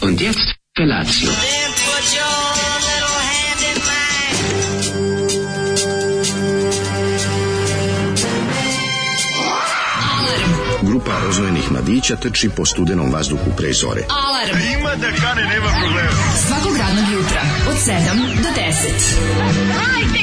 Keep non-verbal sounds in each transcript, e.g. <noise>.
Und jetzt Felatio. Then put your little hand in mine. Grupa rozvojenih mladića trči po studenom vazduhu pre zore. Alarm. Ima da kane, nema problema. Svakog radnog jutra, od 7 do 10.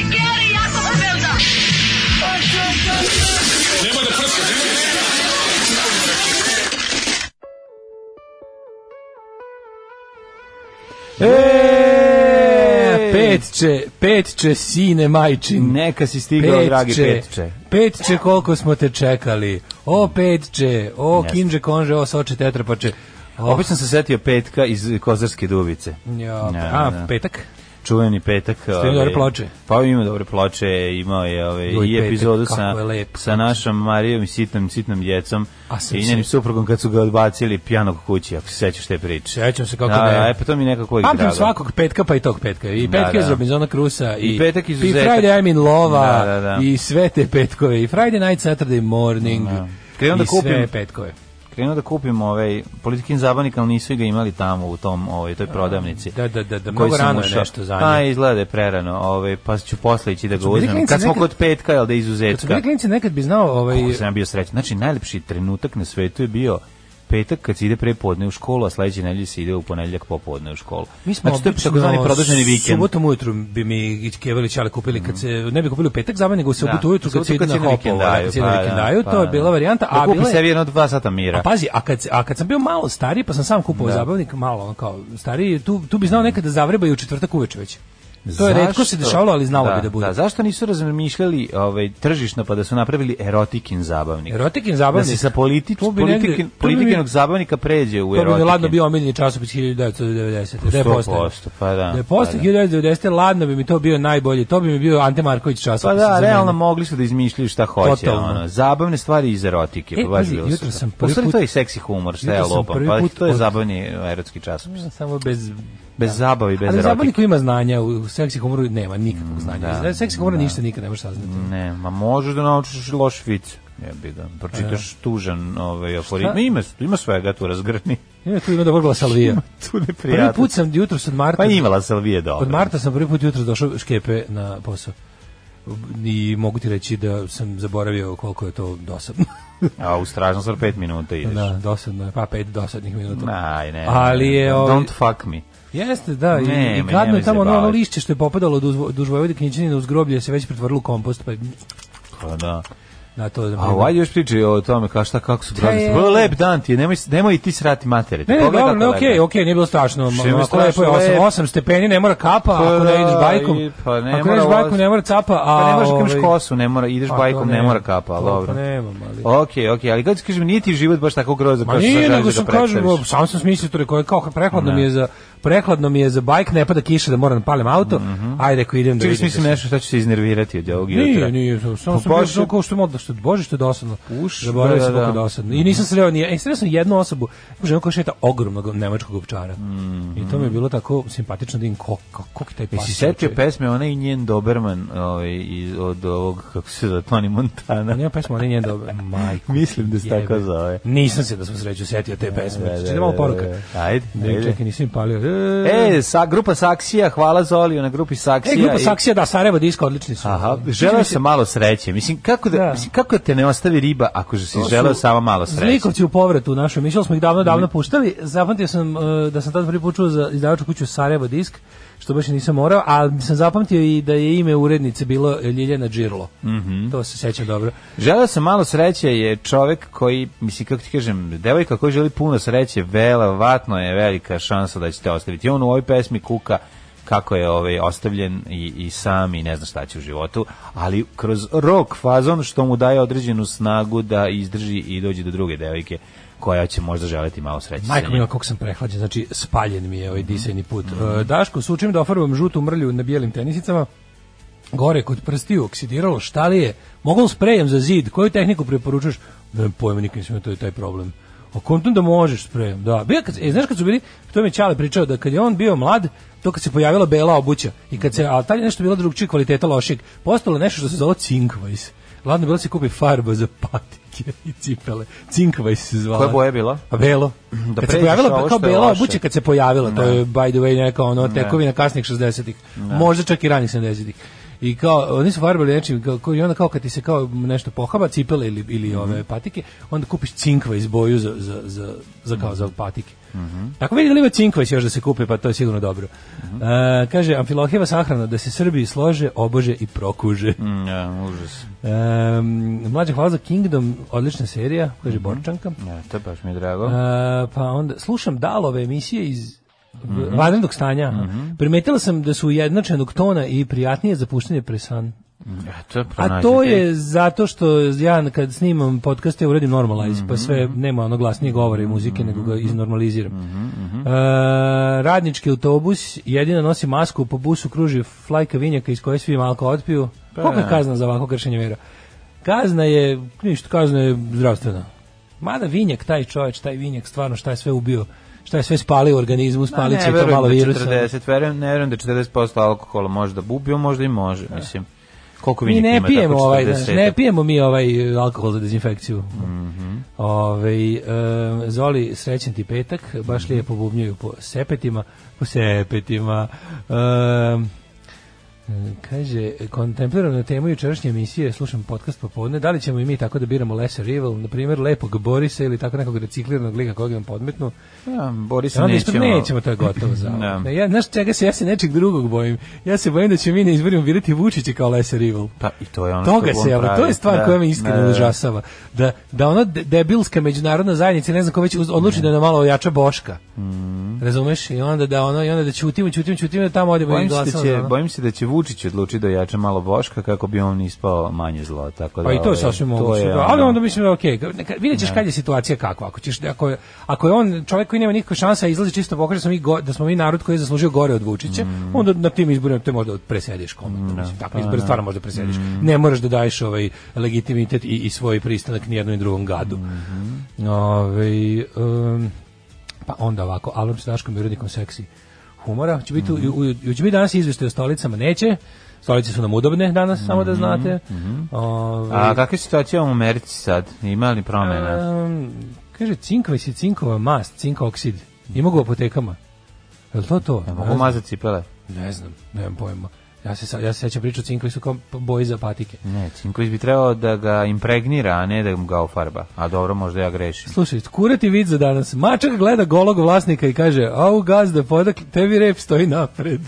E, Petče, petče, sine majčin. Neka si stigao, dragi Petče. Petče, koliko smo te čekali. O, petče, o, Jeste. kinđe, konže, o, soče, tetrapače. O, Oh. Opet sam se setio petka iz Kozarske duvice. Ja, pa, Ja, a, da. petak? Čuveni petak. Ste imali dobre ploče? Pa ima dobre ploče, imao je ovaj, Joj, i petak, epizodu kako sa, je lep. znači. sa našom Marijom i sitnom, sitnom djecom A sam i se- njenim suprugom kad su ga odbacili pijanog kući, ako se sećaš te priče. Sećam se kako da, ne. Da, e, pa to mi nekako uvijek Pamtim drago. svakog petka, pa i tog petka. I petka da. iz Robinzona Crusa. I petak iz I Uzetak. Friday I'm in Lova. Da, da, da. I sve te petkove. I Friday Night, Saturday Morning. Da. Krenuo da I sve kupim. petkove. Krenuo da kupim ovaj politikin zabanik, ali nisu ga imali tamo u tom ovaj toj prodavnici. Da, da, da, da. koji Mnogo sam rano je ušao. nešto za Pa nje. izgleda da je prerano, ovaj, pa ću posle ići da ga bili uzmem. klinci Kad smo nekad- kod petka, jel da je Kad su bili izuzetka. klinici, nekad bi znao ovaj... Kako sam ja bio srećan. Znači, najlepši trenutak na svetu je bio petak kad se ide prepodne u školu, a sledeće nedelje se ide u ponedeljak popodne u školu. Mi smo znači, to je obično takozvani produženi vikend. Subotom ujutru bi mi Kevelić ali kupili kad se ne bi kupili u petak za mene, nego u subotu Da, ujutru kad subotu se ide na na hopovo, da, kad se ide pa na da, vikendaju, pa to je da. bila varijanta, Da a kupi bila sebi je jedno dva sata mira. A pa, pazi, a kad, a kad sam bio malo stariji, pa sam sam kupovao Da. zabavnik, malo ono kao stariji, tu, tu bi znao nekada zavreba i u četvrtak uveče već. To je Zašto? retko se dešavalo, ali znalo da, bi da bude. Da, zašto nisu razmišljali ovaj, tržišno pa da su napravili erotikin zabavnik? Erotikin Da zabavnik. se sa politi, To bi negde- politikin, to bi politikinog mi- zabavnika pređe u To erotikin. bi mi ladno bio omiljeni časopis 1990. Da je postao. 100%, pa da. Da je postao Pa da. 1990. Ladno bi mi to bio najbolji. To bi mi bio Ante Marković časopis. Pa da, za mene. realno mogli su da izmišljaju šta hoće, Totalno. ono, zabavne stvari iz erotike, E, pa baš pazi, bilo jutro super. sam prvi U stvari put- to je i seksi humor, šta ja jutro sam lopam, prvi pa put to je od- zabavni erotski časopis. Samo bez Bez zabavi, bez Ali zabavnik erotike. koji ima znanja, u seksi humoru nema nikakvog znanja. da, Da, seksi humora ništa nikad ne možeš saznati. Ne, ma možeš da naučiš loš vic. Jebi ga, E. pročitaš tužan ovaj, aforizam. Ima, ima svega tu razgrni. <laughs> Ima tu ima dobro bila Salvija. tu Prvi neprijatno. put sam jutros od Marta... Pa da. imala Salvije dobro. Od Marta sam prvi put jutros došao škepe na posao. I mogu ti reći da sam zaboravio koliko je to <laughs> dosadno. A u strašno stvar pet minuta ideš. da, dosadno je, pa pet dosadnih minuta. Aj, ne. Ali je, ovaj- Don't fuck me. Jeste, da, i, Nemoj, i gadno nemoj je tamo ono, ono zabavati. lišće što je popadalo duž, duž Vojvode Knjiđanina uz groblje se već pretvorilo u kompost, pa je- Pa da. na to... A ovaj još pričaj o tome ka šta kako su je- brodovi. Vrlo lep dan ti je, nemoj, nemoj i ti srati matere. Ne, ne, Pogledaj dobro, ne, kako okej, lepo. okej, nije bilo strašno. Što je Ako lepo strašno, je 8, lepo. 8 stepeni, ne mora kapa, Pa ako da, ne ideš i- bajkom. pa ne ako mora ne ideš bajkom, voz- ne mora capa, a... Pa ne moraš kamiš ovaj, kosu, ne mora, ideš pa to bajkom, ne nemam, mora kapa, ali to- dobro. To nemam, ali... Okej, okej, ali kad ti kažem, nije ti život baš tako grozno Ma kao što sad nije, želiš nego da sam predstaviš. kažem, o, sam sam smislio to rekao, kao prehladno mi je za prehladno mi je za bajk, ne pada kiša da moram da palim auto. Mhm. Ajde, rekao idem da Čekaj, vidim. mislim nešto šta ću se iznervirati od ovog jutra. Nije, nije, samo sam da Pa bio baš je- znao kao što je modno, što bože što je dosadno. Uš, Zaboravio da, sam da, koliko da. je dosadno. I nisam sreo ni e, sreo sam jednu osobu, ženu koja šeta ogromnog nemačkog ovčara. I to mi je bilo tako simpatično da im ko ko ko je taj pas. Jesi setio čovječe. pesme, ona i njen Doberman ovaj, iz, od ovog, kako se zove, Tony Montana. Nema pesma, ona nije dobra. Majko. Mislim da se jebe. tako zove. Nisam se da smo sreću setio te pesme. da, Čitam malo da, poruka. da, da. Ajde, Ne, ajde. čekaj, nisam im palio. E, sa, grupa Saksija, hvala Zoliju na grupi Saksija. E, grupa i- Saksija, da, Sarajevo disko, odlični su. Aha, želeo sam malo sreće. Mislim, kako da, Da. mislim, kako te ne ostavi riba ako si su želeo samo malo sreće? Zlikovci u povratu u našoj emisiji, ali smo ih davno, davno puštali. Zapamtio sam e, da sam tad prvi put čuo za izdavačku kuću Sarajevo Disk, što baš i nisam morao, ali sam zapamtio i da je ime urednice bilo Ljiljana Đirlo. To se sećam dobro. Želeo sam malo sreće je čovek koji, mislim, kako ti kažem, devojka koja želi puno sreće, velovatno je velika šansa da ćete ostaviti. On u ovoj pesmi kuka kako je ovaj ostavljen i, i sam i ne zna šta će u životu, ali kroz rok fazon što mu daje određenu snagu da izdrži i dođe do druge devojke koja će možda želeti malo sreće. sa Majko njim. mila, koliko sam prehlađen, znači spaljen mi je ovaj disajni put. E, Daško, sučim da ofarbam žutu mrlju na bijelim tenisicama, gore kod prstiju oksidiralo, šta li je? Mogol sprejem za zid, koju tehniku preporučuješ? Nemam pojma, nikad nisam imao to je taj problem. A kontam da možeš sprejem, da. Bio kad, e, znaš kad su bili, to mi je Čale pričao, da kad je on bio mlad, to kad se pojavila bela obuća i kad se, a tad je nešto bilo drugčije kvaliteta lošeg, postalo je nešto što se zove cinkvajs. Ladno bilo da se kupi farba za patike i cipele. Cinkava se zvala. Koja boja je bila? A belo. Da kad se pređeš pojavila, ovo kao što je belo loše. obuće kad se pojavila, to je by the way neka ono tekovina kasnih 60-ih, možda čak i ranih 70-ih. I kao, oni su farbali nečim, kao, kao- i onda kao kad ti se kao nešto pohaba, cipele ili, ili Mhm. ove patike, onda kupiš cinkva iz boju za, za, za, za, kao za patike. Mhm. Tako vidi da li ima cinkvajs još da se kupe, pa to je sigurno dobro. E, kaže, Amfilohijeva sahrana, da se Srbi slože, obože i prokuže. Mm, ja, užas. Ehm, mlađe, hvala za Kingdom, odlična serija, Mhm. kaže Borčanka. Ja, to baš mi je drago. E, pa onda, slušam dalove emisije iz v- vanrednog stanja. aha. Primetila sam da su ujednačenog tona i prijatnije za puštanje presan. Eto, A pronađite. to je zato što ja kad snimam podcaste uradim normalize, pa sve Mhm. nema ono glasnije govore i muzike, nego ga iznormaliziram. Mhm, E, radnički autobus jedina nosi masku, po busu kruži flajka vinjaka iz koje svi malko otpiju. Pa, Koliko je da. kazna za ovako kršenje vera? Kazna je, ništa, kazna je zdravstvena. Mada vinjak, taj čovječ, taj vinjak, stvarno šta je sve ubio, šta je sve spalio u organizmu, Pa spalit će i to verujem malo da virusa. 40, verujem, ne verujem da 40% alkohola može da bubio, možda i može, mislim. Koliko Da. mi vinjaka ne ima pijemo tako ovaj, 40? znaš, ne pijemo mi ovaj e, alkohol za dezinfekciju. Mhm. Ovaj e, Zoli srećen ti petak, Mhm. baš lijepo bubnjaju po sepetima, po sepetima. Em, Kaže, kontempliram na temu jučerašnje emisije, slušam podcast popodne, da li ćemo i mi tako da biramo lesser evil, na primjer lepog Borisa ili tako nekog recikliranog lika kojeg nam podmetnu, Ja, Borisa onda ispod Da, nećemo. nećemo, to je gotovo <laughs> za. Da. Ne, ja, znaš čega se, ja se nečeg drugog bojim. Ja se bojim da će mi na izborima birati Vučića kao lesser evil. Pa i to je ono Toga što se, on ja, pravi. to je stvar Da, koja me iskreno da, da. užasava. Da, da ona de- debilska međunarodna zajednica, ne znam ko već uz- odluči da nam malo ojača Boška. Mm. Razumeš? I onda da ono, i onda da ćutimo, ćutimo, ćutimo, da tamo odemo i Bojim se, da glasamo. za će, ono. bojim se da će Vučić odlučiti da jače malo Boška kako bi on ispao manje zlo. Tako da, Pa i to ovaj, je Da. sasvim to moguće. je da, ono- ali onda mislim da je okej. Okay. Vidjet ćeš kad je situacija kakva. Ako, ćeš, da- ako, je, ako je on čovjek koji nema nikakve šanse, a izlazi čisto pokaže da smo mi, go- da smo mi narod koji je zaslužio gore od Vučića, onda na tim izborima te možda presediš komentno. Mislim, takve izbore stvarno možda presediš. Ne moraš da daješ ovaj legitimitet i, i svoj pristanak nijednom i drugom gadu. Mm-hmm. Ovaj, em, pa onda ovako, Alarm s Daškom i Rudnikom seksi humora. Će biti, u- u- u- će biti danas izveštaj o stolicama? Neće. Stolice su nam udobne danas, samo da znate. Ovaj, A kakva je situacija u Americi sad? Ima li promjena? Em, Ehm, kaže, cinkova si cinkova mast, cink oksid. Ima ga u apotekama. Je li to to? Ja Ne mogu znam. mazati cipele? Ne znam, nemam pojma. Ja se, sa- ja se sećam priču cinkovi su kao boji za patike. Ne, Cinković bi trebao da ga impregnira, a ne da mu ga ofarba. A dobro, možda ja grešim. Slušaj, kurati vid za danas. Mačak gleda golog vlasnika i kaže, au gazda, podak, tebi rep stoji napred.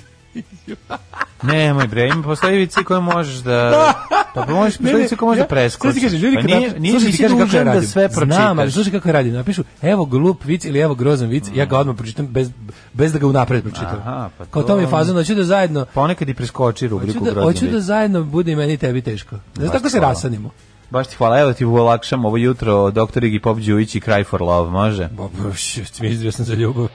Nemoj bre, ima postoji vici koje možeš <laughs> da... Pa možeš postoji vici koje možeš da preskočiš. Slušaj, kaže, ljudi, pa kad nije, nap- nije slušaj, ti nisi kaže kako ja dužan da radim. sve pročitaš. Znam, ali slušaj kako ja radim. Napišu, evo glup vic ili evo grozan vic, ja ga odmah pročitam bez, bez da ga unapred pročitam. Aha, pa to- Kao to mi je fazon, hoću da zajedno Ponekad i preskoči rubriku Hoću grozno da, hoću da biti. zajedno bude i meni i tebi teško. Znaš, Baš tako se hvala. rasanimo. Baš ti hvala, evo ti olakšam ovo jutro Dr. Iggy Pop Đujić i Cry for Love, može? Ba, ba, smizdio sam za ljubav.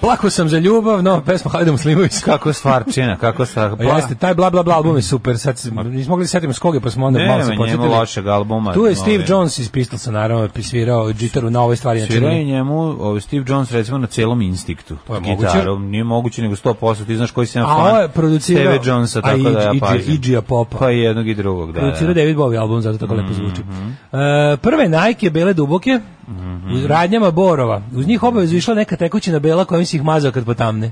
Plako sam za ljubav, no, pesma Hajde Muslimović. Kako stvarčina, kako stvar... Pa jeste, taj bla bla bla album je super, sad se- nismo mogli da se setimo s koga, pa smo onda malo se Nema njemu početili. lošeg albuma. Tu je Ovaj, Steve Jones iz Pistolsa, naravno, svirao gitaru na ovoj stvari. Svirao je Znači, njemu ovaj, Steve Jones recimo na celom instiktu. To je S moguće. Gitarom, nije moguće nego 100%, ti znaš koji sam ja A fan. ovo je producirao- Steve Jonesa, a tako da ja Iggy- pažim. Iggy- Iggy-a Popa. Pa i jednog i drugog, da. Producirao da. David Bowie album, zato tako lepo zvuči. E, prve Nike bele duboke, u radnjama Borova. Uz njih obavezu išla neka tekućina bela kojom si ih mazao kad potamne.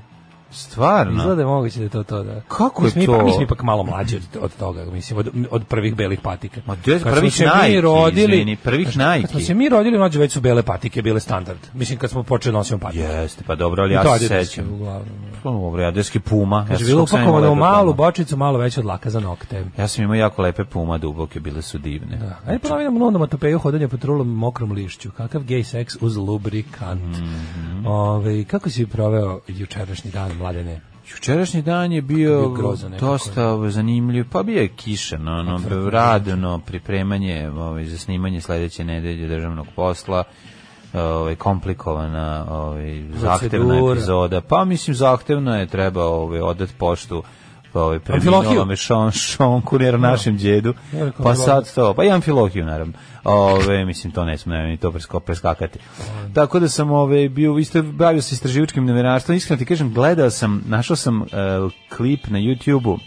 Izgleda Stvarno? je moguće da je to to, da. Kako je mislim, to? Ipak, mislim, ipak malo mlađi od, od toga, mislim, od, od prvih belih patika. Ma gde Kad prvih smo se mi Nike, rodili- izvini, prvih Kad smo Nike. se mi rodili, mlađe već su bele patike, bile standard. Mislim, kad smo počeli da nosimo patike. Jeste, pa dobro, ali I ja to se Adidas je sećam. Uglavnom. Pa Dobro, ja deski Puma. Kaže, ja bilo sam upakovano imao u lepe malu Puma. bočicu, malo veće od laka za nokte. Ja sam imao jako lepe Puma, duboke, bile su divne. Da. Ajde ponovim nam London Matopeju hodanje po trulom mokrom lišću. Kakav gay seks uz lubrikant. Mhm. Ove, kako si proveo jučerašnji dan, mladene? Jučerašnji dan je bio Bio grozan nekako. Pa dosta zanimljiv, pa bio je kišan, ono, radno pripremanje ovaj, za snimanje sledeće nedelje državnog posla, ovaj, komplikovana, ovaj, zahtevna Procedura. epizoda, pa mislim zahtevno je, treba ovaj, odat poštu ovaj, preminulo Amfilohiju. me šon, šonku, Da. jer našem djedu, Ja rekao pa Amfilohiju. sad to, pa i amfilohiju naravno, ove, mislim to ne smije ni to presko, preskakati. Ovaj. Tako da sam ove, bio, isto bavio se istraživačkim novinarstvom, iskreno ti kažem, gledao sam, našao sam e, klip na YouTube-u,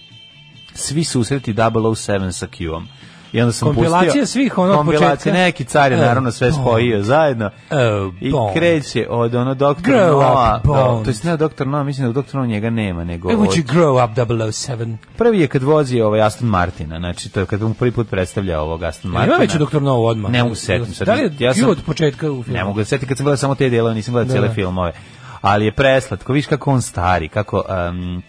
svi susreti 007 sa Q-om. I onda sam pustio... Kompilacija svih ono od kompilacija, početka. neki car je E, naravno sve Bond. spojio zajedno. E, I Bond. kreće od ono doktora Grow up, Noa. Bond. to je ne doktor Noa, mislim da doktor Noa njega nema, nego... Evo od- će grow up 007. Prvi je kad vozi ovaj Aston Martina, znači to je kad mu prvi put predstavlja ovog Aston Martina. Martina. Ima već u Dr. Novo odmah. Ne mogu se setim sad. Da li je Ja ja sam- od početka u filmu? Ne mogu da se setim kad sam gledao samo te delove, nisam gledao Da, cijele da. filmove. Ali je preslatko, viš kako on stari, kako... em,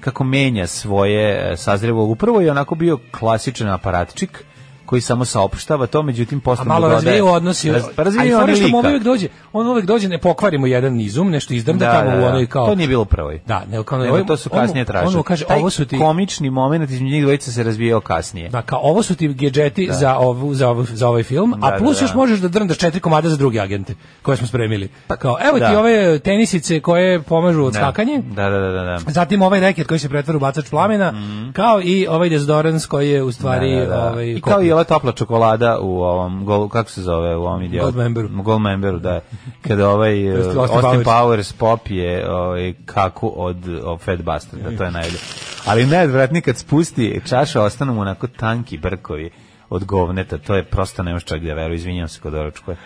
kako menja svoje e, sazrevo. Uprvo je onako bio klasičan aparatčik koji samo saopštava to, međutim A posle mu malo dodaje- razvijaju odnosi. da Raz- pa razvijaju Ali fora je oni što mu lika. uvek dođe, on uvek dođe, ne pokvarimo jedan izum, nešto izdrmda Da, tamo da, u da. onoj kao... To nije bilo prvo. Da, ne, kao, Nego ovaj- to su on mu- kasnije tražili. On mu kaže, Taj ovo su ti... komični moment između njih dvojica se razvijao kasnije. Da, kao ovo su ti gedžeti za, ovu, za, ovu, za ovaj film, Da, a plus da, da. još možeš da drndaš četiri komada za druge agente koje smo spremili. Kao, evo ti da. ove tenisice koje pomažu od Da. skakanje, Da, da, da, da. da. zatim ovaj reket koji se pretvara u bacač plamena, kao i ovaj dezodorans koji je u stvari... Mhm. Da, da, da. Ovaj, I kao kopni. i ova topla čokolada u ovom gol, kako se zove u ovom ideo? Gold memberu. Gold memberu, <laughs> da. Kada ovaj eh, Austin Austin, Powers. Powers popije ovaj, kaku od, od Fat Bastard, da to je najbolje. Ali najodvratnije kad spusti čaša, ostanu mu onako tanki brkovi od govneta, to je prosto nemoš čak da veru, izvinjam se kod oročkuje.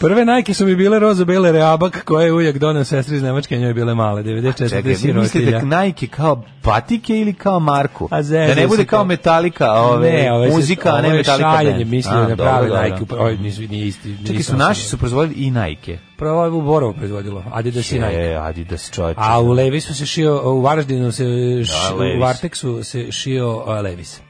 Prve najke su mi bile rozo-bele reabak koje je ujak donio sestri iz Nemačke, njoj bile male, 94. Čekaj, vi mislite da sirotilja. Nike kao patike ili kao marku? A zezaj da ne bude se kao to. metalika, ove, ovaj se- muzika, a ovo ne je metalika. šaljenje, band. mislio A, da dobro, prave dobro. Nike, upravo- ovaj nisu, nije isti. Čekaj, su naši su proizvodili i Nike. Pravo je u Borovu proizvodilo, Adidas i Nike. E, Adidas čoveče. A u Levisu se šio, u Varaždinu se, š, u Da, Levis. Varteksu se šio a, Levis.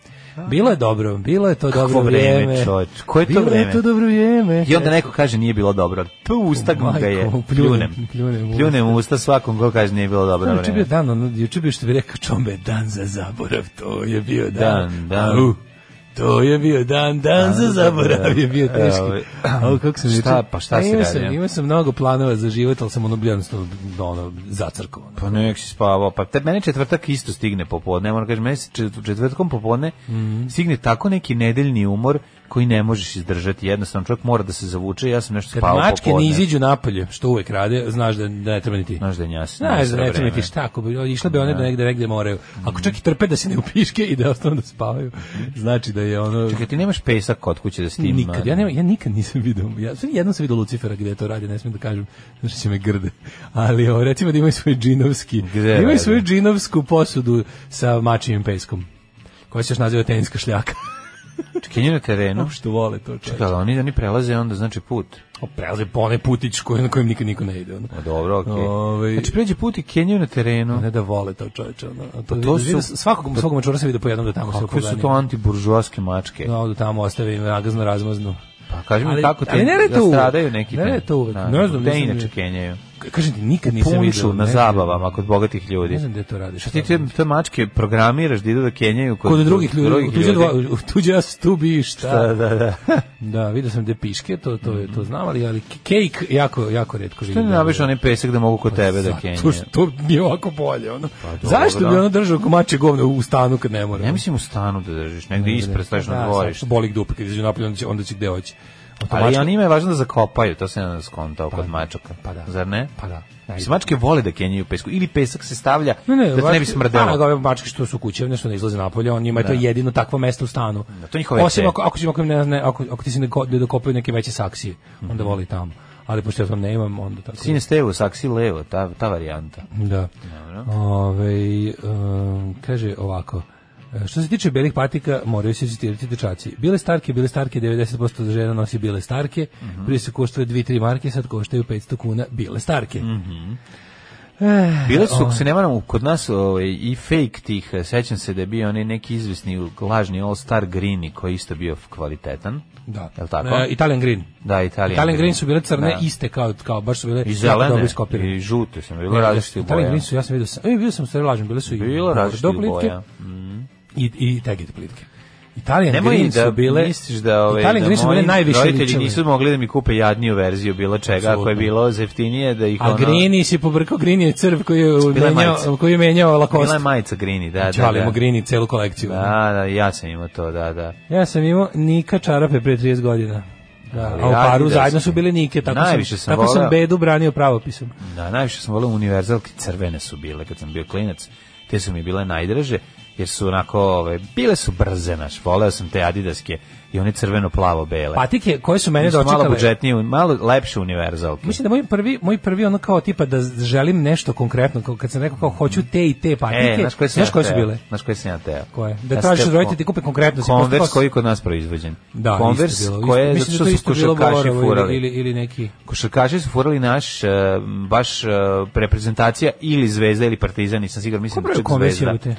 Bilo je dobro, bilo je to Kakvo dobro vreme, vrijeme. čoveč, koje to bilo vreme? je to dobro vrijeme. I onda neko kaže nije bilo dobro. Tu ustagnu ga je. Majko, pljunem, Pljunem. pljunem u Pljunem u usta svakom ko kaže nije bilo dobro Da, Juče bio vreme. dan, ono, juče bio što bi rekao čombe, dan za zaborav, to je bio dan. Dan, dan. Au, to je bio dan, dan, za zaborav je bio Evo, <clears throat> teški. Au, kako sam E, ovaj, šta- juče- pa šta si imao sam, radio? imao sam mnogo planova za život, ali sam ono bio jednostavno ono, zacrkao. ono. Pa nek si spavao. Pa te, mene četvrtak isto stigne popodne. Moram kažem, meni se čet- četvrtkom popodne Mhm. stigne tako neki nedeljni umor koji ne možeš izdržati. Jednostavno čovjek mora da se zavuče. Ja sam nešto Kad spavao mačke ne popodne. iziđu napolje, što uvek rade, znaš da, da ne treba ni ti. Znaš da je njas- Znaš da nasra ne treba ni vreme. Da. ti šta, ako bi, išle bi one do negde, negde moraju. Ako čak i trpe da se ne upiške i da ostanu da spavaju, Mhm. znači da je ono... Čekaj, ti nemaš pesak kod kuće da s tim... Nikad, ja, nema, ja nikad nisam vidio, ja sam jednom sam vidio Lucifera gde to radi, ne smijem da kažem, znaš će me grde, ali o, recimo da imaju svoj džinovski, Gde da imaju radi? svoju džinovsku posudu sa mačijim peskom, koja se još naziva teninska šljaka, <laughs> Čekaj, nije na terenu. što vole to čovječe. Čekaj, ali oni, oni prelaze onda, znači put. O, Prelaze po onaj putić koji, na kojem nikad niko ne ide. Ono. Pa dobro, okej. Ovaj- Znači, pređe put i Kenju na terenu. Ne da vole to čoveče. Ono. A To, Pa to to su, su- svakog, svakog mačura se vidi po jednom da tamo se Kakve su opogani. to antiburžuaske mačke? Da, odu tamo, ostave im nagazno razmaznu. Pa kaži mi Ali- kako te ali ne rade to da uvek. stradaju neki. Ne te- rade to uvek. Da, Ne znam, te nisam inače vidio. kenjaju. Kažem ti, nikad nisam vidio. Punču na ne- zabavama kod bogatih ljudi. Znači, Ne znam gde to radiš. Ti te, te mačke programiraš da idu da kenjaju kod, Kod drugih ljudi, drugih u tuđe, dva- u tuđe ja stubi šta. Da, da, da. <laughs> Da, vidio sam gde piške, to, to, je, to znam, ali, ali cake jako, jako redko vidim. Što ne nabiš onaj pesak da mogu Pa kod tebe da kenjaju? Zato što to nije ovako bolje. Ono. Pa dobro. da. Zašto bi ono držao komače govne u stanu kad ne mora? Ja mislim u stanu da držiš, negde ispred staviš Da, na dvorište. Boli ih dupe, kad izađu napolje, onda će, onda će gde hoće. A to Ali Pa mačka- ja njima je važno da zakopaju, to se ne skontao kod mačaka. pa da. Zar ne? Pa da. Mislim, Mačke vole da kenjaju u pesku ili pesak se stavlja da te ne bi mačke- smrdelo. A, ove mačke što su kućevne, što ne izlaze napolje, on njima je to jedino takvo mesto u stanu. Da, to je njihove Osim te. ako, ako, ćemo, ako, im ne, ne, ako, ako ti se ne, ko- ne dokopaju neke veće saksije, Mhm. onda voli tamo. Ali pošto ja to ne imam, onda tako... Sine stevo, saksi levo, ta, ta varijanta. Da. Ove, um, kaže ovako, e, što se tiče belih patika, moraju se citirati dečaci. Bile starke, bile starke, 90% žena nosi bile starke, Mhm. prije su koštale 2-3 marke, sad koštaju 500 kuna bile starke. Mhm. Bile su, ako se ne varam, kod nas ovaj, i fake tih, eh, sećam se da je bio onaj neki izvesni lažni All Star Greeni koji je isto bio kvalitetan. Da. Jel tako? E, Italian Green. Da, Italijan. Italian Green su bile crne, Da. iste kao, kao baš su bile I jako zelene, dobro iskopirane. E, i žute sam, bilo različitih Italian boja. Green su, ja sam vidio, sam, e, vidio sam stvari lažem, bile su i Bilo bordo različitih plitke boja. i, i tegete plitke. Italian Nemoj Green da su bile, misliš da, ove, Italian Green da su bile moji najviše roditelji ličile. nisu mogli da mi kupe jadniju verziju bilo čega, ako je Apsolutno. bilo zeftinije da ih A Grini si pobrkao, Grini je crv koji je Bila je menjao, majica. koji je menjao Bila Lacoste. je majica Greeni, da, da, Čalimo da. Grini celu kolekciju. Da, da, ja sam imao to, da, da. Ja sam imao Nika čarape pre 30 godina. Da, Ali a u paru Adidas zajedno je. su bile Nike, tako Najviše sam, sam tako sam voleo. bedu branio pravopisom. Da, najviše sam volao univerzalke, crvene su bile kad sam bio klinac. Te su mi bile najdraže. jer su onako, ove, bile su brze, naš, voleo sam te adidaske i one crveno-plavo-bele. Patike koje su mene Meni su Pa, dočekale. da malo budžetnije, malo lepše univerzalke. Mislim da moj prvi, moj prvi ono kao tipa da želim nešto konkretno, kao kad sam rekao kao hoću te i te patike, E, znaš koje sam znaš ja koje su teo? bile? Znaš koje sam ja teo? Koje? Da Ja sam tražiš teo od roditelja ti kupe konkretno, da si postao Converse s- koji je kod nas proizvođen. Da, Converse isto je bilo. koje je, Isto- zato mislim što da su to isto bilo košarkaši Borovo ili- furali. Ili, ili, neki... Košarkaši su furali naš, e, baš e, reprezentacija ili Zvezda ili Partizan, nisam siguran, mislim Ko da pravi čak Converse, Zvezda. jebote?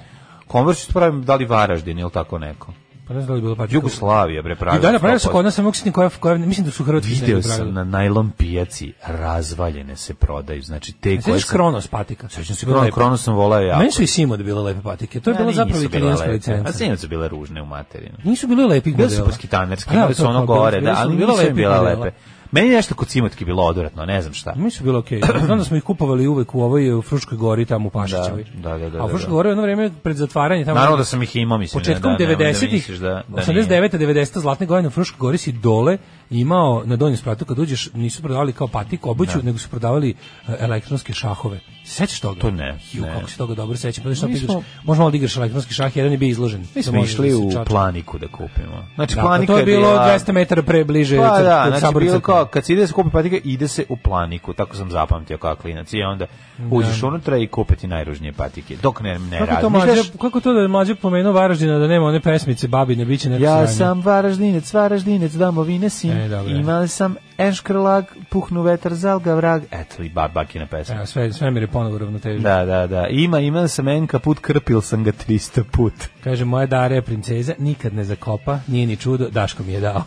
Converse su pravim da li Varaždin ili tako neko. Pa ne znam da li je bilo patika. Jugoslavija bre pravila. I da, napravili su 100%. kod nas, ne mogu sjetiti koja, koja, mislim da su Hrvatski Video negdje sam pravili. na najlon pijaci razvaljene se prodaju. Znači te koje Sećaš sam- Kronos patika? Sećam se da. Bilo Krono, lepo. Krono sam volao ja. Meni su i Simod bile lepe patike. Da, To je bila zapravo italijanska A licenca. Pa sinoć su bile ružne u materinu. Nisu bile lepih modela. Bile su paskitanerske, Pa da, bile su to ono kao bile- gore, bile da, su- ali bile nisu im lepih bile modela. lepe. Meni je nešto kod cimotki bilo odvratno, ne znam šta. Mi su bilo okej. Znam da smo ih kupovali uvek u ovoj u Fruškoj gori tamo u Pašićevoj. Da, da, da, da, A u da, Fruškoj da. gori jedno vreme pred zatvaranje tamo Naravno da sam ih imao, mislim. početkom ne, da, nemoj da 90-ih, misliš da- da nije. 89 90 zlatne godine u Fruškoj gori si dole imao na donjem spratu kad uđeš nisu prodavali kao patik obuću, Da. nego su prodavali e, elektronske šahove. Se Sećaš toga? To ne, Ju, ne. kako se toga dobro sećam. Pa znaš šta Mi ti igraš? smo- Možemo malo da igraš elektronski šah, jedan je bio izložen. Mi smo išli u planiku da kupimo. Znači, Da, pa planika to je bilo bila- 200 metara pre bliže Pa crt- da, od znači sabora bilo crkve. kao, kad se ide da se kupi patike, ide se u planiku, tako sam zapamtio kao klinac. I onda uđeš unutra i kupe ti najružnije patike, dok ne, ne Da. Kako to, mlađe, razmišljaš. kako to da je mlađe pomenuo Varaždina da nema one pesmice Babine biće neko Ja sranje? sam Varaždinec, Varaždinec, domovine sin. E, dobro. Imali sam enškrlag, puhnu vetar, zalga vrag. Eto i ba- bakina pesma. Evo, sve, sve mi je ponovo ravnotežno. Da, da, da. Ima, imao sam enka put, krpil sam ga 300 put. Kaže, moja Dara je princeza, nikad ne zakopa, nije ni čudo, Daško mi je <laughs> dao.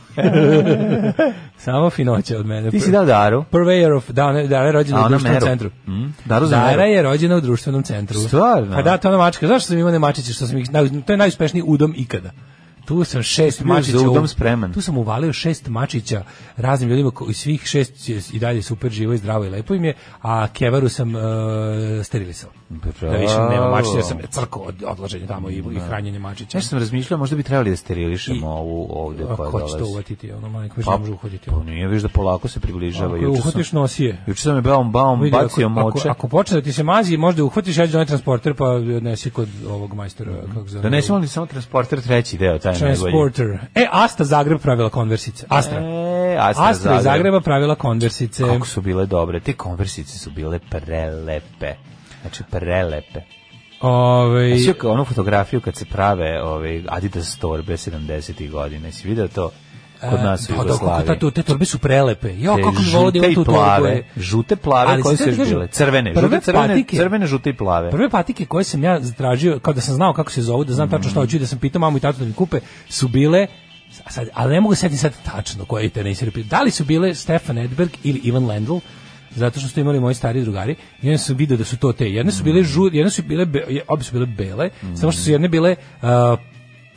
Samo finoće od mene. Ti si dao Daru? Purveyor of, da, ona, Dara je rođena A u ona društvenom Meru. centru. Mm, Daru za Dara Meru. je rođena u društvenom centru. Stvarno? Pa da, to je ona mačka. Zašto sam imao one mačiće? Što sam ih, naj- to je najuspešniji udom ikada. Tu sam šest bio mačića. za udom u- spreman. Tu sam uvalio šest mačića raznim ljudima koji svih šest je i dalje super živo i zdravo i lepo im je, a kevaru sam e, sterilisao. Da više nema mačića, jer sam crko od odlaženja tamo i, i hranjenje mačića. Nešto sam razmišljao, možda bi trebali da sterilišemo I- ovu ovde Ako koja ko će to dolazi. uvatiti, ono majko, više Pa, ne može uhoditi. pa nije, viš da polako se približava. Ako je Juče sam- uhvatiš, nosi je. Juče sam je baum baum Vidi, bacio ako, moče. Ako, ako počne da ti se mazi, možda je uhvatiš, ja ću doneti transporter, pa odnesi kod ovog majstora. Kako se zove? Donesemo li samo transporter treći deo, taj najbolji. Transporter. E, Asta Zagreb pravila konversice. Astra. E, Astra, Astra, iz Zagreb. Zagreba pravila konversice. Kako su bile dobre, te konversice su bile prelepe. Znači prelepe. Ovaj, Jesi vidio onu fotografiju kad se prave ove Adidas torbe 70-ih godina? Jesi video to kod nas u Pa da, kako Jugoslaviji? ta, te torbe su prelepe. Jo, kako bi volio da žute imam tu i torbu. plave, e. žute plave Ali koje sad da su ti još kažem, bile, crvene, prve žute, crvene, patike- crvene, žute i plave. Prve patike koje sam ja zatražio, kao da sam znao kako se zovu, da znam tačno Mm. šta hoću i da sam pitao mamu i tatu da mi kupe, su bile a sad, ali ne mogu setiti sad tačno koje te nisi repio. Da li su bile Stefan Edberg ili Ivan Lendl? Zato što su imali moji stari drugari. I onda sam video da su to te. Jedne su Mm. bile žu, jedne su bile be, je- obe su bile bele, samo što su jedne bile a,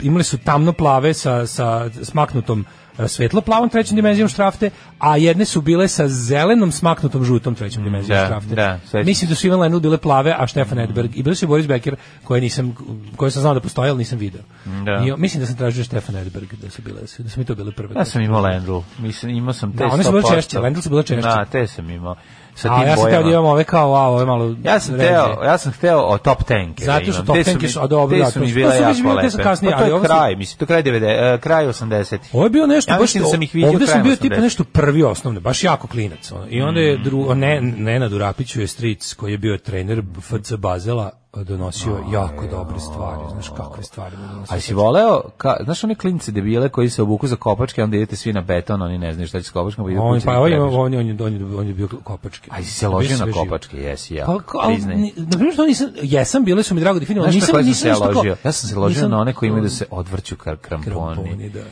imale su tamno plave sa, sa smaknutom a, svetlo-plavom trećom dimenzijom štrafte, a jedne su bile sa zelenom smaknutom žutom trećom dimenzijom Da, štrafte. da, sećam Mislim Mislim da su Ivan Lendl bile plave, a Stefan Edberg i bili su i Boris Becker, koje nisam koje sam znao da postoje, ali nisam video. Da. I, mislim da sam tražio Stefan Edberg da su bile da su mi to bile prve. Ja sam imao Lendl, mislim, imao sam te Da, one su bile 100%. češće, Lendl su bile češće. Da, te sam imao. Sa a tim ja sam teo da bojama. imam ove kao, wow, ove malo Ja sam ređe. teo, ja sam hteo o top tenke. Zato što top tenke su- a dobro, te da, su to mi su- bile to su već jako bile, te su lepe. kasnije, Pa to ali je ovo su- kraj, mislim, to je kraj 90 eh, kraj 80-ih. Ovo je bio nešto Ja baš mislim da sam ih vidio Ovde sam krajem bio tipa 80-ih. nešto prvi osnovne, baš jako klinac. Ono. I onda Mm. je dru, ne Nenad Urapiću je stric koji je bio trener FC Bazela donosio jako dobre stvari, znaš kakve stvari. mu je donosio. A si voleo, ka, znaš one klince debile koji se obuku za kopačke, onda idete svi na beton, oni ne znaju šta će s kopačkom, pa idu On, kući pa da on je, trebaš. on je, on je, on je, on je bio kopački. A si se ložio Bio na sve živo. kopačke, jesi ja, Pa, kao, ali, priznaj. ni- na primjer, što nisam, jesam, bile su mi drago definirano, Znaš ali na nisam, koje sam nisam se ja nešto kao- ložio? Ja sam se ložio nisam- na one koji imaju da se odvrću kar kramponi. Kramponi, da, da.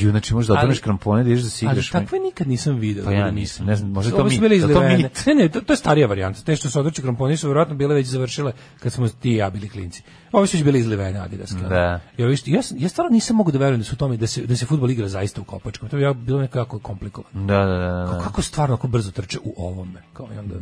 Ju, znači možda Ali- odvrneš krampone da ideš da si Ali igraš. takve nikad nisam video. Pa ja da nisam, ne znam, možda je Ovo to su mit, bile je to izlivene. mit? Ne, ne, to, to je starija varijanta. Te što su odvrći kramponi su vjerojatno bile već završile kad smo ti i ja bili klinci. Ovi su već bile izlivene adidaske. ono. Da. I ovi što- ja, sam- ja stvarno nisam mogu da verujem da su u tome, da se, da se futbol igra zaista u kopačkom. To bi ja bilo nekako jako komplikovano. Da, da, da, da. Kao, da. kako stvarno ako brzo trče u ovome kao i onda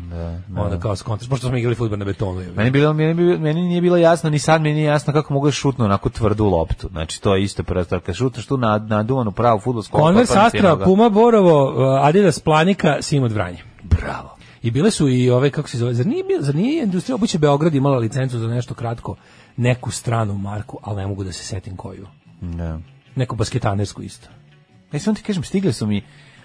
onda kao skontraš pošto smo igrali fudbal na betonu je. Meni, bilo, meni, bi- meni nije bilo jasno, ni sad mi nije jasno kako mogu da šutnu onako tvrdu loptu. Znači, to je isto prva stvar. Kad šutneš tu na, naduvanu pravu futbolsku Konvers pa, pa, Astra, cijenog- Puma Borovo, uh, Adidas Planika, Simod Vranje. Bravo. I bile su i ove, kako se zove, zar nije, bio- zar nije industrija obuće Beograd imala licencu za nešto kratko, neku stranu marku, ali ne mogu da se setim koju. Da. Neku basketanersku isto. E, samo ti kažem, stigle su mi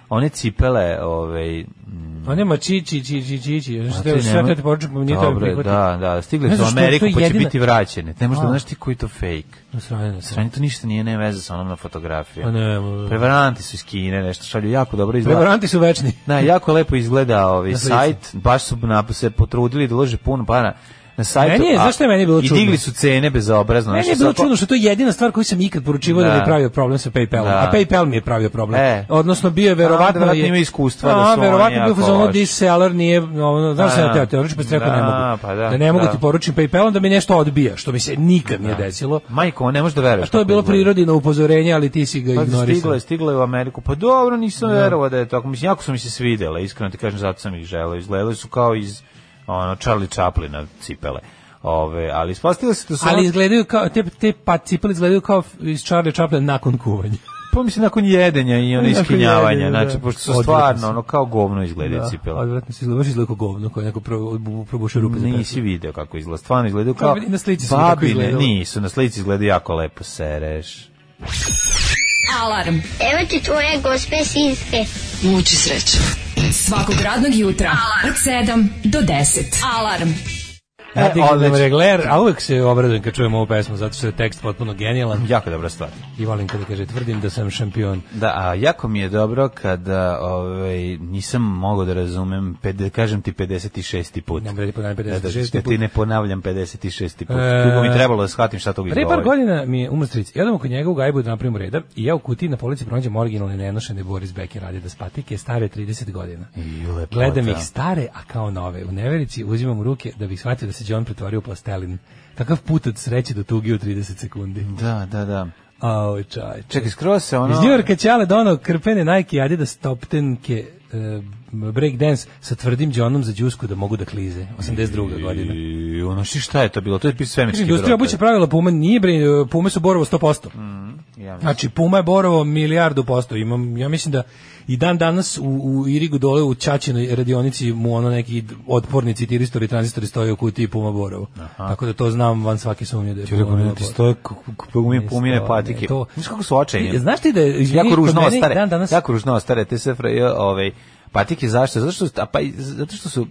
one cipele, ovaj, mm, A nema či, či, či, či, či, či. a Što ti je Pa sve nemoj- kad poručujem, pa nije to Dobro, prihvatio. da, da, stigle Ne su u znam što, to je Ameriku, pa će jedina- biti vraćene. Ne možda, A. znaš ti koji je to fake. Na strane, na strane. Sranje to ništa nije, nema veze sa onom na fotografiji. Pa ne, ma- Prevaranti su iz Kine, nešto šalju jako dobro izgleda. Prevaranti su večni. Da, jako lepo izgleda ovaj Na slici. sajt, baš su na, se potrudili da ulože puno para na sajtu. Meni je- a- zašto je meni bilo čudno? I digli su cene bezobrazno. Meni znaš, pa, je bilo svako- čudno što je to jedina stvar koju sam ikad poručivao da, Da. mi je pravio problem sa PayPalom. Da. A PayPal mi je pravio problem. E. Odnosno bio je da, verovatno verovatno je imaju iskustva da A, su oni verovatno bio jako fazon loši. da seller nije ono znaš Da, šta da. ja teo teoretički pa sam rekao ne Da, mogu. pa da, ne mogu da. ti poručim PayPalom da mi nešto odbija, što mi se nikad nije desilo. Majko, ne možeš da veruješ. A to je kako bilo izgleda. prirodino upozorenje, ali ti si ga Pa stigla ignorisao. je, stigla je u Ameriku. Pa dobro, nisam verovao da je tako. Mislim, jako su mi se svidjela, iskreno ti kažem, zato sam ih želeo. Izgledali su kao iz ono, Charlie Chaplina cipele. Ove, ali ispostavilo se da su... Ali ono- izgledaju kao te te pa cipele izgledaju kao iz Charlie Chaplin nakon kuvanja. Pa mislim nakon jedenja i ono Nakon iskinjavanja, jedenja, znači da. pošto su Odvratni stvarno su. ono kao govno izgledaju Da, cipele. Odvratno se izgleda, baš izgleda kao govno, kao neko pro- bu- probušio rupe. za Nisi video kako izgleda, stvarno izgledaju Kao kao vidi, na slici su mi tako babine, izgledalo. nisu, na slici izgledaju jako lepo E, sereš. Alarm. Evo ti tvoje gospe sinske. Muči sreće. Svakog radnog jutra od 7 do 10. Alarm. Ja E, ti gledam odlično. regler, a uvek se obradujem kad čujem ovu pesmu, zato što je tekst potpuno genijalan. Jako dobra stvar. I volim kada kaže, tvrdim da sam šampion. Da, a jako mi je dobro kada ovaj, nisam mogao da razumem, pede, kažem ti 56. put. Ne mogu da ti ponavljam Da, da, 56. da ti put. ne ponavljam 56. put. E, Dugo mi trebalo da shvatim šta toga Pre par izgovori. godina mi je umrstric. Ja idemo kod njega u gajbu da napravimo reda i ja u kutiji na polici pronađem originalne nenošene Boris Becker Adidas patike stare 30 godina. I lepota. Gledam ih stare, a kao nove. U neverici uzimam u ruke da bih shvatio da se John pretvorio u plastelin. Kakav put od sreće do tugi u 30 sekundi. Da, da, da. Ao, čaj. Čekaj, skroz se ono... Iz New Yorka ćale dono krpene Nike i Adidas toptenke break dance e, sa tvrdim džonom za džusku da mogu da klize. 82. godina. da I ono, ši- šta je to bilo? To je pis svemirski Industrija brod, obuće pravila Puma, nije bre, Pume su Borovo 100%. Mm. ja mislim. Znači, Puma je Borovo milijardu posto. Imam, ja mislim da i dan danas u, u Irigu dole u Čačinoj radionici mu ono neki otpornici, tiristori, tranzistori stoje u kutiji Puma Borovo. Tako da to znam van svake sumnje da je Puma Borovo. ti stoje pumine, pumine patike. Ne, to- Znaš kako su očajni? Ti- Znaš ti da je izvini, jako kod ružno mene i ostare. Dan danas, Jako ružno ostare te SFRJ, ovaj patike zašto? Zato što a pa i- zato što su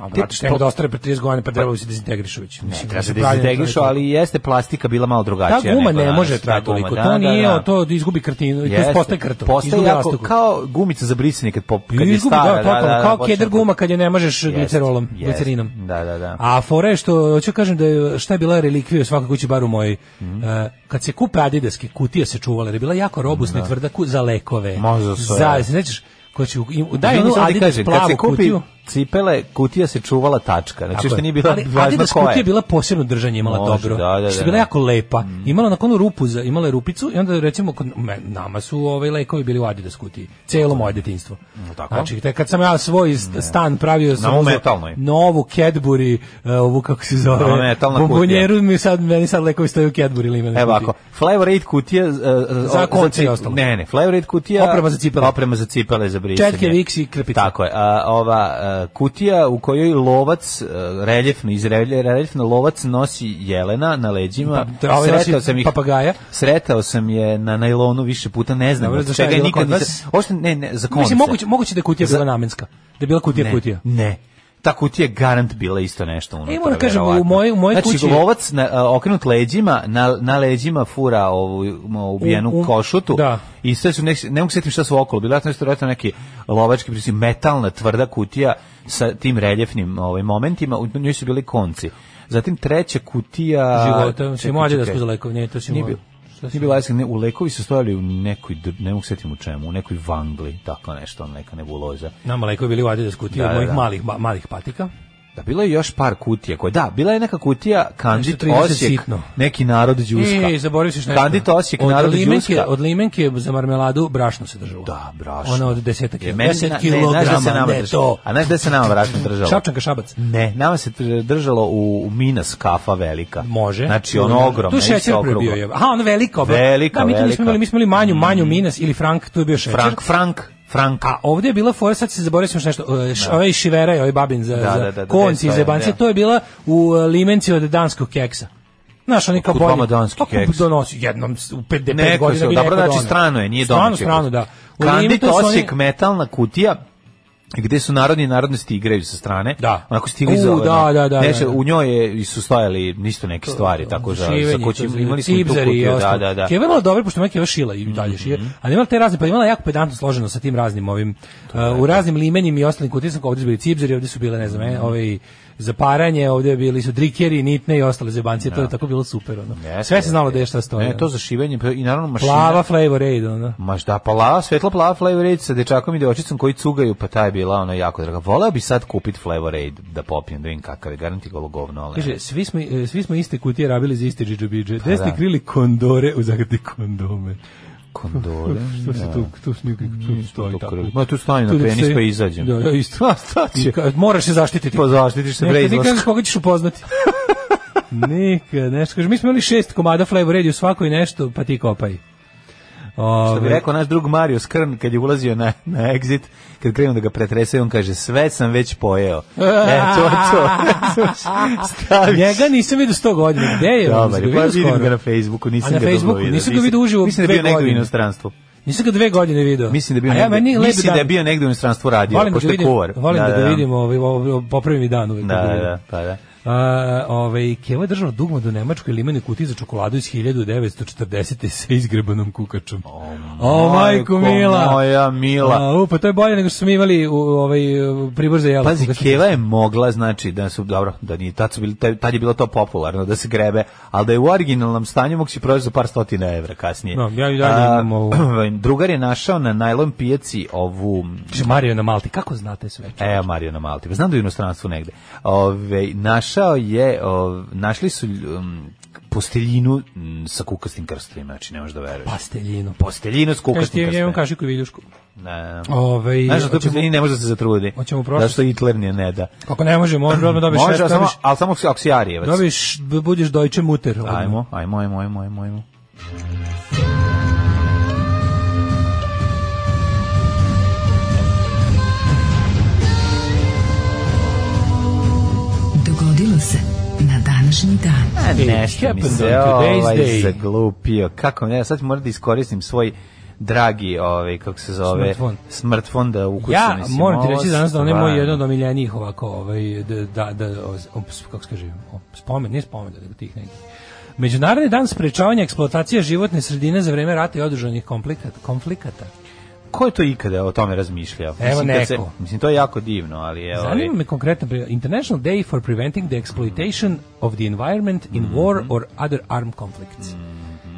A te- brate, što da ostare pre 30 godina, pa trebalo bi se dezintegrišu već. Mislim, da Treba se mislim, pravljenje dezintegrišu, čoveka. ali jeste plastika bila malo drugačija. Ta Da, guma nego ne danas. može Ta trajati guma, toliko. Pa da, To da, nije, da. o, to izgubi kartinu, to Jeste. postaje krtom. Postaje izgubi jako, rastugu. kao gumica za brisanje kad, pop, kad je Izgubi, da, stara. totalno, kao počne keder da- guma kad je ne možeš Jest, glicerolom, jest. glicerinom. Da, da, da. A fora je što, hoću kažem da je, šta je bila relikvija u svakoj kući, bar u mojoj, Mhm. e, kad se kupe adidaske, kutija se čuvala, jer je bila jako robustna i tvrda ku, za lekove. Ma, za Da. sve. Za, se nećeš, ko će, u- im- daj Izvini, onu sad ti adidas kažem, kad plavu se kupi kutiju. cipele, kutija se čuvala tačka. Znači, Tako što je. nije bila Ali važno Adidas koja kutija je. je bila posebno držanje, imala Može, dobro. da, da, što je da, bila da. jako lepa. Imala na konu rupu, za, imala je rupicu i onda recimo kod me- nama su ovaj lekovi bili u Adidas kutiji. Celo moje detinjstvo. Mm, tako? Znači, te, kad sam ja svoj st- stan pravio sam ovu uzeo metalnoj. novu Cadbury, e, ovu kako se Ona zove, metalna bombonjeru, mi sad, meni sad lekovi stoje u Cadbury limene Evo kutiji. ovako, Flavor Aid kutija... e, e, Za o- konce i cip- ostalo. Ne, ne, Flavor Aid kutija... Oprema za cipele. Oprema za cipele, za brisanje. Četke, Vicks i krpice. Tako je. A, ova e, kutija u kojoj lovac, e, reljefno, iz relje- reljefno lovac nosi jelena na leđima. Pa, ovaj nosi papagaja. Sretao sam je na najlonu više puta, ne znam Dobro, od za šta je čega je bilo nikad kod vas? nisam... Ošte, ne, ne, za konce. Mislim, moguće, moguće da je kutija bila namenska. Da je bila kutija ne, kutija. Ne. Ta kutija je garant bila isto nešto unutra. moram da kažem, verovatno. u mojoj- u mojoj znači, kući- lovac na, a, okrenut leđima, na, na leđima fura ovu m, ubijenu U- u- košutu. da. I sve su, ne, ne mogu sjetiti šta su okolo. Bila je to nešto vjerojatno neki lovački, mislim, metalna tvrda kutija sa tim reljefnim ovaj, momentima. U njoj su bili konci. Zatim treća kutija... Života, Čekaj, si mlađe da čekaj. smo za lekove, nije to si Nije mlađe. bio- Nije bilo jasno, ne, u lekovi su stojali u nekoj, dr- ne mogu sjetiti u čemu, u nekoj vangli, tako nešto, neka nebuloza. Nama lekovi bili u Adidas kutiji, Da, od da, mojih da. malih, ba- malih patika. Da, bilo je još par kutija koje, da, bila je neka kutija Kandit Nešto 30 Osijek, sitno. neki narod Đuska. E, zaboravio si još nešto. Kandit Osijek, od narod limenke, Đuska. Od limenke za marmeladu brašno se držalo. Da, brašno. Ona od 10 Je, kg. meni- 10 na- ne, znaš da se kg, nama ne, drži- to. A znaš da se nama brašno držalo? Šapčanka šabac. Ne, nama se tr- držalo u, u Minas kafa velika. Može. Znači, ono ogromno. Tu šećer prebio je. Aha, ono veliko. Velika, da, mi tu nismo velika. Mm. imali, mi smo imali manju, manju minas ili frank, tu je bio šećer. Frank, Frank. Franka. A ovdje je bila fora, sad se zaboravio sam još nešto, e, š, ovaj Šivera i ovaj babin za, Da, da, da, za da, konci i da, za jebanci, da. to je bila u e, limenci od danskog keksa. Znaš, oni kao Otkud bolje. vama danski Kako keks? donosi jednom s- u 55 Neko godina se, bi dobro, neko znači doneo. strano je, nije Strano, domaće. strano, da. U Kandit limitu su oni- Osijek, metalna kutija, gde su narodni i narodnosti igraju sa strane. Da. Onako U, stilizovano. da, da, da, Nešto, da, da. U njoj je, su stajali isto neke stvari, tako da, za Šivanje, koćim- to, imali smo i tu cipzari i kutiju, da, ostalo. da, Mhm, da. Ki je vrlo dobro, pošto Mike je šila i dalje šije, ali imala te razne, pa imala jako pedantno složeno sa tim raznim ovim, uh, u raznim limenjim i ostalim kutisama, ovdje su bili cipzari, ovdje su bile, ne znam, Mhm. e, ove i za paranje, ovdje bili su drikeri, nitne i ostale zebancije, to je tako bilo super, ono. Da. Jeste, Sve se znalo jeste. da je šta stoji. Ne, ono. E, to za šivenje pa i naravno mašina. Plava flavor aid, ono. Maš da, pa lava, svetla plava Flavorade sa dečakom i devojčicom koji cugaju, pa ta je bila ono jako draga. Voleo bi sad kupit Flavorade da popijem, da vidim kakav je, garanti golo govno, ali... Kaže, svi smo, e, svi smo iste kutije rabili za iste džidžobidže. Gde ste da. krili kondore u zagradi kondome? kondole. Što se tu, tu, tu, tu stoji to tako? krili. Ma, tu stani na da penis se- pa izađem. Da, da, isto. <laughs> A, šta će? I ka- Moraš se zaštititi. Pa zaštitiš se, bre, Nekad izlaska. Nikad kažeš koga ćeš <laughs> upoznati. Nikad, nešto. Kaže, mi smo imali šest komada Flavor Radio, svako i nešto, pa ti kopaj. Ove, Što bi rekao naš drug Mario Skrn kad je ulazio na, na exit, kad krenu da ga pretrese, on kaže sve sam već pojeo. e, to je <laughs> to. Staviš. Njega nisam vidio sto godina. Gde je? on? Sam Dobar, ga je, pa vidio vidim skoro. ga na Facebooku, nisam A na ga dugo Facebooku? vidio. Nisam ga vidio uživo Mislim da dve je bio negdje u godine. inostranstvu. Nisam ga dve godine video. Mislim da je bio A ja, meni negdje, lep mislim da je dan. bio negdje u inostranstvu radio, Volim da pošto ga je vidim, kuvar. volim da, ga vidim, ovaj, ovaj, ovaj, popravi mi dan uvek. Da, kad ga da, vidim. da, pa da. A, ovaj, Keva je držala dugmo do Nemačkoj limene kutiji za čokoladu iz 1940. sa izgrebanom kukačom. O, majko mila! moja mila. A, u, pa to je bolje nego što smo imali u, ovaj, u pribor za jelo. Pazi, kukačni. Keva je mogla, znači, da su, dobro, da nije, tad, su bili, tad tad je bilo to popularno, da se grebe, ali da je u originalnom stanju mogu si proći za par stotina evra kasnije. No, Da, ja i dalje imam ovu. <clears throat> Drugar je našao na najlon pijaci ovu... Kaže, Mario na Malti, kako znate sve? E, Mario na Malti, pa znam da je u inostranstvu negde. Ove, našao je, ov- našli su um, posteljinu mm, sa kukastim krstovima, znači, ne možeš da veruješ. Pasteljinu. Posteljinu s Kaže Pa, ti, kukastim ja imam krstovima. kašiku i viljušku. Ovaj, Ne, ne. Ove, Znaš da to posteljini ne može da se zatrudi. Hoćemo prošlost. Zašto Hitler nije ne da. Kako ne može, može, odmah dobiješ Može, nešto, ali samo, dobiješ- ali samo ako si Arijevac. Dobiš, b- budiš Deutsche Mutter. ovaj, odmah. Ajmo, ajmo, ajmo, ajmo, ajmo, ajmo. Dogodilo se na današnji dan. A It nešto mi happened se on today's ovaj day. zaglupio. Kako ne, sad ću morati da iskoristim svoj dragi, ovaj, kako se zove, Smartfon. smartfon da ukućam. Ja moram ti reći danas da on je moj jedan od omiljenijih ovako, ovaj, da, da, da o, s- kako se kaže, o, spomen, nije spomen, nego tih nekih. Međunarodni dan sprečavanja eksploatacije životne sredine za vreme rata i održanih konflikata. konflikata. Ko je to ikada o tome razmišljao? Evo mislim, kad se- neko. mislim, to je ovaj- jako divno, ali evo... Zanima me konkretno, pri- International Day for Preventing the Exploitation of the Environment in War or Other Armed Conflicts.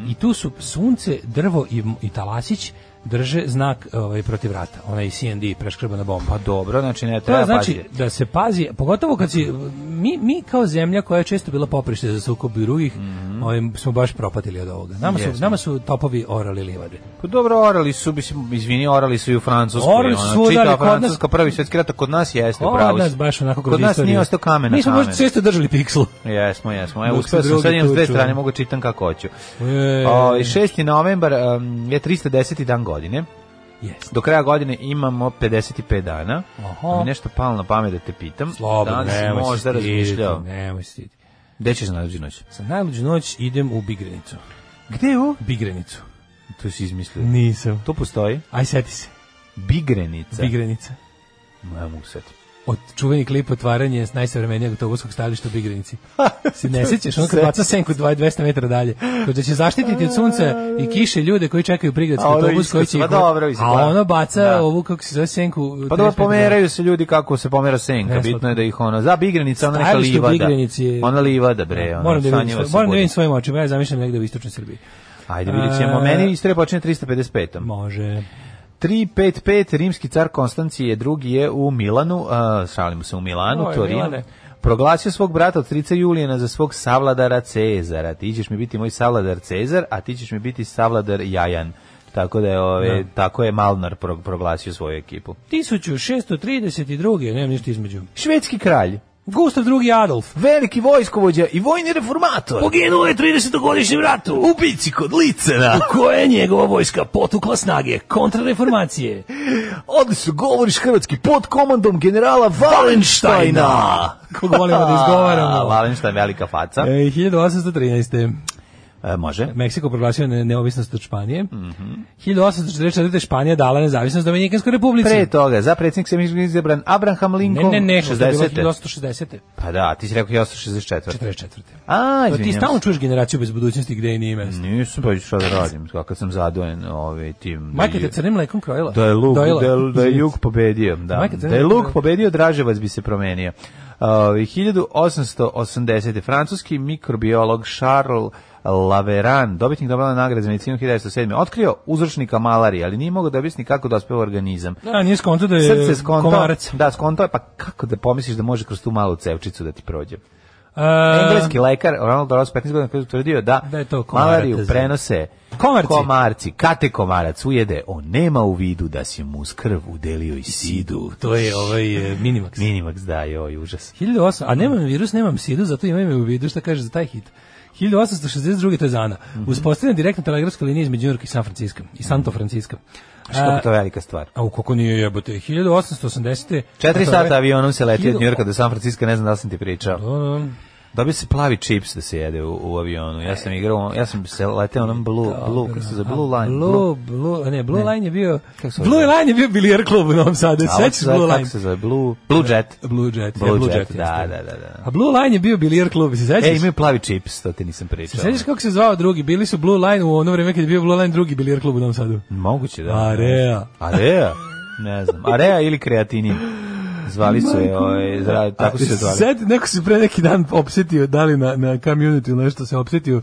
I tu su sunce, drvo i, i talasić drže znak ovaj, protiv rata, onaj CND, preškrbana bomba. Pa dobro, znači ne To treba znači paziti. da se pazi, pogotovo kad si, mi, mi kao zemlja koja je često bila poprište za sukob i drugih, Mhm. ovaj, smo baš propatili od ovoga. Nama su, Jesmo. nama su topovi orali livade. Pa dobro, orali su, mislim, izvini, orali su i u Francuskoj. Orali su ono, svuda, ali čitava kod nas- Francuska, prvi svetski rat, a kod nas jeste, Kod pravo. si. nas baš onako kroz Kod nas istoriju. nije ostao kamen na Mi smo baš kamenu. često držali pikslu. Jesmo, jesmo. Evo, Dok uspeo se sam, drugi sad imam s dve tuču. strane, mogu da čitam kako hoću. E. O, 6. novembar um, je 310. dan godine. Jeste. Do kraja godine imamo 55 dana. Aha. Da mi nešto palo na pamet da te pitam. Slobodno, da li si nemoj se možda stiditi, razmišljao. Nemoj se stiditi. Gde ćeš na najluđu noć? Za najluđu noć idem u Bigrenicu. Gde u? Bigrenicu. To si izmislio. Nisam. To postoji. Aj, seti se. Bigrenica. Bigrenica. Ne mogu Pa se setiti. Od čuveni klip otvaranje s najsavremenijeg autobuskog stajališta u Bigrenici. Se ne sećaš, on kad baca senku 200 metara dalje. Kao da će zaštititi od sunca i kiše ljude koji čekaju prigradski A ono autobus koji iskaz, će ih... pa dobro, mislim, A da. ono baca Da. ovu, kako se zove, senku... Pa dobro, pomeraju se ljudi kako se pomera senka. Ne, Bitno je slatko. da ih ono... Za Bigrenica, ona neka Stajalište u livada. Bigrenici je- Ona livada, bre. Ona, Moram da vidim, sanjiva svoj- se moram da budi. vidim svojim očima, ja zamišljam negde u istočnoj Srbiji. Ajde, vidit ćemo. E, Meni istorija počinje 355. Može. 355, rimski car Konstancije II je u Milanu, uh, šalimo se u Milanu, Oj, Torinu, Milane. proglasio svog brata od trica Julijana za svog savladara Cezara. Ti ćeš mi biti moj savladar Cezar, a ti ćeš mi biti savladar Jajan. Tako da je, ove, tako je Malnar pro- proglasio svoju ekipu. 1632. Nemam ništa između. Švedski kralj Gustav II. Adolf. Veliki vojskovođa i vojni reformator. Poginuo je 30-godišnjem ratu. U bici kod Licena. koje je njegova vojska potukla snage kontrareformacije. <laughs> Odlično govoriš hrvatski pod komandom generala Valenštajna. Koga volimo <laughs> da A, izgovaramo. Valenštajn velika faca. E, 1813. E, može. Meksiko proglasio ne- neovisnost od Španije. Mhm. 1844. Španija dala nezavisnost Dominikanskoj republici. Pre toga, za predsjednik se mi izabran Abraham Ne, Lincoln. ne, ne, što je bilo 60. 1860. Pa da, ti si rekao 1864. 44. A, Pa ti izvinjam stalno se. čuješ generaciju bez budućnosti gde i nije mesto. Nisam pa šta da radim, kad sam zadojen ovaj, tim... Majka te crnim mlekom krojila. Da je Luk, Dojela. da je, da je Izvinite. Jug pobedio, da. Majka Crna- Da je Luk pobedio, Draževac bi se promenio. Uh, 1880. francuski mikrobiolog Charles Laveran, dobitnik Nobelove nagrade za medicinu 1907. Otkrio uzročnika malarije, ali nije mogao da objasni kako dospeva u organizam. Da, nije skonto da je Srce skontao, komarac. da, skontao je, pa kako da pomisliš da može kroz tu malu cevčicu da ti prođe? A, Engleski lekar Ronald Ross 15 godina koji je utvrdio da, E, Da je to komarata malariju za- prenose Komarci. komarci. Kad te komarac ujede, on nema u vidu da si mu s krv udelio i sidu. to je ovaj e, Minimax. Minimax da, joj, užas. 1800, a nemam virus, nemam sidu, zato imam me u vidu šta kaže za taj hit. 1862. to je Zana. Mhm. Uspostavljena direktna telegrafska linija između Njurka i San Francisco. I Santo Francisco. Što bi to velika stvar. A u kako nije jebote. 1880. Četiri Zato je- sata avionom se leti od Hiljadu- Njurka do San Francisco, ne znam da li sam ti pričao. da, O, Dobio se plavi čips da se jede u, u avionu. Ja sam igrao, ja sam se leteo onom blue, blue, kako se zove, blue line. Blue, blue, a ne, Blue Line je bio... Kako se Blue zove? Line je bio bilijar klub u Novom Sadu. A, Sećaš kako se Blue zove, Line? Kako se zove, blue, blue jet. Blue Jet. Blue, ja, Blue jet, Jet, da, jeste. da, da, da. A Blue Line je bio bilijar klub, se sećaš? E, imaju plavi čips, to ti nisam Se pričao. sećaš kako se zvao drugi? Bili su Blue Line u ono vreme kad je bio Blue Line drugi bilijar klub u Novom Sadu. Moguće da. Area. Area? Ne znam. Area ili kreatinin. Zvali su je, ovaj, zra- tako su se zvali. Sad, neko se pre neki dan opsetio, da li na, na community ili nešto se opsetio, uh,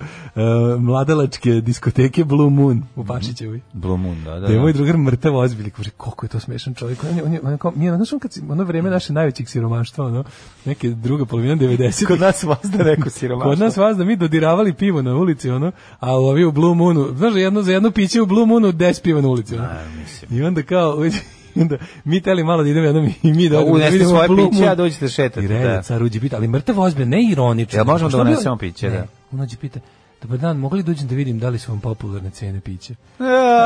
mladalačke diskoteke Blue Moon u Pašićevoj. Blue Moon, da, da. Da je da. moj drugar mrtav ozbilj, kaže, koliko je to smešan čovjek. On je, on je, on je kao, nije, znaš, on kad si, ono vreme naše najvećeg siromaštva, ono, neke druga polovina 90. Kod nas vazda neko siromaštvo. da Kod nas vas da mi dodiravali pivo na ulici, ono, a ovi u Blue Moonu, znaš, jedno za jedno piće u Blue Moonu, 10 piva na ulici, ono. I onda kao, <laughs> i onda mi teli malo da idemo jednom i mi da Da, odemo, da unesete vidimo svoje Blue piće, Moon. a dođete šetati, I reda, da. car uđe pita, ali mrtav ozbilj, ne ironično. Jel možemo Što da bi- unesemo piće, Ne, da? on dođe pita, dobar dan, mogli dođem da vidim da li su vam popularne cene pića?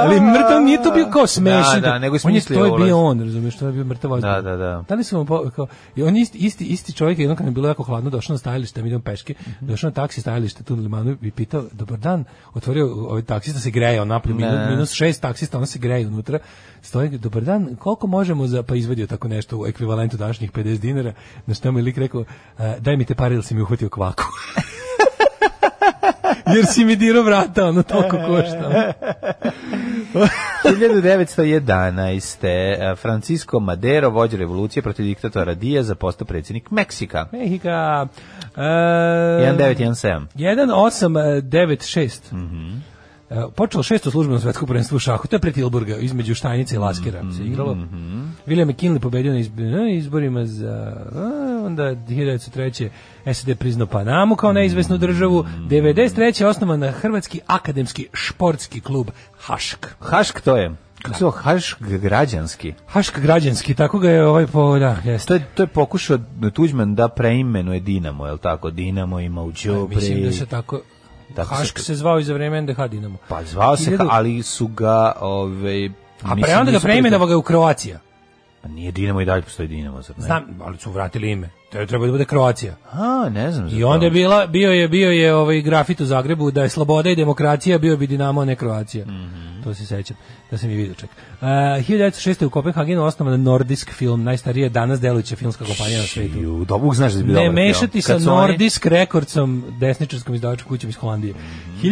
Ali mrtav nije to bio kao smešan. Da, da, nego je on je, smislio to je ulaz. bio on, razumiješ, to je bio mrtav ozbilj. Da, da, da. Da li su vam po, kao, i on isti, isti, isti čovjek, jednom kad mi je bilo jako hladno, došao na stajalište, da mi idemo peške, Mhm. došao na taksi stajalište tu na limanu i pitao, dobar dan, otvorio, ovaj taksista se greje, on napolju, minus, minus šest taksista, on se greje unutra, stoji, dobar dan, koliko možemo za, pa izvadio tako nešto u ekvivalentu današnjih 50 dinara, na što mu je lik rekao, "E, daj mi te pare ili si mi uhvatio kvaku. <laughs> Jer si mi dirao vrata, ono toliko košta. 1911. eh, Francisco Madero vođe revolucije protiv diktatora Diaza, postao predsjednik Meksika. Mehika. E, 1917. 1896. Mhm. počelo šesto službeno svetsko prvenstvo u šahu, to je pre Tilburga, između Štajnice i Laskera Mhm, se igralo. William McKinley pobedio na izb- na izborima za... a, onda 1903. SED priznao Panamu kao Mhm. neizvesnu državu. 1993. je osnovan na Hrvatski akademski športski klub Hašk. Hašk to je. Kako se zove? Hašk građanski. Hašk građanski, tako ga je ovaj po... Da, jeste. To je, to je pokušao Tuđman da preimenuje Dinamo, je li tako? Dinamo ima u Đubri. Mislim da se tako... Tako se- Hašk se zvao i za vreme NDH Dinamo. Pa zvao se, ka, 1000 ali su ga... Ove, A pre onda ga preimenovao ga je u Kroacija. Pa nije Dinamo i dalje postoji Dinamo, zar ne? Znam, Pa, ali su vratili ime. To je trebao da bude Kroacija. A, ne znam. za I to. onda je bila, bio je bio je ovaj grafit u Zagrebu da je sloboda i demokracija bio bi Dinamo a ne Kroacija. To se sećam da sam i vidio čak. Uh, 1906. u Kopenhagenu osnovan Nordisk film, najstarija danas delujuća filmska kompanija na svetu. Ju, da Bog znaš da bi Ne dobar mešati film. sa Kad su oni- Nordisk Recordsom, desničarskom izdavačkom kućom iz Holandije.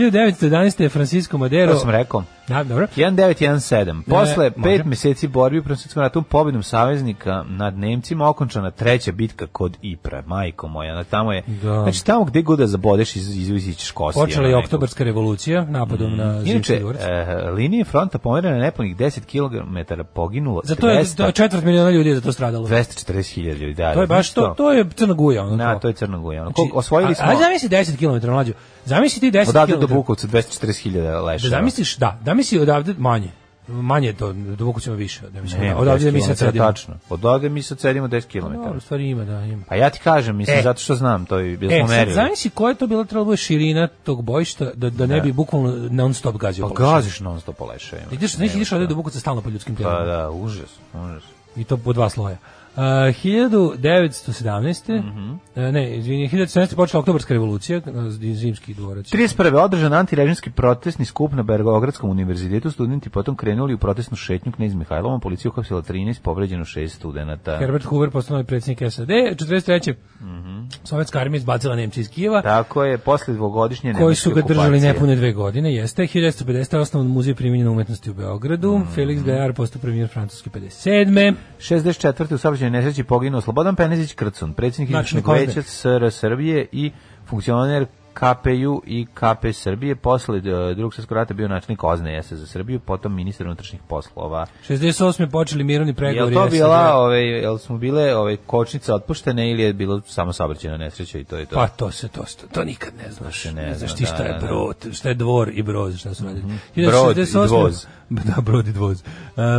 1911. je Francisco Madero... To sam rekao. Da, dobro. 1917. Posle može. pet meseci borbi u Prvom svjetskom ratu pobedom saveznika nad Nemcima okončana treća bitka kod Ipra, majko moja. Na tamo je, Da. znači tamo gde god da zabodeš iz, izvizit ćeš kosti. Počela ono, je nekog. oktobarska revolucija napadom na Inače, Zimski dvorac. e, linije fronta pomerene na nepunih 10 km poginulo Za to je 200 to- četvrt miliona ljudi da je za to stradalo. 240.000 ljudi. Da, To je baš to, to je Crna Guja ono. Znači, Na, to je Crna Guja. Ono, koliko- osvojili smo A, a zamisli 10 km mlađu. Zamisli ti 10 odavde da km. do Bukovca 240.000 leševa. Da zamisliš, da, da misli odavde manje. manje je to, duboko ćemo više. Ne, mislim, Ne, pa od ovdje mi se cedimo. Tačno. Od ovde mi sad sedimo 10 No, u km. stvari ima, da, ima. Pa ja ti kažem, mislim, E. zato što znam, to je bilo E, smo sad merili. zamisli koja je to bila trebala da bude širina tog bojišta da, da ne bi bukvalno non stop gazio Pa površinu. gaziš non stop po leševima. Ideš, znaš, ideš ovde duboko sa stalno po ljudskim telima. Pa da, užas, užas. I to po dva sloja. Uh, 1917. Mhm. e, ne, izvini, 1917. počela oktobarska revolucija, e, zimski dvorac. 31. održan antirežimski protestni skup na Beogradskom univerzitetu, studenti potom krenuli u protestnu šetnju knez Mihajlovom, policija uhapsila 13, povređeno 6 studenta. Herbert Hoover postao novi predsjednik SAD. 43. Mhm. Sovjetska armija izbacila Nemce iz Kijeva. Tako je, posle dvogodišnje koji Da, nemačke su ga držali okupacije. nepune dve godine, jeste. 1950. osnovan muzej primjenjene umetnosti u Beogradu, Mhm. Felix Gaillard postao premijer Francuske 57. 64. u saobraćajnoj nesreći poginuo Slobodan Penezić Krcun, predsjednik Znači, izvršnog Kozde. veća SR Srbije i funkcioner KPU i KP Srbije. Posle e, drugog svjetskog rata bio načelnik OZNE SS za Srbiju, potom ministar unutrašnjih poslova. 68. počeli mirovni Jel pregovori. to SAD. bila, ove, jel smo bile ove, kočnice otpuštene ili je bilo samo saobraćajna nesreća i to je to? Pa to se to, to, to nikad ne znaš. se ne Ne, znaš zna, ti šta da, je da, da. brod, šta je dvor i broz, šta su radili. Brod i 1968. dvoz. <laughs> Da, brod i dvoz. E,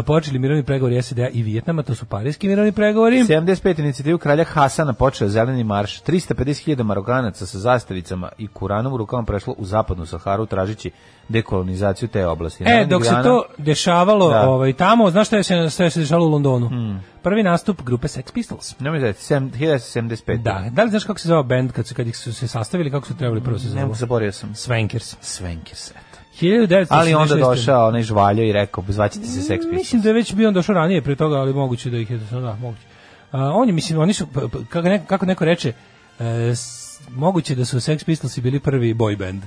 počeli mirovni pregovori SAD-a i Vijetnama, to su parijski mirovni pregovori. 75. inicijativu kralja Hasana počeo je zeleni marš. 350.000 marokanaca sa zastavicama i Kuranom u rukama prešlo u zapadnu Saharu tražići dekolonizaciju te E, oblasti. Narednih dok se dana- to dešavalo Da. Hmm. ovaj, tamo, znaš šta je se, šta je se dešavalo u Londonu? Prvi nastup grupe Sex Pistols. Ne mi znači, 1975. Da, da li znaš kako se zvao band kad, su, kad ih su se sastavili, kako su trebali prvo se Ne mogu, zvao? zaboravio sam. Swankers. Svenke se. 1966. Ali onda došao onaj žvaljo i rekao, zvaćete se Sex Pistols. Mislim da je već bio on došao ranije pre toga, ali moguće da ih je došao, da, moguće. A, on je, mislim, oni su, p- p- kako neko, kako neko reče, e, s- moguće da su Sex Pistolsi bili prvi boy band.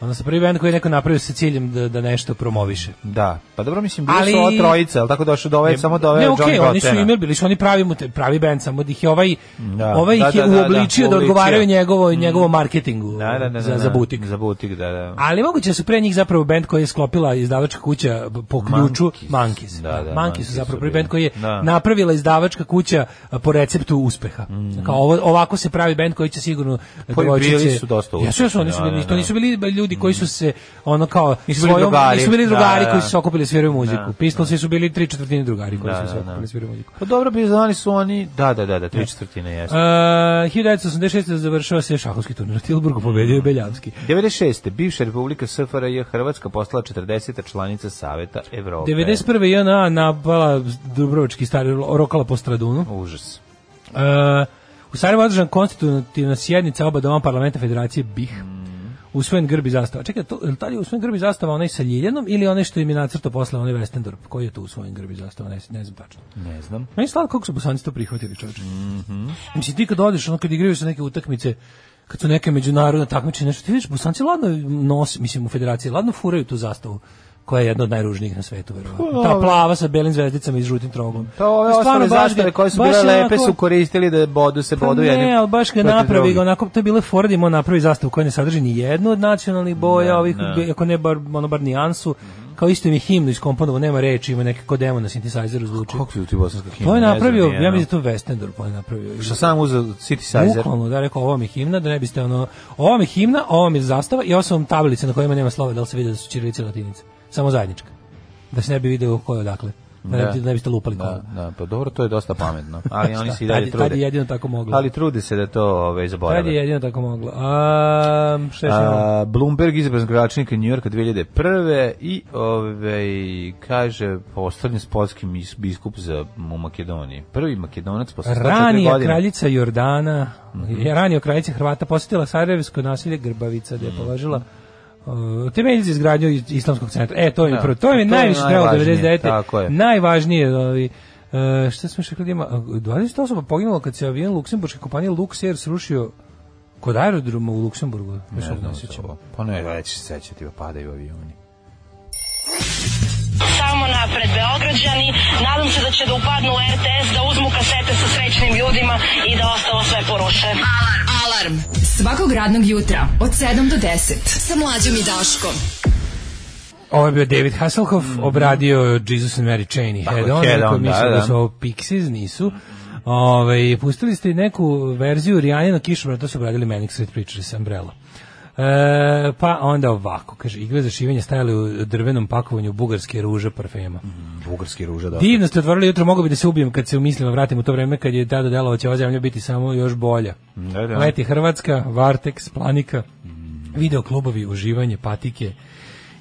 Odnosno prvi band koji je neko napravio sa ciljem da, da nešto promoviše. Da, pa dobro, mislim, bili Ali- su ova trojica, ali tako došao do ove, samo do ove ne, John okej, oni su Gottena. imali, bili su oni pravi, mute- pravi band, samo da ih je ovaj, Da, ovaj da, ih je da, da, da, uobličio da, uobličio. Mm. odgovaraju njegovo, njegovom marketingu Da, da, da, za, da, za butik. Za butik, da, da. Ali moguće da su pre njih zapravo bend koji je sklopila izdavačka kuća b- po ključu Monkeys. Monkeys. Da, da, Monkeys Monkeys su zapravo su prvi bili. bend koji je Da. napravila izdavačka kuća a, po receptu uspeha. Kao ovo, ovako se pravi bend koji će sigurno Mhm. Pa i bili devojčice- su dosta Jesu, jesu, oni su uspešni, bili, da, da, to da. nisu bili ljudi koji su se ono kao Nisu bili drugari. nisu bili drugari Da, da, koji da. su se okupili sviraju muziku. Da, Pistolsi su bili tri četvrtine drugari koji Da, su se da, da. okupili sviraju muziku. Pa dobro, bili znani su oni, da, da, da, da, tri četvrtine Uh, jesu. 1986. završava se šahovski turnir u Tilburgu, pobedio je Beljavski. 96. bivša republika SFRJ Hrvatska postala 40. članica Saveta Evrope. 91. JNA napala Dubrovački stari rokala po Stradunu. Užas. E, u Sarajevo je održan konstitutivna sjednica oba doma parlamenta Federacije BiH. Usvojen grbi zastava. Čekaj, to, je li tada je usvojen grbi zastava onaj sa Ljiljanom ili onaj što im je nacrto posle onaj Westendorp? Koji je tu usvojen grbi zastava? Ne, ne znam tačno. Ne znam. Meni je slatko kako su bosanci to prihvatili, čovječe. Mhm. Mislim, ti kad odeš, ono kad igraju se neke utakmice, kad su neke međunarodne takmiče, nešto, ti vidiš, bosanci ladno nos, mislim, u federaciji, ladno furaju tu zastavu koja je jedna od najružnijih na svetu, verovatno. Ta plava sa belim zvezdicama i žutim trogom. Pa, To ove Pa Stvarno, ostale baš ga- zastave koje su baš bile je lepe onako- su koristili da bodu se Pa bodu jedni. ne, ali baš ga protiv napravi, drugih. ga onako to je bile fora da ima on napravi zastavu koja ne sadrži ni jednu od nacionalnih boja, ovih, ne. Mhm. ako ne bar, ono bar nijansu, kao isto im je himnu iskomponovo, nema reči, ima neke kod demo na sintesajzeru zvuči. Kako je ti bosanska himna? To je Ne znam, napravio, nije, ja no. mislim da je to Westendor pa je napravio. Što sam uzeo synthesizer. Bukvalno, da rekao, ovo mi je himna, da ne biste ono, ovo mi je himna, ovo mi je zastava i ovo su vam tablice na kojima nema slova, da li se vidi da su ćirilice i latinice. Samo zajednička. Da se ne bi video ko je odakle. Da, ne, Da. bi- da ne biste lupali Da, kola. da, pa dobro, to je dosta <laughs> pametno. Ali oni Šta, se i dalje tad- tad je trude. jedino tako moglo. Ali trude se da to ove, Tad je zaborave. jedino tako moglo. A, šta je što A, Bloomberg izabran gradonačelnik New Yorka 2001. i ove, kaže postavljen sportski mis- biskup za, u Makedoniji. Prvi makedonac posle 104 godine. Mhm. Ranija kraljica Jordana, je ranija kraljica Hrvata posjetila Sarajevsko nasilje Grbavica Mhm. gdje je položila uh, temelj za izgradnju is- islamskog centra. E, to mi, Da. pro, to mi je To je najviše trebalo najvažnije, 99. tako je. Najvažnije, ovi, uh, šta smo još rekli da ima, uh, 20 osoba poginulo kad se avion luksemburške kompanije Luxair srušio kod aerodroma u Luksemburgu. znači, Ne, Ne znam se ovo. Pa ne, već se sećati, pa padaju avioni. Samo napred Beograđani, nadam se da će da upadnu u RTS, da uzmu kasete sa srećnim ljudima i da ostalo sve poruše. Alarm. Svakog radnog jutra od 7 do 10. Sa mlađom i Daškom. Ovo je bio David Hasselhoff, obradio Jesus and Mary Chain i Mhm. Tako, Head On, Head neko On, mislio da, da, da. su ovo Pixies, nisu. Ovaj, Ove, pustili ste i neku verziju Rijanjeno kišobrana, to su obradili Manic Street Preachers Umbrella. E, pa onda ovako, kaže, igle za šivanje stajale u drvenom pakovanju bugarske ruže parfema. Mhm. Bugarski ruža, da. Mm. Divno ste otvorili jutro, mogu bi da se ubijem kad se u mislima vratim u to vreme kad je tada delova će ova zemlja biti samo još bolja. Da, da. Leti Hrvatska, Varteks, Planika, video klubovi, uživanje, patike,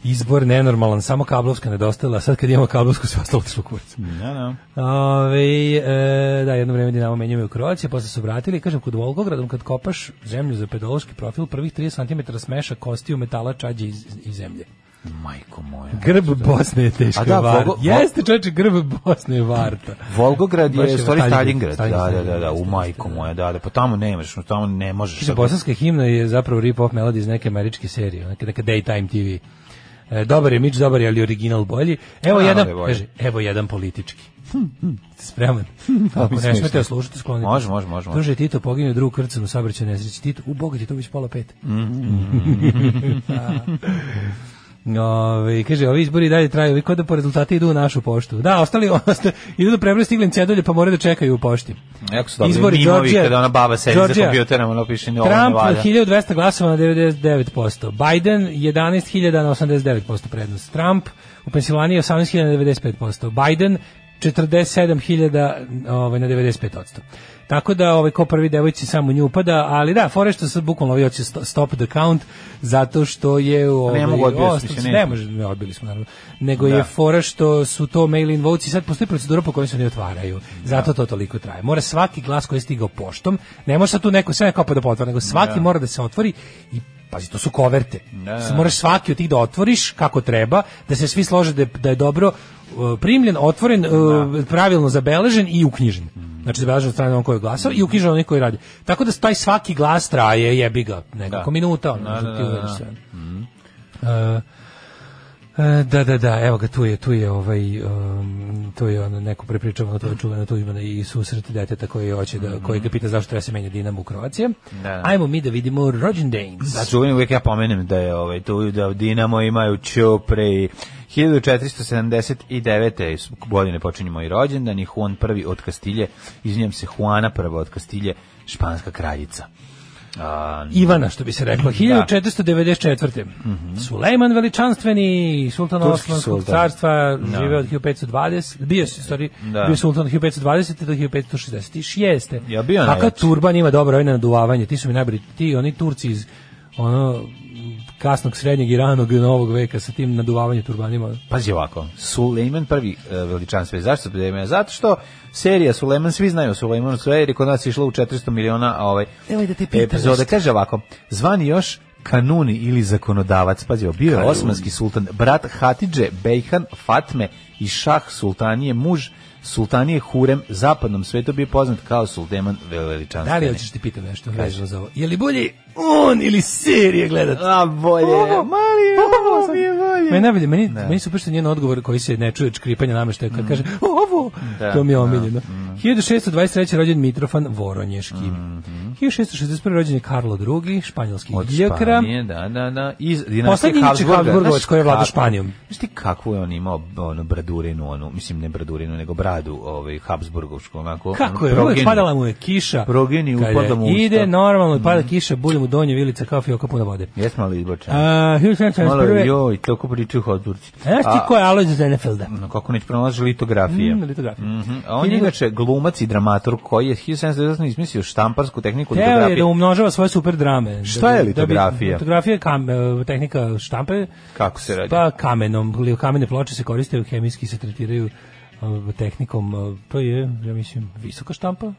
izbor nenormalan, samo kablovska nedostajala, a sad kad imamo kablovsku sve ostalo otišlo u kurac. Da, da. Ove, e, da, jedno vreme Dinamo menjamo i u Kroacije, posle su vratili, kažem, kod Volgogradom, kad kopaš zemlju za pedološki profil, prvih 30 cm smeša kostiju metala čađe iz, iz zemlje. Majko moja. Grb Bosne je teško A da, varta. Volgo- Jeste, čoveče, grb Bosne je varta. Volgograd Baš je je u stvari Staljingrad. Stalingrad. Da, da, da, da, u Jeste, majko moja, da, da, pa tamo nemaš, tamo ne možeš. da Kaže, bosanska himna je zapravo rip-off melodija iz neke američke serije, neka, neka daytime TV. E, dobar je Mitch, dobar je, ali original bolji. Evo A, jedan, ali bolji. kaže, evo jedan politički. Ste Spreman. <laughs> Ako ne smiješno. smete slušati, sklonite. Može, može, može, može. Druže, Tito poginuo drugu krcu u saobraćaju nesreći. Tito, u Boga ti to već pola pet. Mm. <laughs> Da. Ove, kaže, ovi izbori i dalje traju, ovi kod da po rezultate idu u našu poštu. Da, ostali, <laughs> ostali idu da prebroj stiglen cedulje, pa moraju da čekaju u pošti. Jako su dobri Izbori mimovi Đorđija- kada ona baba sedi za Đorđija. kompjuterom, ona piše, "Ne, ovo ne Trump valja." 1200 glasova na 99%. Biden 11.000 na 89% prednost. Trump u Pensilvaniji 18.000 na 95%. Biden 47.000 ovaj, na 95%. Tako da ovaj ko prvi devojci samo nju upada, ali da, fore što se bukvalno ovaj hoće sto- stop the count zato što je ovaj, mogu odbiti, o, mislim, sto- Pa ne. ne može, ne odbili smo naravno. Nego Da. je fora što su to mail in votes i sad postoji procedura po kojoj se ne otvaraju. Da. Zato to toliko traje. Mora svaki glas koji je stigao poštom, ne može sad tu neko sve kao pa da potvara, nego svaki mora da se otvori i Pazi, to su koverte. da. Moraš svaki od tih da otvoriš kako treba, da se svi slože da je, da je dobro uh, primljen, otvoren, Da. uh, pravilno zabeležen i uknjižen. Znači zabeležen od strane on koji je glasao i uknjižen onih koji radi. Tako da taj svaki glas traje, jebi ga, nekoliko Da. minuta. ono, Da, znači, da, ti da, uveriš da. se. E, e, da, da, da, evo ga, tu je, tu je ovaj, um, tu je ono, neko prepričava na to je čuveno, tu ima i susret deteta koji hoće da, koji ga pita zašto treba se menja Dinamo u Kroacije. Da, da. Ajmo mi da vidimo rođendan. Znači, čuveni uvijek ja pomenem da je ovaj, tu da Dinamo imaju Ćopre i 1479. godine počinje moj rođendan i Juan prvi od Kastilje, izvinjam se, Juana prva od Kastilje, španska kraljica. A, Ivana, što bi se Da. reklo, 1494. Sulejman veličanstveni, sultan Mhm. Turski Osmanskog sultan. carstva, Da. živeo od 1520, bio je, sorry, Da. bio je sultan od 1520. do 1566. Ja bio A kad najjači. turban ima dobro ovaj naduvavanje, ti su mi najbolji, ti oni Turci iz ono kasnog, srednjeg i ranog novog veka sa tim naduvavanjem turbanima. Pazi ovako, Sulejman prvi e, veličanstven. Zašto Sulejman? Zato što serija Sulejman, svi znaju o Sulejmanu sve, jer je kod nas išla u 400 miliona a ovaj, Nemoj da te pitam epizoda. nešto. Kaže ovako, zvani još kanuni ili zakonodavac, pazi, ovo, bio je osmanski sultan, brat Hatidže, Bejhan, Fatme i Šah sultanije, muž sultanije Hurem, zapadnom svetu bio poznat kao Sulejman veličanstven. Da li hoćeš ti pitam nešto vezano za ovo? Je li bolje on ili serije gledati? A bolje, da- Ovo, mali, ovo mi je bolje. Meni najbolje, meni, meni super što je njen odgovor koji se ne čuje škripanje nameštaja Mm. kad kaže ovo, Da, to mi je omiljeno. 1623. rođen Mitrofan Voronješki. 1661. rođen je Karlo II, španjolski Mm-hmm. od iljekra. Španije, da, da, da. Iz dinastije Poslednji inače Habsburgovac Znaš koji je vladao kako- Španijom. Znaš ti kakvu je on imao ono bradurinu, onu, mislim ne bradurinu, nego bradu ovaj, Habsburgovsku, onako. Kako ono, je, uvek progeni. padala mu je kiša. Progeni Kada upada mu u usta. Mm-hmm. Ide normalno, pada kiša, bulje mu donje vilica, kao fioka puna vode. Jesmo li izbočani? A, Malo 1771. joj, toliko pričaju Habsburgci. Znaš ti ko je Alojz Zenefelda? No, kako neće pronalaži litografije. Mm, litografije. Mhm. A on je inače glumac i dramatur koji je 1798 izmislio štamparsku tehniku Teo je litografije. da umnožava svoje super drame. da Šta je litografija? litografija je kam, e, tehnika štampe. Kako se radi? Pa kamenom. li- Kamene ploče se koriste, hemijski se tretiraju e, tehnikom. e, To je, ja mislim, visoka štampa.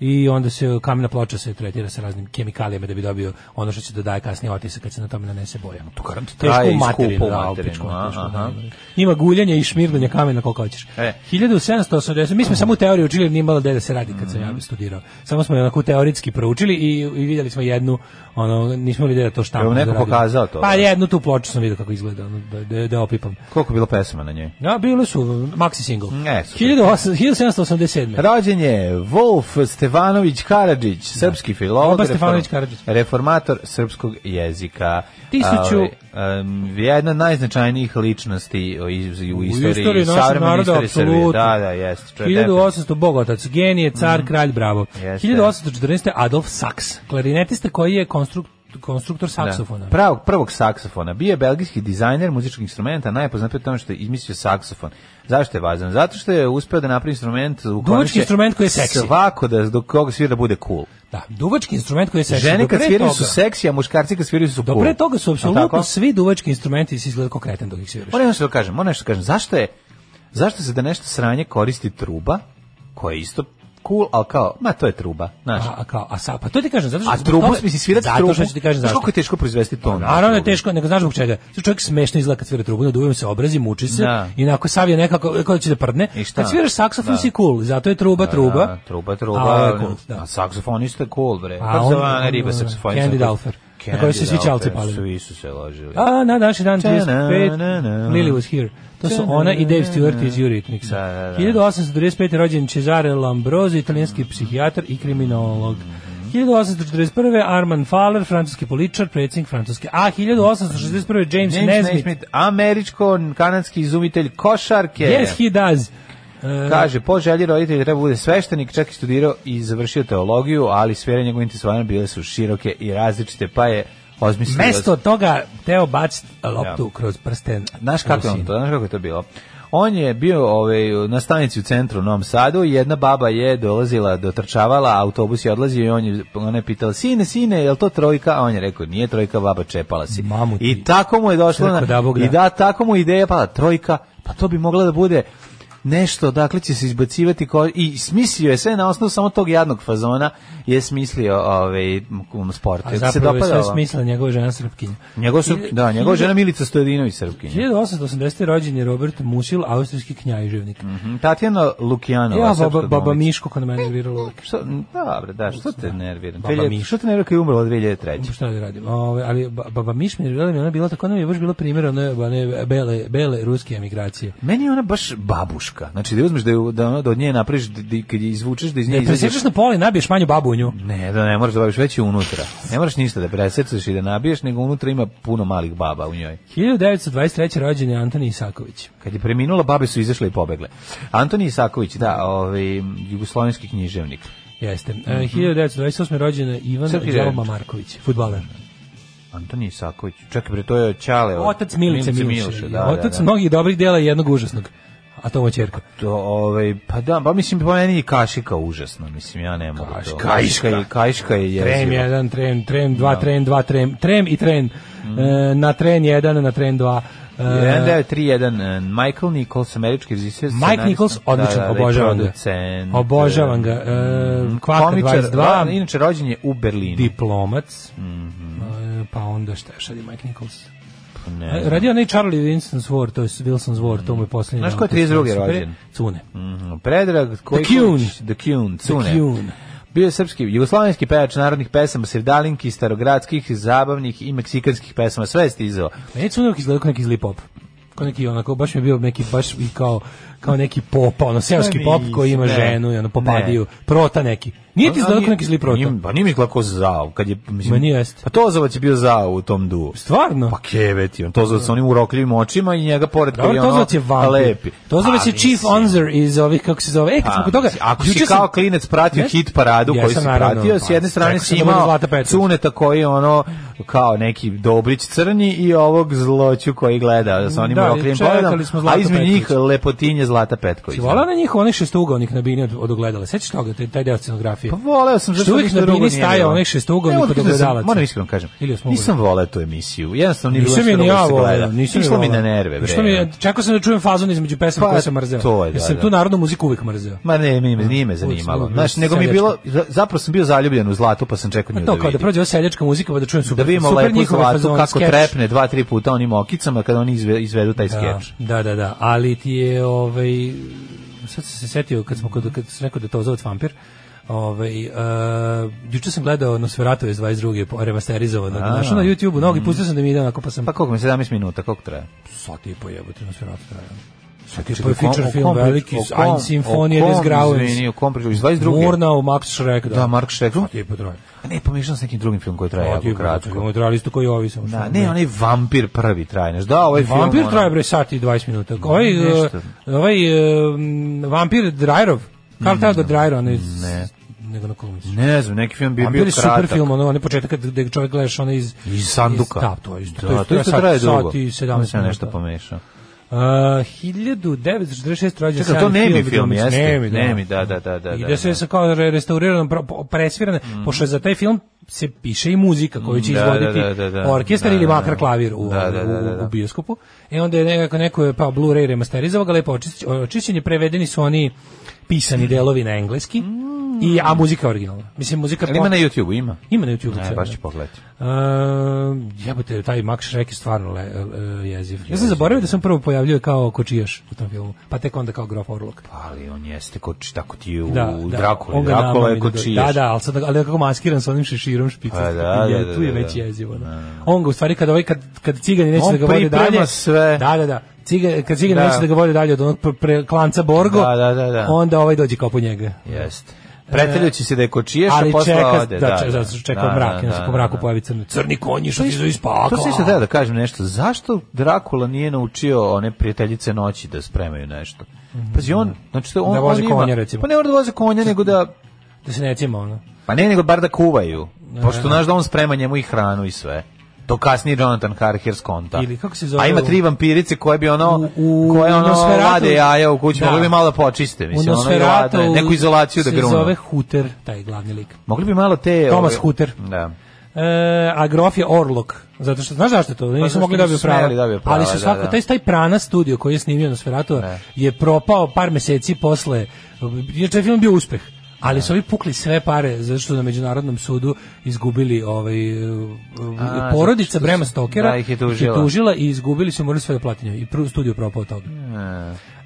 I onda se kamena ploča se tretira sa raznim kemikalijama da bi dobio ono što će da daje kasnije otisak kad se na tome nanese boja. To garant Teško traje u i materinu, skupo u da, u materinu, pičku, a, teško, aha. da, da. Ima guljanje i šmirganje kamena koliko hoćeš. E. 1780, mi smo samo u teoriji učili, jer nije imalo gde da se radi kad sam Mhm. ja studirao. Samo smo je onako teoretski proučili i, i vidjeli smo jednu, ono, nismo li da to šta. Jel vam neko pokazao to? Pa jednu tu ploču sam vidio kako izgleda, ono, da, da, da opipam. Koliko je bilo pesama na njoj? Ja, bile su maxi single. Ne, su. 1800 1787. Dakle. Rođen je Wolf Stefanović Karadžić, srpski filolog, Oba Stefanović Da. Karadžić. reformator srpskog jezika. Tisuću- A, um, jedna od najznačajnijih ličnosti u, iz- u istoriji, istoriji našeg savremene naroda, istorije Srbije. apsolutno. Da, da, jeste. čovjek 1800 bogotac, genije, car, kralj, bravo. Mhm. Jeste. 1814 Adolf Sachs, klarinetista koji je konstrukt konstruktor saksofona. Da. Pravog, prvog saksofona. Bio je belgijski dizajner muzičkih instrumenta, najpoznatiji po tome što je izmislio saksofon. Zašto je važan? Zato što je uspeo da napravi instrument u kojem Duvački će instrument koji je seksi. Svako da do koga svira bude cool. Da, duvački instrument koji je seksi. Žene Do kad pre sviraju su toga- seksi, a muškarci kad sviraju su cool. Do pre toga su Je li tako? apsolutno svi duvački instrumenti se izgleda kao kreten dok ih sviraš. Moram nešto da kažem, moram nešto da kažem. Zašto je zašto se da nešto sranje koristi truba koja je isto cool, al kao, ma to je truba, znaš. A, a kao, a sa, pa to ti kažem, zato što... A zbog trubu, toga- mislim, svirati zato trubu. što ću ti kažem znaš zašto. koliko da je teško proizvesti ton. Naravno da je teško, nego znaš zbog čega. Sve čovjek smešno izgleda kad svira trubu, onda dujem se obrazi, muči se Da. i onako sav je nekako kao da će da prdne. I šta? Kad sviraš saksofon Da. si cool, zato je truba truba. Da, truba, truba. A ovo je cool, da. A saksofon isto je cool, bre. A Kako on- se zove ona riba on- saksofonica? Candy Dulfer. Na kojoj se svi Candy ćalci Dulfer, palili. Svi su se ložili. A na današnji dan Ta, na, na, na. 35 Lily was here. To su ona i Dave Stewart iz Eurythmics. Da, da, Mhm. da. 1835. rođen Cesare Lambroso, italijanski psihijatar i kriminolog. Mhm. 1841. Arman Faller, francuski političar, predsjednik Francuske. A 1861. James, James Nesmith, američko-kanadski izumitelj košarke. Yes, he does. E, Kaže, po želji roditelja treba bude sveštenik, čak i studirao i završio teologiju, ali sfere njegove interesovanja bile su široke i različite, pa je osmislio... Mesto toga teo baciti loptu kroz prsten. Znaš kako je on to, znaš kako je to bilo? On je bio ovaj, na stanici u centru u Novom Sadu i jedna baba je dolazila, dotrčavala, autobus je odlazio i on je, ona je pitala, sine, sine, je li to trojka? A on je rekao, nije trojka, baba čepala si. Mamu ti. I tako mu je došlo, na, Crkva da Bog da. i da, tako mu je ideja pala, trojka, pa to bi mogla da bude nešto, dakle će se izbacivati ko, i smislio je sve na osnovu samo tog jadnog fazona je smislio ovaj, m- sport. A Jel ti se zapravo je dopada sve ova? smisla njegova žena Srpkinja. Njegov, su, da, njegova žena Milica Stojadinović Srpkinja. 1880. rođen je Robert Musil, austrijski knjaževnik. Mhm, Tatjana Lukjanova. Ja, srpska baba, baba glumica. Miško kod mene nervirala uvijek. Što, dobro, da, što te nerviram? Baba Baba Miš. Što te nerviram kad je umrla 2003? Šta da radim? Ove, ali ba- baba Miš mi je nervirala, mi je ona bila tako, ona mi je baš bila primjer one, one bele, bele ruske emigracije. Meni je ona baš babuška. Znači, da je uzmeš da, je, da, ono- da od nje napraviš, da, da, kad je izvučeš, da iz nje Ne, presječeš na poli, nabiješ manju babu u nju. Ne, da ne moraš da babiš, već je unutra. Ne moraš ništa da preseceš i da nabiješ, nego unutra ima puno malih baba u njoj. 1923. rođen je Antoni Isaković. Kad je preminula, babe su izašle i pobegle. Antoni Isaković, da, ovaj, jugoslovenski književnik. Jeste. E, 1928. rođen je Ivan Mhm. Srpski Đalma revč. Marković, futbaler. Antoni Isaković, čekaj bre, to je Ćale. od- Otac Milice Miloše. da, da, Otac da. mnogih dobrih dela i jednog užasnog. A to mu je ćerka. To, ovaj, pa da, pa mislim, po meni i kašika užasno, mislim, ja ne mogu to. Kaška. Kaška je, kaška je Trem jezivo. Da. 1, trem, trem 2, trem 2, trem, trem i trem. Mhm. E, na tren 1, na tren E, 2. da. 1931, e, Michael Nichols, američki režisir. Mike scenarista. Nichols, Da, odličan, da, da, i obožavam ga. producent. Obožavam ga. E, Kvaka Komičar, 22, da, inače rođen je u Berlinu. diplomac. E, pa onda šta je šalje Mike Nichols? Mhm. Ne E, znam. Radio onaj Charlie Winston's War, to je Wilson's War, to mu je posljednji. Znaš dan ko je koji sam 32. super. rođen? Cune. Mhm, Predrag Kojković, Cune. The Cune, The Cune. Cune. Bio je srpski, jugoslavenski pevač narodnih pesama, sirdalinki, starogradskih, zabavnih i meksikanskih pesama, sve je stizao. Meni Cune uvijek izgledao kao neki zli pop. Kao neki onako, baš mi je bio neki, baš i kao, kao neki pop, ono, seoski Ne, pop koji ima ne. ženu i ono, popadiju, prota neki. Nije ti izgledao kao neki zli prota? Nije- Pa nije mi izgledao kao zao. Kad je, mislim, Ma nije jeste. Pa Tozovac je bio zao u tom duo. Stvarno? Pa keveti, on Tozovac sa onim urokljivim očima i njega pored koji Dobro, je ono pa Tozovac je vampir. lepi. Tozovac je Pa, chief mislim, onzer iz ovih, kako se zove, e, pa, kad smo kod toga... mislim, Ako si juče sam- kao klinec pratio Ne? hit paradu Jesam, koji si naravno, pratio, s pa, jedne strane rekao si sam da bude imao Zlata Petrović. Cuneta koji je ono kao neki Dobrić crni i ovog zloću koji gleda sa onim Da, i urokljivim čekali pogledom, smo a Zlatu između njih Petrović. lepotinje Zlata Petković. Si volao na njih onih šestougaonih na bini od, od ogledala? Sećaš toga, taj, taj deo scenografije? Pa voleo sam Što zašto uvijek ništa na drugo bini nije staje bilo. onaj šestougaonik Ne, kod otkrito sam, ogledalac. Moram iskreno kažem. Ili osmougaonik. Nisam voleo tu emisiju. Jednostavno nije bilo Nisam ništa je ni drugo da ja se gleda. voleo, nisam je Išlo mi na voleo. nerve, bre. Išlo mi je- čekao sam da čujem fazon između pesama Pa, koje sam mrzeo. to je, Jer da, sam da. tu narodnu muziku uvijek mrzeo. Ma ne, nije me, nije me zanimalo. Uvijek sam Znaš, bio nego mi je bilo, seljački. zapravo sam bio zaljubljen u zlatu, pa sam čekao nju da To kao da vidim. prođe ova seljačka muzika pa da čujem super, Da vidimo super lepo njihove zlatu, fazone, kako skeč. trepne dva, tri puta onim okicama kada oni izve- izvedu taj Da, skeč. da, da, da, ali ti je ovaj sad sam se setio kad smo kod kad sam rekao da je to zove vampir. Ovaj uh, juče sam gledao Nosferatu iz 22. po- remasterizovano. Našao na YouTubeu, mnogi pustio sam da mi ide onako pa sam Mhm. Pa koliko mi, 17 minuta, koliko traje? sat i po jebote Nosferatu da, traja. Sat i Čekaj, po je o kom- feature o film kom- veliki, o kom- Ein Sinfonije o kom, des Grauens. Izvini, o kom priču, iz 22. Murnau, Max Schreck, da. Da, Mark Šreku. Sat i po traja. A Ne, pomiješao s nekim drugim film koji traje Sat i jako po traja. kratko. Imamo trajali isto koji ovi samo. Da, što- ne, onaj vampir prvi traje, znaš, da, ovaj film... Vampir ono- traje bre sat i 20 minuta. Ovaj e, Nešto. eh, ovaj eh, vampir Drajrov, Karl Theodor Drajrov, ne. nego na Kolumbus. Ne znam, neki film bio A bio bili kratak. super film, ono, onaj početak kad gde čovjek gledaš ono iz... Iz sanduka. iz- da, to je isto. Da, to isto sat- traje dugo. Sat i Tu 17 sam ja nešto minuta. pomešao. Uh, 1946 rođen Čekaj, to Sam nemi Field, film, glumac, jeste? Nemi, da. Nemi, da, da, da, da, I da, da da. se sa kao re- restaurirano, pro- po- presvirane, pošto za taj film se piše i muzika koju će Mm, da, izvoditi da, da, da. orkestar Da, ili da, da. makar klavir u, Da, da, da, da, da. u, u bioskopu. E onda je nekako neko je pa Blu-ray remasterizovao ga lepo očisti- očišćen je, prevedeni su oni pisani delovi na engleski. I, a muzika je originalna. Mislim, muzika... Mm. Ali ima na YouTube-u, ima. Ima na YouTube. Ne, baš ću pogledati. Um, jebote, taj Max Schreck je stvarno le, le, jeziv. Ja sam zaboravio da sam prvo pojavljuje kao kočijaš u tom filmu, pa tek onda kao grof Orlok. Ali on jeste koči, tako ti je u Da, da. Drakuli. on ga Drakula je namami kočijaš. Da, da, ali, sad, ali kako maskiran sa onim šeširom špica. Pa da, da, da, tu je da, već da. jezivo. Da. On ga u stvari, kad, ovaj, kad, kad cigani neće On da ga vode priprema dalje... sve. Da, da, da. Ciga, kad cigani Da. neće da ga vode dalje od onog pre, pre- klanca Borgo, Da, da, da, da. onda ovaj dođe kao po njega. Jeste. Preteljući se da je kočiješ, a ali posle čeka, ode. da, čeka, čeka mrak, da, da, po mraku da. pojavi crni, crni konji što pa izu iz pakla. To se isto da da kažem nešto. Zašto Drakula nije naučio one prijateljice noći da spremaju nešto? Pazi, on, znači to on, Da voze on ima- konja, recimo. Pa ne mora da voze konja, nego da... Da se ne cima, ono. Pa ne, nego bar da kuvaju. Pošto znaš da on sprema njemu i hranu i sve. To kasnije Jonathan Harker skonta. Ili kako se zove A ima u- tri vampirice koje bi ono, U- u koje ono Nosferatu- lade jaja u kući, Da. mogli bi malo počiste. U Mislim, ono i Nosferatu lade, neku izolaciju da grunu. se zove Huter, taj glavni lik. Mogli bi malo te... Thomas ove- Hutter. Da. E, a grof je Orlok. Zato što, znaš zašto to? Pa zato Nisu mogli što dobiti nisu smeli prava. dobiju prava, Ali su da, svako, da. taj, taj Prana studio koji je snimio Nosferatu je propao par meseci posle, jer taj film bio uspeh. Ali su ovi pukli sve pare zato što su na međunarodnom sudu izgubili ovaj e, A, zato porodica što su- Brema Stokera da, ih je tužila. i izgubili su morali sve da plate njoj. i pru- studio propao od toga.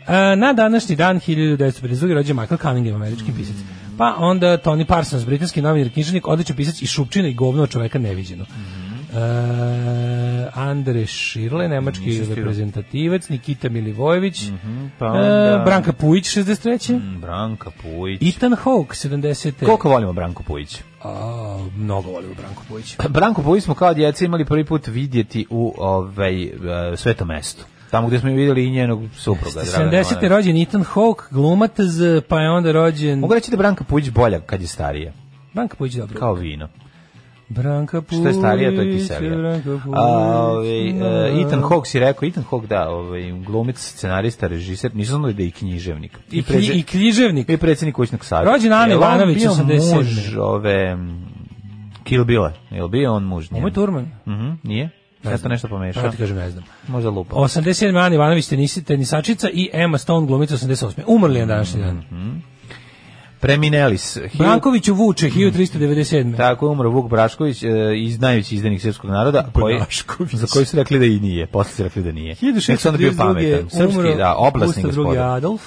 E, na današnji dan 1952. rođen Michael Cunningham, Mm. američki pisac. Pa onda Tony Parsons, britanski novinar i književnik, odličan pisac i šupčina i govno od čoveka neviđeno. Mm-hmm. E, Andre Širle, nemački reprezentativac, Nikita Milivojević, pa e, onda- Mm, Branka Pujić, 63. Branka Pujić. Ethan Hawke, 70. Koliko volimo Branku Pujić? A, mnogo volimo Branku Pujić. Branku Pujić smo kao djeca imali prvi put vidjeti u ovaj, e, svetom mestu. Tamo gdje smo i vidjeli i njenog supruga. Dragana 70. Ivanovića. rođen Ethan Hawke, glumataz, pa je onda rođen... Mogu reći da je Branka Pujić bolja kad je starija, Branka Pujić, dobro. kao vino. Branka Pujić. Što je starija, to je kiselija. Branka Pujić, A, ovaj, e, Ethan da. Hawke si rekao, Ethan Hawke, da, ovaj, glumic, scenarista, režiser, nisam znao da je i E, književnik. I, preze- klji, I književnik. I predsjednik kućnog savjeta. Rođen Ane Jel on Ivanović, bio 87. muž ove... mm, Kill Billa. Jel bio on muž? Moj Nije. Turman. Mhm, nije? Ja sam nešto pomešao. Šta ti kažem, ne znam. Možda lupa. 87. Da. Ana Ivanović, tenisi- tenisačica i Emma Stone, glumica 88. Umrli je na današnji Mhm. dan. Preminelis. Brankoviću Vuče, 1397. Tako je umro Vuk Brašković, e, iz najveći izdenik srpskog naroda, koji, Brašković. za koji su rekli da i nije, posle su rekli da nije. Nek se onda bio pametan. 1632. Srpski, umro da, oblasni Mhm. Gustav II. gospodin, Adolf.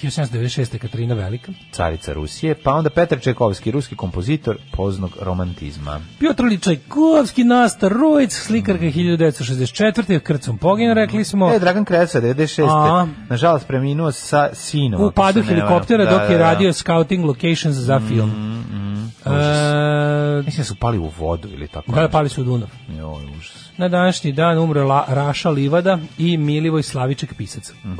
1796. Katarina Velika. carica Rusije, pa onda Petar Čekovski, ruski kompozitor poznog romantizma. Piotr Ličajkovski, Nasta Rujc, slikarka 1964. Krcom pogin, rekli smo. E, Dragan Kreca, 96. A. Nažalost, preminuo sa sinom. u Pa, ako padu se ne varam. helikoptera Da, dok da, je da. Mm, radio scouting locations za film. E, Mislim da su pali u vodu ili tako. da, pali su u Dunav. nešto. Joj, užas. Na današnji dan umre La, Raša Livada i Milivoj Slaviček pisac. Mhm.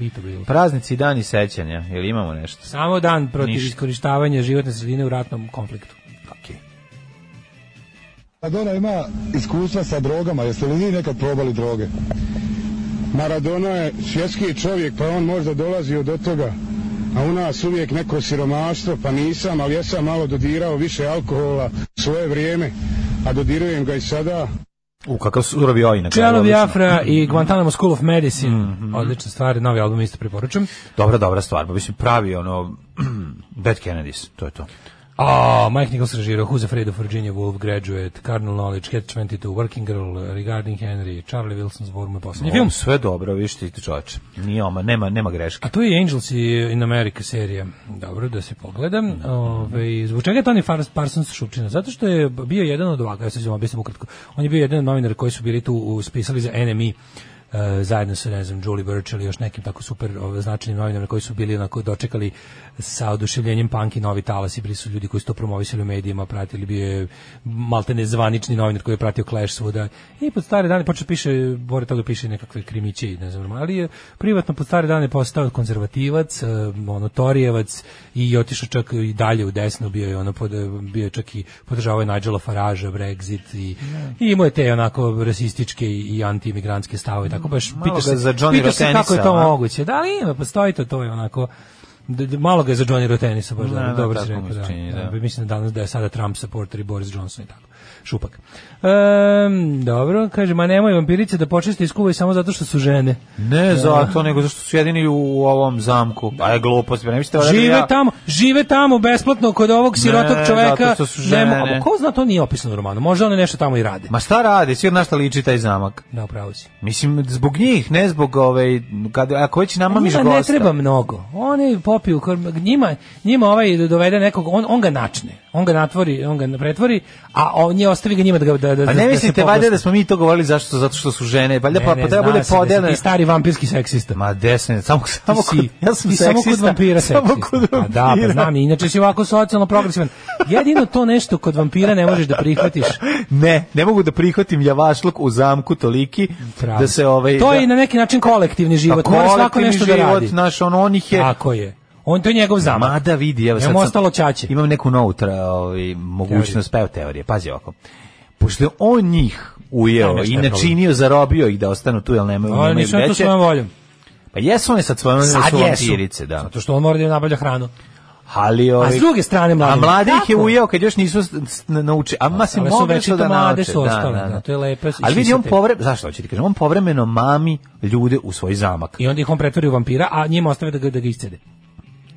E, I to bilo. Praznici i dani sećanja, ili imamo nešto? Samo dan protiv Ništa. Da, iskorištavanja životne sredine u ratnom konfliktu. Okej. Maradona ima iskustva sa drogama, jeste li vi nekad probali droge? Maradona je svjetski čovjek, pa on možda dolazio do toga. A u nas uvijek neko siromaštvo, pa nisam, ali ja sam malo dodirao više alkohola svoje vrijeme, a dodirujem ga i sada. U, kakav surovi ojinak. Čelo ali odlično. Mhm. Biafra i Guantanamo School of Medicine. Odlična stvar, novi album isto preporučujem. Dobra, dobra stvar, pa mislim pravi ono <clears throat> Dead Kennedys, to je to. A, Mike Nichols režirao Who's Afraid of Virginia Woolf, Graduate, Cardinal Knowledge, Cat 22, Working Girl, Regarding Henry, Charlie Wilson's War, moj posljednji Film film. sve dobro, vidiš ti čoveče. Nije oma, nema, nema greške. A to je Angels i- in America serija. Dobro, da se pogledam. Ove, zbog čega je Tony Fars- Parsons Šupčina? Zato što je bio jedan od ovakva, ja sad ću vam objasniti ukratko. On je bio jedan od novinara koji su bili tu u- spisali za NME e, zajedno sa, ne znam, Julie Birch ili još nekim tako super ove, značajnim novinarima koji su bili onako dočekali sa oduševljenjem punk i novi talas i bili su ljudi koji su to promovisali u medijima, pratili bio je maltene zvanični novinar koji je pratio Clash svuda i pod stare dane počeo piše, pored toga piše i nekakve krimiće i ne znam, ali je privatno pod stare dane postao konzervativac, e, ono Torijevac i otišao čak i dalje u desno, bio je ono pod, bio je čak i podržavao je Nigela Faragea, Brexit i, i imao je te onako rasističke i, i antiimigrantske stavove, tako baš Malo pitaš ga se, za Johnny pitaš se kako je to Rotenisa, a? moguće. Da li ima, postoji to, to je onako d- d- malo ga je za Johnny Rotenisa baš Da, da, da, dobro tako si rekao, mi se da, čini, da. da. Mislim da danas da je sada Trump supporter i Boris Johnson i tako. Šupak. Ehm, dobro, kaže, ma nemoj vampirice da počeste iz kuvaju samo zato što su žene. Ne zato, nego zašto su jedini u, u ovom zamku. A je glupost, ne mislite da radim Žive ja- tamo, žive tamo besplatno kod ovog sirotog čoveka. zato što su žene. Nemo- a ko zna, to nije opisano u romanu. Možda one nešto tamo i rade. Ma šta radi, svi na šta liči taj zamak. Da, upravo si. Mislim, zbog njih, ne zbog ovaj, kad, ako već namamiš Pa Njima gosta. ne treba mnogo. Oni popiju, kor- njima, njima ovaj dovede nekog, on, on ga načne, on ga natvori, on ga pretvori, a on nje ostavi ga njima da ga da, da, A da ne se mislite poprosti. valjda da smo mi to govorili zašto zato što su žene, valjda Ne, pa ne, pa treba zna bude se da si podeljeno. ti stari vampirski seksista. Ma desne, samo samo ti si, kod, ja sam ti seksista. samo kod vampira seksista. Samo kod vampira. Pa da, pa znam, inače si ovako socijalno progresivan. Jedino to nešto kod vampira ne možeš da prihvatiš. Ne, ne mogu da prihvatim javašluk u zamku toliki Pravo. da se ovaj to je da- Pa na neki način kolektivni život. Mora svako kolektivni nešto da život, radi. Naš, on, onih je, Tako je. On to je njegov zamak. Mada vidi, evo sad Njemu sam- ostalo ćaće. Imam neku novu tra, ovaj, mogućnost, pa evo teorije, pazi ovako. Pošto je on njih Da, ujeo nešto i je problem. načinio, zarobio ih da ostanu tu, jel nemaju, Ali nemaju nisu oni to veće. svojom voljom. Pa jesu one sad svojom Sad su jesu. vampirice, da. Zato što on mora da im nabavlja hranu. Ali, A ovaj, s druge strane mladi. A mladi ih je Kako? ujeo kad još nisu s- s- nauči. A ma se ali su mogli večito su da mlade nauče. su ostale, da, to je lepo, Ali vidi, on išisate. povre, zašto hoću ti kažem, on povremeno mami ljude u svoj zamak. I onda ih on pretvori u vampira, a njima ostave da ga, da ga iscede.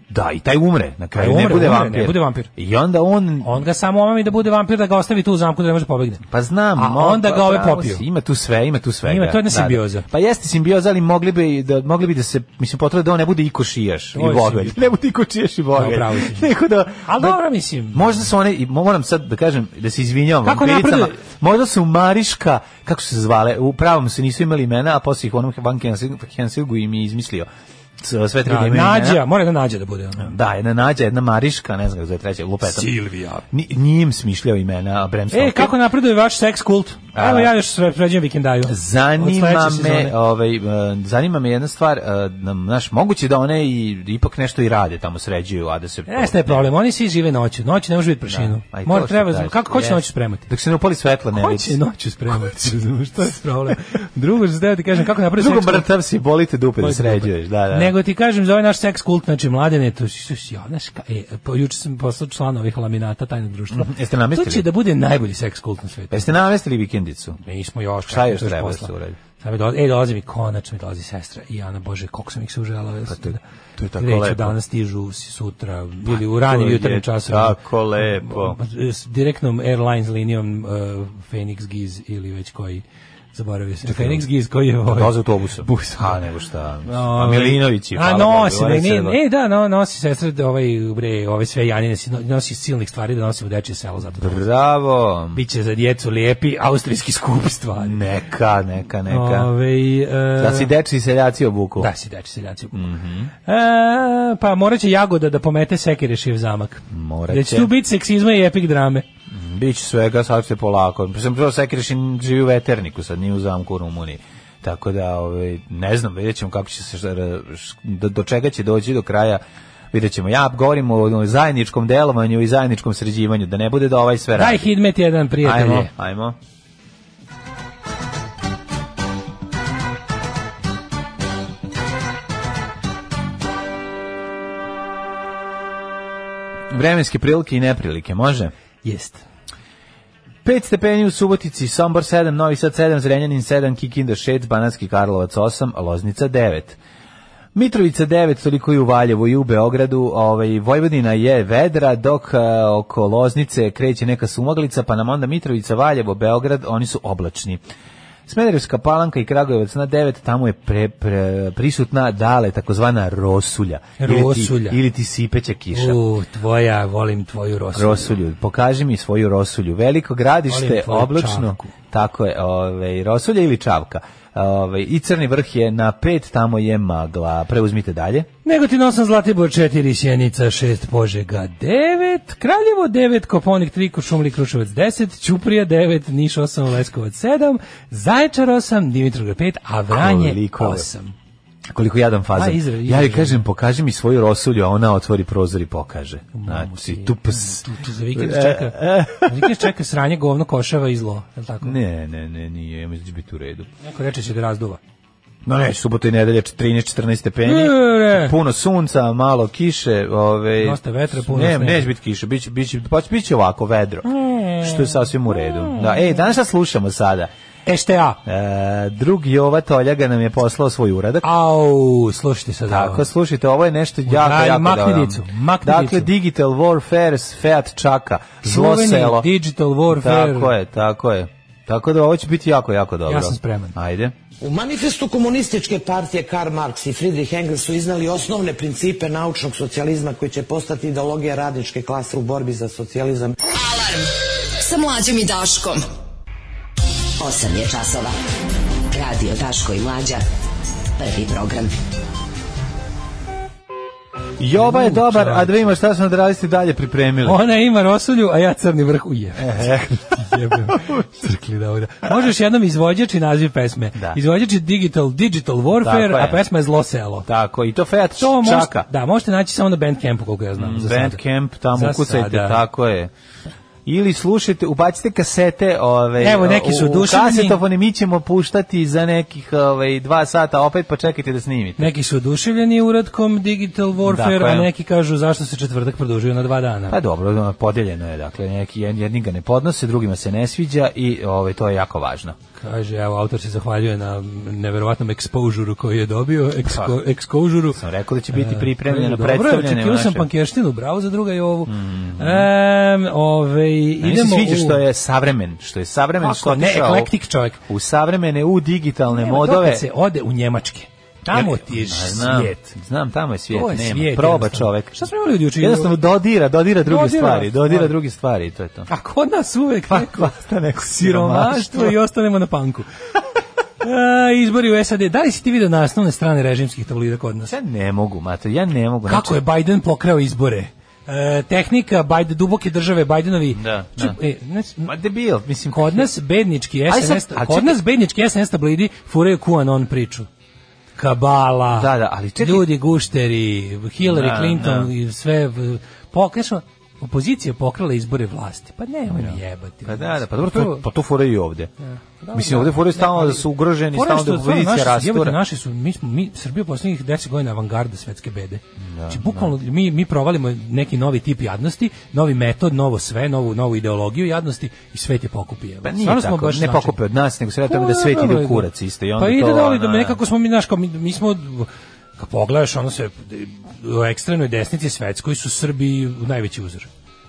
Da, i taj umre, na kraju Taj ne umre, bude umre, vampir. ne bude vampir. I onda on On ga samo omami da bude vampir, da ga ostavi tu u zamku da ne može pobegne. Pa znam, A mo- onda pa ga ove pravo popiju. si, Ima tu sve, ima tu sve. Ima, to je jedna simbioza. Pa jeste simbioza, ali mogli bi da mogli bi da se mislim potrebno da on ne bude i košijaš i To je vogelj. simbioza. <laughs> Ne bude i košijaš i Da, vogelj. pravo si. Neko da Ali da- dobro, mislim. Možda su one i mo- moram sad da kažem da se izvinjavam Kako vampiricama. napreduju? Možda su Mariška, kako su se zvale, u pravom se nisu imali imena, a posle ih u onom Van Kensilgu- Kensilgu im je izmislio. S- Sve tri da, Da, imaju imena. nađa, mora da nađa da bude. Ono. Da, jedna Nađa, jedna Mariška, ne znam kako se zove treća, lupetam. Silvija. Ni, nije im smišljao imena, a Bram E, Stoker. kako napreduje vaš seks kult? A. Evo ja još sve pređem vikendaju. Zanima Od sledeće me, sezone. ovaj, e, zanima me jedna stvar, e, nam, znaš, moguće da one i, ipak nešto i rade tamo, sređuju, a da se... Jeste E, je problem, oni svi žive noću. Noć ne može biti prašinu. A Da, pa i to Mora što treba, kažeš, kako ko će jest. noću spremati? Dok se ne upali svetla, ne Ko vidi. će noću spremati? <laughs> Razumeš, to je problem. Drugo, što ste ti kažem, kako napreduje Drugo seks kult? mrtav si, bolite dupe da sređuješ, da, da. Nego ti kažem za ovaj naš seks kult, znači mladene, to su ja, znaš, ka, e, po, juče sam poslao član ovih laminata tajnog društva. Mhm. Jeste to će namestili? da bude najbolji seks kult na svetu. Pa Jeste namestili vikendicu? Nismo još. Šta čekam, još to treba da posla. se uradi? Sad mi dolazi, e, dolazi mi, konačno mi dolazi sestra i Ana, Bože, koliko sam ih se uželjala. Pa to je- to je tako lepo. Pa danas stižu s- sutra, ili u to ranim je jutarnjim času. tako lepo. S direktnom Airlines linijom uh, Phoenix Giz ili već koji, zaboravio sam. Phoenix Giz koji da je... ovaj- Doze Pa autobusom. Busom. A, nego šta. A Ovaj, Milinović je. A hvala nosi, Bogu, ne, ovaj se- ne, ne, da, no, nosi sestra da ovaj bre, ove sve janjine si- nosi silnih stvari da nosi u dečje selo zato. Da. Bravo. Biće za djecu lijepi austrijski skup stvari. Neka, neka, neka. Ovaj, e, Da si Mhm. deči seljaci obuku. Da si deči seljaci. e, pa morat će Jagoda da pomete Sekirešijev zamak. Morat Da će će. tu biti seksizma i epik drame. Bić svega, sad se polako. Sam prvo Sekrešin živi u veterniku, sad nije u zamku u Rumuniji. Tako da, ovaj, ne znam, vidjet ćemo kako će se, šta- š- do, do čega će doći do kraja vidjet ćemo. Ja govorim o, o zajedničkom delovanju i zajedničkom sređivanju, da ne bude da ovaj sve Daj radi. hidmet jedan Ajmo, prijatelje. ajmo. Vremenske prilike i neprilike, može? Jest. 5 stepeni u Subotici, Sombor 7, Novi Sad 7, Zrenjanin 7, Kikinda 6, Banatski Karlovac 8, a Loznica 9. Mitrovica 9, toliko i u Valjevu i u Beogradu, ovaj, Vojvodina je vedra, dok e, oko Loznice kreće neka sumaglica, pa nam onda Mitrovica, Valjevo, Beograd, oni su oblačni. Smederevska palanka i Kragujevac na 9, tamo je pre, pre- prisutna dale, takozvana rosulja. Ili Rosulja. ti, ili ti sipeća kiša. U, tvoja, volim tvoju rosu. Rosulju, pokaži mi svoju rosulju. Veliko gradište, Volim tvoju oblačno. čapku. Tako je, ovaj Rosulje ili Čavka. Ovaj i Crni vrh je na 5, tamo je magla. Preuzmite dalje. Negotin 8, Zlatibor 4, Sjenica 6, Požega 9, Kraljevo 9, Koponik 3, Košumli Kruševac 10, Ćuprija 9, Niš 8, Leskovac 7, Zaječar 8, Dimitrovgrad 5, a Vranje Koliko je? 8. Koliko jadan faza. A, Izrael, ja joj Izrael. kažem, pokaži mi svoju rosulju, a ona otvori prozor i pokaže. Znači, tu ps. Tu za vikend E. čeka, za vikend čeka sranje, govno, košava i zlo, je li tako? Ne, ne, ne, nije, ja mislim da će biti u redu. Neko reče će da razduva. No ne, subota i nedelja 13-14 stepeni. Ne, ne. Puno sunca, malo kiše, ovaj Dosta vetra, puno ne, snega. neće biti kiše, biće biće pa će biti ovako vedro. Što je sasvim u redu. Mm. Da, ej, danas šta slušamo sada? Eštea! E, drug Jova Toljaga nam je poslao svoj uradak. Au, slušajte sad ovo. Tako, slušajte, ovo je nešto jako, Udari, jako makni dobro. dicu, makni Dakle, dicu. Digital Warfare s Fiat Čaka, zlo Čuveni selo. Digital Warfare. Tako je, tako je. Tako da ovo će biti jako, jako dobro. Ja sam spreman. Ajde. U manifestu komunističke partije Karl Marx i Friedrich Engels su iznali osnovne principe naučnog socijalizma koji će postati ideologija radničke klase u borbi za socijalizam. Alarm sa mlađom i Daškom. 8 je časova. Radio Daško i mlađa. Prvi program. Joba je U, dobar, čovječe. a da ima šta smo da radisti dalje pripremili. <laughs> Ona ima rosulju, a ja crni vrh uje. E, Jebem. Crkli da ovdje. Možeš jednom izvođač i naziv pesme. Da. Izvođač je Digital, Digital Tako Warfare, je. a pesma je Zlo selo. Tako, i to Fiat To možete, Čaka. da, možete naći samo na Bandcampu, koliko ja znam. za sada. Bandcamp, tamo Za ukucajte, sada. tako je. Ili slušajte, ubacite kasete, ove, Evo, neki su u- u oduševljeni. kasetofone, mi ćemo puštati za nekih ove, dva sata, opet pa čekajte da snimite. Neki su oduševljeni uradkom Digital Warfare, Dakle. a neki kažu zašto se četvrtak produžio na dva dana. Pa dobro, ono, podeljeno je, dakle, neki jed- jedni ga ne podnose, drugima se ne sviđa i ovaj, to je jako važno. Kaže, evo, autor se zahvaljuje na neverovatnom ekspožuru koji je dobio, eksko, ekspožuru. Sam rekao da će biti pripremljeno, Dobro E, je, predstavljeno. očekivao sam naše- pankještinu, bravo za druga i ovu. Em, ovaj, A meni se idemo sviđa u- što je savremen, što je savremen, Kako što je ne, otišao eklektik čovjek. U savremene, u digitalne Evo, modove. dokad se ode u Njemačke, tamo Jer- ti je Ma, znam, svijet. Znam, tamo je svijet, To je nema. svijet, Proba jednostavno. čovek. Šta smo imali od juče? Jednostavno dodira, dodira druge Dodira, stvari, dodira stvari. druge stvari i to je to. A kod nas uvek Pa, neko Hvata neko <laughs> siromaštvo i ostanemo na panku. E, izbori u SAD. Da li si ti vidio naslovne strane režimskih tabloida kod nas? Ja ne mogu, mato, ja ne mogu. znači, Kako je Biden pokrao izbore? E, tehnika Biden, duboke države Bidenovi. Da, Ču- da. e, znači, Ma debil, mislim. kod nas bednički Aj sad, SNS, a kod nas bednički SNS tabloidi furaju QAnon priču. Kabala, Da, da, ali čekaj. ljudi gušteri, Hillary Da, Clinton da. i sve, v- po, kažeš, ono, opozicija je pokrala izbore vlasti. Pa nemoj mi jebati. Pa da, da, pa dobro, to, pa to fore i ovde. Mislim, ovde fore Pa da, Ne, stalno ali- da su ugroženi, Fora je stalno da što stvarno opozicija naši- jebote, rastura. Naši su, mi smo, mi, Srbija u poslednjih 10 godina avangarda svetske bede. Da, znači, bukvalno, mi, mi provalimo neki novi tip jadnosti, novi metod, novo sve, novu, novu ideologiju jadnosti i svet je pokupi. jebote. Pa nije Stvarno smo tako, baš ne značajni. pokupe od nas, nego se radi o tome Pa, da svet dobro, ide u ide. kurac isto. I onda Pa ide to, dole, da ono, nekako smo mi, znaš, kao mi, mi smo, kad pogledaš, ono se, u ekstremnoj desnici svetskoj su Srbi najveći uzor.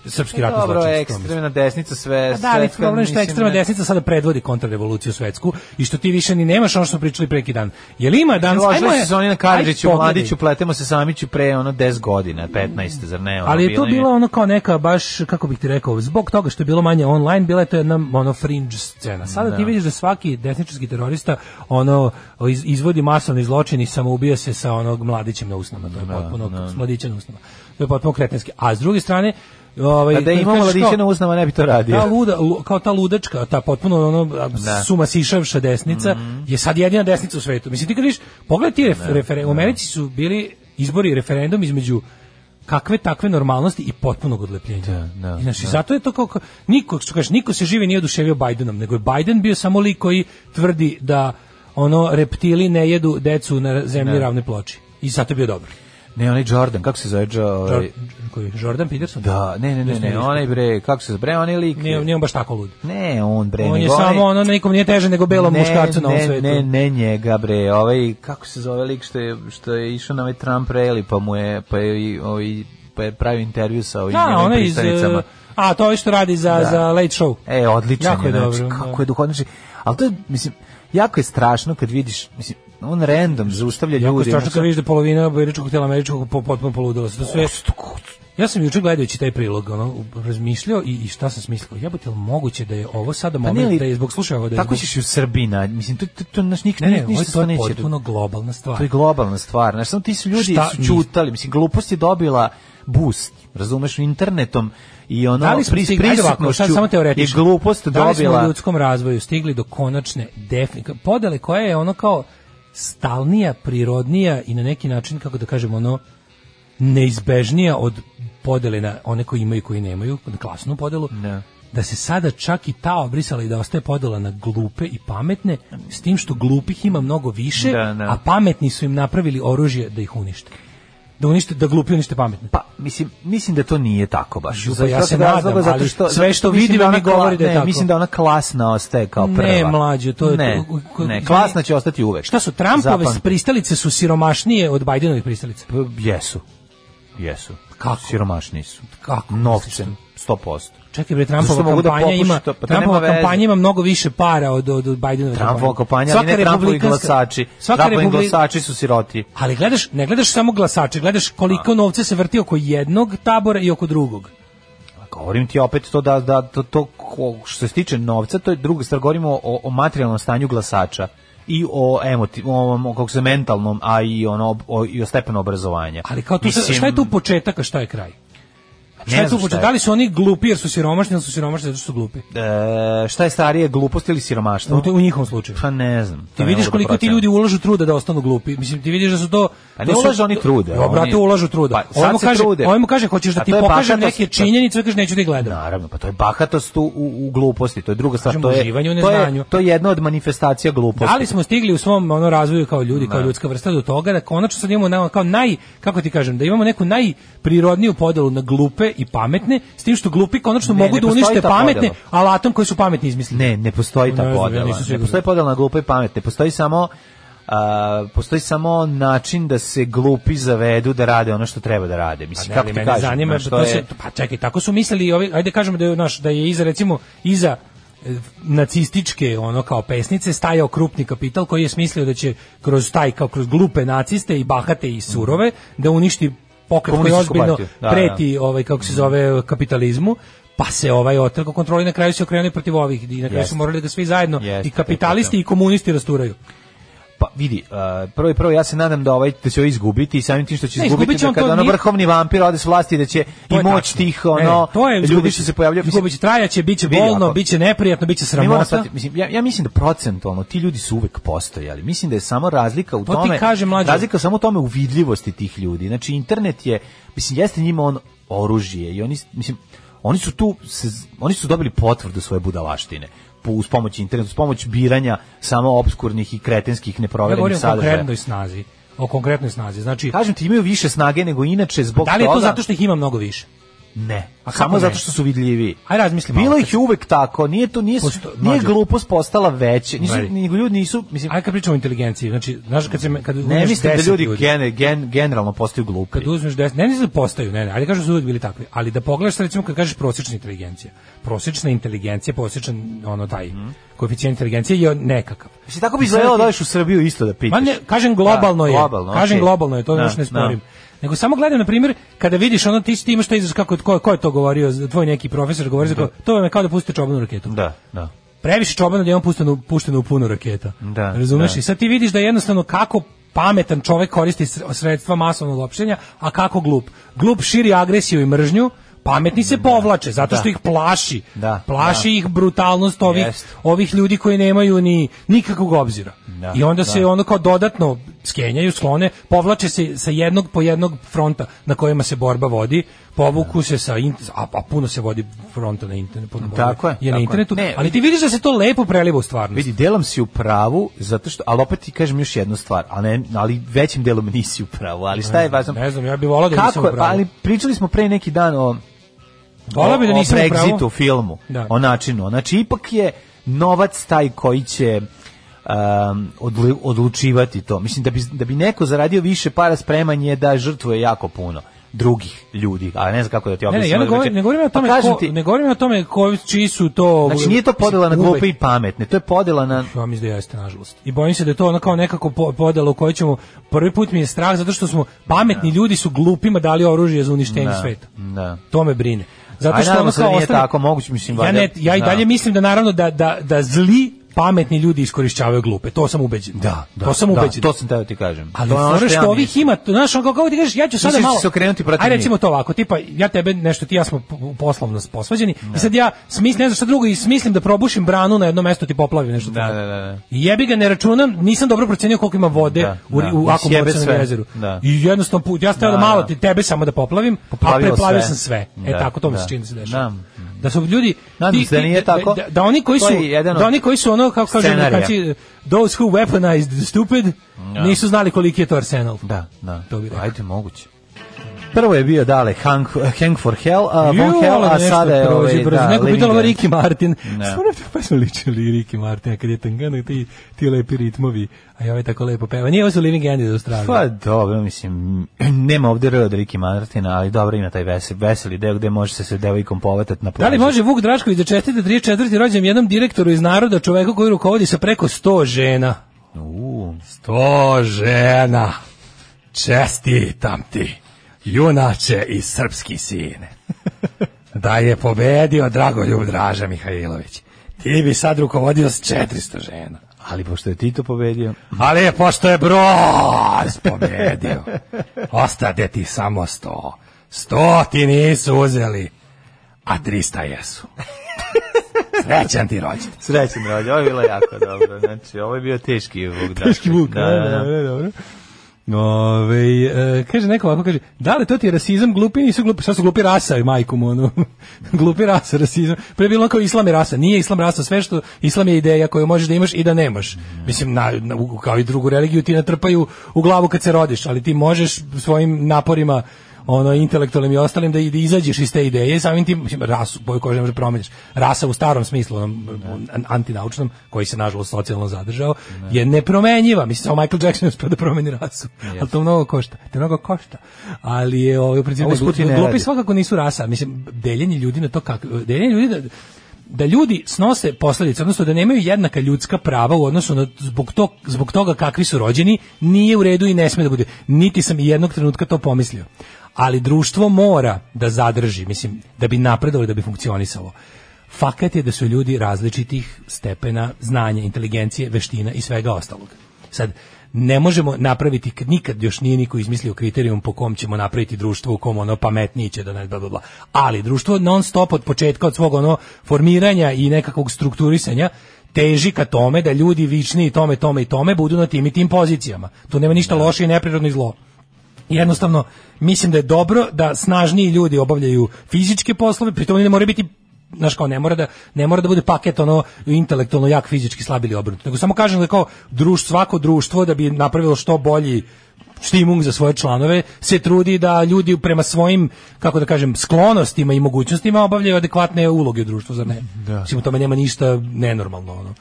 Srpski ratni E, Dobro, zločinci, to mislim. ekstremna desnica sve... Pa da, ali sve- problem je što mislim, ekstremna ne- desnica sada predvodi kontrarevoluciju svetsku i što ti više ni nemaš ono što smo pričali preki dan. Jel ima danas... Ložili ajmo je- se oni na ajde Karadžiću, pogledaj. Mladiću, pletemo se Samiću pre ono 10 godina, 15, zar ne? Ono, Ali je to im bila ono kao neka baš, kako bih ti rekao, zbog toga što je bilo manje online, bila je to jedna ono fringe scena. Sada ti vidiš da svaki desničarski terorista ono iz- izvodi masovni zločin i samoubija se sa onog mladićem na usnama. Da, To je potpuno s mladićem na usnama. To je potpuno kretenski. A s druge strane, ovaj, Pa da kad imamo kažeš kao- Da, Mladića na usnama, ne bi to radio. Ta luda, lu- kao ta ludačka, ta potpuno ono Da. Mhm. suma sišavša desnica je sad jedina desnica u svetu. Mislim ti kad vidiš, pogledaj ti Da, ref, referen- u Americi su bili izbori i referendum između kakve takve normalnosti i potpunog odlepljenja. da, I znači, zato je to kao, kao- niko, što kažeš, niko se živi nije oduševio Bidenom, nego je Biden bio samo lik koji tvrdi da ono reptili ne jedu decu na zemlji ravne ploči. I zato je bio dobar. Ne, onaj Jordan, kako se zove? Jo- Jor- ovaj- koji, Jordan Peterson? Da, ne, ne, ne, ne, onaj bre, kako se zove, bre, onaj lik. Nije, nije on baš tako lud. Ne, on bre, On je nego onaj- samo ono, nikom nije teže nego belom Ne, muškarcu na ovom ne, svetu. Ne, ne njega bre, ovaj kako se zove lik što je što je išao na ovaj Trump rally pa mu je pa je i- ovaj pa je pravio intervju sa ovim Da, njegovim ona iz... pristanicama. e, A, to je što radi za, za late show. Da. E, odlično Jako je, je znači, dobro, kako da. je duhovno, znači, ali to je, mislim, jako je strašno kad vidiš, mislim, on random zaustavlja Jako je ljudi. strašno ono, kad vidiš da polovina biračkog tela američkog po- potpuno poludila. To su sve... Ja sam juče gledajući taj prilog, ono, razmišljao i, i šta sam smislio. Jebote, jel moguće da je ovo sada Pa ne, moment ali da je zbog slušaj ovo da je Tako zbog- ćeš i u Srbiji, na, mislim, to, to, to naš nik, Ne, ne, ovo ništa je se to je neće- potpuno globalna stvar. To je globalna stvar. Znaš, samo ti su ljudi Pa. Šta su mi- čutali. Mislim, glupost je dobila boost. Razumeš, internetom i ono Da li smo pri- stigli, ajde ovako, sad prisutnošću samo je teoretično. glupost Da li smo u dobila. ljudskom razvoju stigli do konačne definicije podele koja je ono kao stalnija, prirodnija i na neki način kako da kažem ono neizbežnija od podele na one koji imaju i koji nemaju, na klasnu podelu. Da. Da se sada čak i ta obrisala i da ostaje podela na glupe i pametne, s tim što glupih ima mnogo više, Da, da. a pametni su im napravili oružje da ih unište. Da unište, da glupi unište pametne. Pa, mislim, mislim da to nije tako baš. Ljubo, Zato pa ja što se razloga, nadam, zato ali sve zato što mislim vidim da ona mi govori da je ne, tako. Mislim da ona klasna ostaje kao Ne, prva. mlađe, to je- Ne, u- u- ne, klasna će ostati uvek. Šta su Trumpove Zapamti. pristalice su siromašnije od Bidenovih pristalica? Pa, Jesu. Jesu. Kako? Siromašniji su. Kako? Novcem. 100%. Čekaj bre, Zašto Trumpova mogu da kampanja popuše ima to? Pa to Trumpova nema veze. kampanja ima mnogo više para od od, od Bidenove Trumpova kampanja, ali Svaka ne Trumpovi republikanska- glasači. Svaka Trumpovi republi- glasači su siroti. Ali gledaš, ne gledaš samo glasače, gledaš koliko novca se vrti oko jednog tabora i oko drugog. Govorim ti opet to da, da to, to ko- što se tiče novca, to je druga stvar, govorimo o, o materijalnom stanju glasača i o emotiv, o, ovom, o kako se mentalnom, a i ono o, i o stepenu obrazovanja. Ali kao tu, Mislim, šta je tu početak, a šta je kraj? Šta ne je tu znam početak? Da li su oni glupi jer su siromašni ili su siromašni zato što su glupi? E, šta je starije, glupost ili siromaštvo? U, te- u njihovom slučaju. Pa ne znam. to Ti ne vidiš mogu da koliko ti procenim. ljudi ulažu truda da ostanu glupi. Mislim, ti vidiš da su to... Pa ne to su- ulažu oni truda, Jo, brate, oni- ulažu truda. Pa, sad ovaj mu se kaže, trude. ovaj mu kaže, hoćeš da A ti to je pokažem bahatost- neke činjenice, ovaj kaže, neću da ih gledam. Naravno, pa to je bahatost u, u, u gluposti, to je druga stvar, Kažem, to je, uživanju u to, je, neznanju. to je jedna od manifestacija gluposti. Da li smo stigli u svom ono razvoju kao ljudi, kao ljudska vrsta do toga da konačno sad imamo nama kao naj kako ti kažem, da imamo neku najprirodniju podelu na glupe i pametne, s tim što glupi konačno Ne, mogu ne da postoji unište ta pametne podela. alatom koji su pametni izmislili. Ne, ne postoji ta Ne znam, ja podela. nisam ne siguran. postoji podela na glupe i pametne. Postoji samo a, postoji samo način da se glupi zavedu da rade ono što treba da rade. Mislim, Ne, kako ali ti mene kažem? zanima, znaš, to se, pa čekaj, tako su mislili i ovi, ajde kažemo da je, naš, da je iza, recimo, iza e, nacističke ono kao pesnice stajao krupni kapital koji je smislio da će kroz taj kao kroz glupe naciste i bahate i surove da uništi pokret koji Komunističku ozbiljno partiju, da, preti ovaj kako se zove kapitalizmu pa se ovaj otrgo kontroli na kraju se okrenuo i protiv ovih i na kraju Jeste. su morali da svi zajedno Jeste, i kapitalisti i komunisti rasturaju. Pa vidi, uh, prvo i prvo ja se nadam da ovaj da će ovo izgubiti i samim tim što će Ne, izgubiti izgubit će da on kada to, ono nije- vrhovni vampir ode s vlasti da će To i je moć tačno. tih Ne, ono to je ljudi što se pojavljaju. mislim, izgubit će trajaće, biće vidi, bolno, ako- biće neprijatno, biće Mi moramo sramota. shvatiti, mislim, ja, ja mislim da procentualno ti ljudi su uvek postojali. Mislim da je samo razlika u To Pa ti tome, kažem, mlađe. razlika samo u tome u vidljivosti tih ljudi. Znači, internet je, mislim, jeste njima on oružje i oni, mislim, oni su tu, se, oni su dobili potvrdu svoje budalaštine po, uz pomoć interneta, uz pomoć biranja samo obskurnih i kretenskih Ja neproverenih govorim o sadržaja. konkretnoj snazi. O konkretnoj snazi. Znači, Kažem ti, imaju više snage nego inače zbog da li je to toga- zato što ih ima mnogo više? Ne. A kako samo ne? zato što su vidljivi. Aj, razmisli malo. Bilo ih je uvek tako, nije to nije Posto- nije mlađe. glupost postala veće. Nisu Mlađe. nego ljudi nisu, mislim Ajde kad pričamo o inteligenciji. Znači, znaš kad se me- kad ne uzmeš mislim da 10 ljudi, gene- gen- generalno postaju glupi. kad uzmeš 10, ne mislim da postaju, ne, ne, ali kažu da su uvijek bili takvi, ali da pogledaš sad, recimo kad kažeš prosječna inteligencija, prosječna inteligencija, prosječan ono taj koeficijent inteligencije je nekakav. Mhm. Mislim tako bi izgledalo da odeš u Srbiju isto da Ma pitaš. ne, kažem globalno Da, je. globalno, kažem okej. globalno je, to Da, još ne da. sporim. Nego samo gledam na primjer kada vidiš ono ti ti imaš taj izraz kako ko, ko je to govorio, tvoj neki profesor govori za kao, to vam je kao da pustite čobanu raketu. Da, da. previše čobana da je on pušteno, pušteno u puno raketa. Da, Razumeš? da. I sad ti vidiš da jednostavno kako pametan čovek koristi sre- sredstva masovnog opštenja, a kako glup. Glup širi agresiju i mržnju, pametni se povlače zato što Da. ih plaši. Da, plaši ih brutalnost ovih, Jest. ovih ljudi koji nemaju ni nikakvog obzira. Da, I onda se da. ono kao dodatno skenjaju, sklone, povlače se sa jednog po jednog fronta na kojima se borba vodi, povuku se sa int- a, a puno se vodi fronta na internetu Tako je, je na tako je. internetu, Ne, ali ti vidiš da se to lepo preliva u stvarnost. Vidi, delom si u pravu, zato što, ali opet ti kažem još jednu stvar, a ne, ali većim delom nisi u pravu, ali šta je važno? Ne znam, ja bih volao da nisam Kako, u je, pa, pravu. ali pričali smo pre neki dan o Volao bih da o- nisam o u pravu. Brexitu filmu, Da. o načinu. Znači, ipak je novac taj koji će um, odlu- odlučivati to. Mislim, da bi, da bi neko zaradio više para spremanje da žrtvuje jako puno. drugih ljudi, a ne znam kako da ti Ne, objasnim. ne, ja ne Znači, govorim, ne govorim o pa tome, kažem ko, ti, ne govorim o tome ko, čiji su to... znači nije to podela na Uvek. glupe i pametne, to je podela na Ja mislim da jeste, nažalost. I bojim se da je to ono kao nekako po- podelo u kojoj ćemo... Prvi put mi je strah zato što smo pametni ljudi su glupima dali oružje za uništenje Da, sveta. da. To me brine. Aj, Zato što nadamo ono se kao da nije ostane- tako, moguće, mislim, ja, valjda- ne, ja i da. dalje mislim da naravno da, da, da zli pametni ljudi iskorišćavaju glupe. To sam ubeđen. to sam da, ubeđen. to sam teo ti kažem. Ali To je ono fora ja što ovih mislim. ima, to, znaš, on kao kako ti kažeš, ja ću sada Misliš da će malo... se okrenuti protiv Ajde, njih? recimo to ovako, tipa, ja tebe nešto, ti i ja smo po- poslovno posvađeni, Da. i sad ja smislim, ne znam šta drugo, i smislim da probušim branu na jedno mesto, ti poplavim nešto. Da, tako. da, da, da. I jebi ga, ne računam, nisam dobro procenio koliko ima vode Da, u, da. u I Akom sjebe Borčanom sve. jezeru. Da. I jednostavno put, ja stavio da, Da, malo da. te- tebe samo da poplavim, Poplavio a preplavio sve. sam sve. E Da, tako, to mi da. se čini da se dešava. Da. Da. su ljudi Nadam se da nije tako. Da, da oni koji To su je jedan da od oni koji su ono kako kažu scenarija. Ja. Amerikanci those who weaponized the stupid nisu znali koliki je to arsenal. Da, da. To bi rekao. Ajde, moguće. Prvo je bio dale Hang, Hang for Hell, a Von Hell, a nešto sada je prođe ovaj, brzo. da, Neko bi Living dalo Dead. Ricky Martin. Ne. <laughs> Stvarno te pesma ličili Ricky Martin, a kad je tangana ti, ti lepi ritmovi, a ja ovaj tako lepo peva. Nije ovo su Living End iz Australije. Pa dobro, mislim, <clears throat> nema ovde R od Riki Martina, ali dobro ima taj veseli, veseli deo gde može se sa devojkom poletati na Da plaži. li može Vuk Drašković da čestite 34. rođendan jednom direktoru iz naroda, čoveku koji rukovodi sa preko 100 žena? U, 100 žena! Čestitam ti, junače i srpski <laughs> sine. Da je pobedio Dragoljub Draža Mihajlović. Ti bi sad rukovodio s 400 žena. ali pošto je Tito pobedio, <laughs> Ali je pošto je broz pobedio, ostade ti samo sto. Sto ti nisu uzeli, a 300 jesu. Srećan ti rođen. srećen rođe, ovo je bilo jako dobro, znači ovo je bio teški vuk. Teški vuk, da, da, da. dobro. Ove, e, kaže neko ovako, kaže, da li to ti je rasizam, glupi nisu glupi, šta su glupi rasa i majkom, ono, <laughs> glupi rasa, rasizam, pre je bilo ono kao islam je rasa, nije islam rasa, sve što, islam je ideja koju možeš da imaš i da nemaš, mislim, na, na- u- kao i drugu religiju ti natrpaju u glavu kad se rodiš, ali ti možeš svojim naporima ono intelektualnim i ostalim da i- da izađeš iz te ideje samim tim mislim, rasu boju kože ne možeš promeniš rasa u starom smislu onom an- antinaučnom koji se nažalost socijalno zadržao je nepromenjiva mislim samo Michael Jackson je uspeo da promeni rasu ali to mnogo košta to mnogo košta ali je ovaj u principu A usput i ne glupi radi. svakako nisu rasa mislim deljenje ljudi na to kako deljenje ljudi da, da ljudi snose posledice, odnosno da nemaju jednaka ljudska prava u odnosu na zbog, to, zbog toga kakvi su rođeni, nije u redu i ne sme da bude. Niti sam i jednog trenutka to pomislio. Ali društvo mora da zadrži, mislim, da bi napredovalo, da bi funkcionisalo. Fakat je da su ljudi različitih stepena znanja, inteligencije, veština i svega ostalog. Sad, ne možemo napraviti, k- nikad još nije niko izmislio kriterijum po kom ćemo napraviti društvo u kom ono pametniji će da ne bla, bla, bla. Ali društvo non stop od početka, od svog ono formiranja i nekakvog strukturisanja teži ka tome da ljudi vični i tome, tome i tome budu na tim i tim pozicijama. Tu nema ništa loše i neprirodno i zlo jednostavno mislim da je dobro da snažniji ljudi obavljaju fizičke poslove, pritom oni ne moraju biti znaš kao ne mora da ne mora da bude paket ono intelektualno jak fizički slab ili obrnuto nego samo kažem da kao druž, svako društvo da bi napravilo što bolji štimung za svoje članove se trudi da ljudi prema svojim kako da kažem sklonostima i mogućnostima obavljaju adekvatne uloge u društvu zar ne da. mislim u tome nema ništa nenormalno ono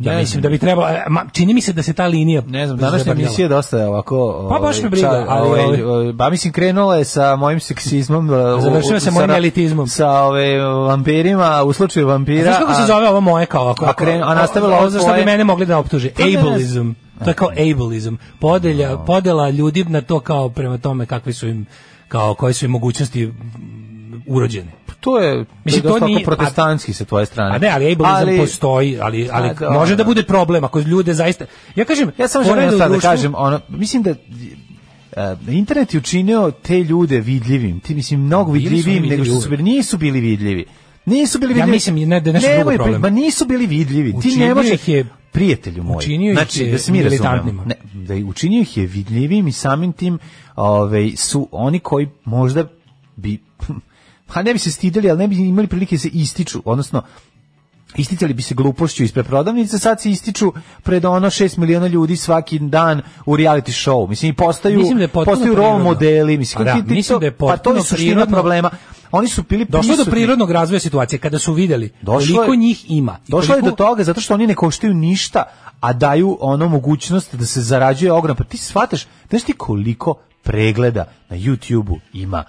ja Ne mislim da bi trebalo e, ma, čini mi se da se ta linija Ne znam, današnja zabrljala. emisija je dosta ovako... Pa baš me briga, ali ovaj, ovaj- ba mislim, krenula je sa mojim <laughs> seksizmom. u- Završila u- se mojim sa- elitizmom. Sa ove, vampirima, u slučaju vampira... Znaš kako se Da, a- zove ovo moje kao ovako? A krenu- a nastavila ovo za što bi tvoje? Pa mene mogli da optuže. ne, ne. Ableism. To je kao ableism. Podelja, podela ljudi na to kao prema tome kakvi su im kao koje su im mogućnosti mm, urođene. To je, Mislim, to je to dosta nije- nije, protestantski sa tvoje strane. A ne, ali ableizam Ali- postoji, ali, ali A, da, može da da. bude problem ako ljude zaista... Ja kažem, Ja samo pored želim u sad da društvu- kažem, ono, mislim da e, internet je učinio te ljude vidljivim. Ti mislim mnogo Bili su oni vidljivim nego što su vidljivi bili, nisu bili vidljivi. Nisu bili Ja vidljivi. mislim, ne, da je nešto drugo Nemoj pri- problem. Ma nisu bili vidljivi. Ti Učinio ne možeš ih je- prijatelju moj. učinio ih znači, je da se mi razumemo. militantnima. Ne, da je učinio ih je vidljivim i samim tim ovaj, su oni koji možda bi <laughs> pa ne bi se stideli, ali ne bi imali prilike da se ističu, odnosno isticali bi se glupošću ispred prodavnice, sad se ističu pred ono 6 miliona ljudi svaki dan u reality show. Mislim, i postaju, Mislim da je potpuno postaju role prirodno. modeli. Mislim, Pa da, kako ti- ti mislim to- da je pa to potpuno je suština prirodno. problema. Oni su bili Došlo je do prisutni. prirodnog razvoja situacije kada su videli Došlo je- koliko njih ima. i Došlo je do koliko- toga zato što oni ne koštaju ništa, a daju ono mogućnost da se zarađuje ogrom. Pa ti shvataš, znaš ti koliko pregleda na YouTubeu ima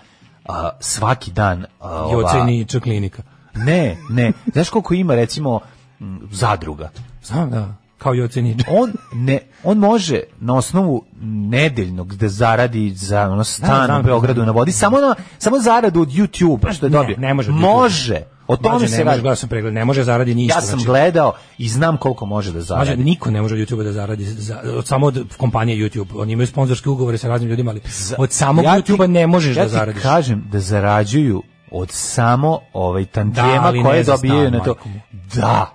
a, svaki dan a, ova- Jocenića klinika. Ne, ne. Znaš koliko ima recimo m, zadruga? Znam, da. Kao Jocenića. On ne, on može na osnovu nedeljnog da zaradi za ono Znam, stan Da, znam. u Beogradu na vodi, samo na samo zaradu od YouTube što je Ne, dobio. ne može od YouTubea. Može. O Mlađe, tome ne se može, radi. gledao sam pregled, ne može zaradi ništa. Ja sam znači, gledao i znam koliko može da Mlađe, zaradi. niko ne može od YouTube-a da zaradi, za, od, samo od kompanije YouTube. Oni imaju sponzorske ugovore sa raznim ljudima, ali od samog Ja ti- YouTube-a ne možeš ja da ti zaradiš. kažem da zarađuju od samo ovaj Da, tantijema ali ne koje za dobijaju stan, na to. majko mu. Da.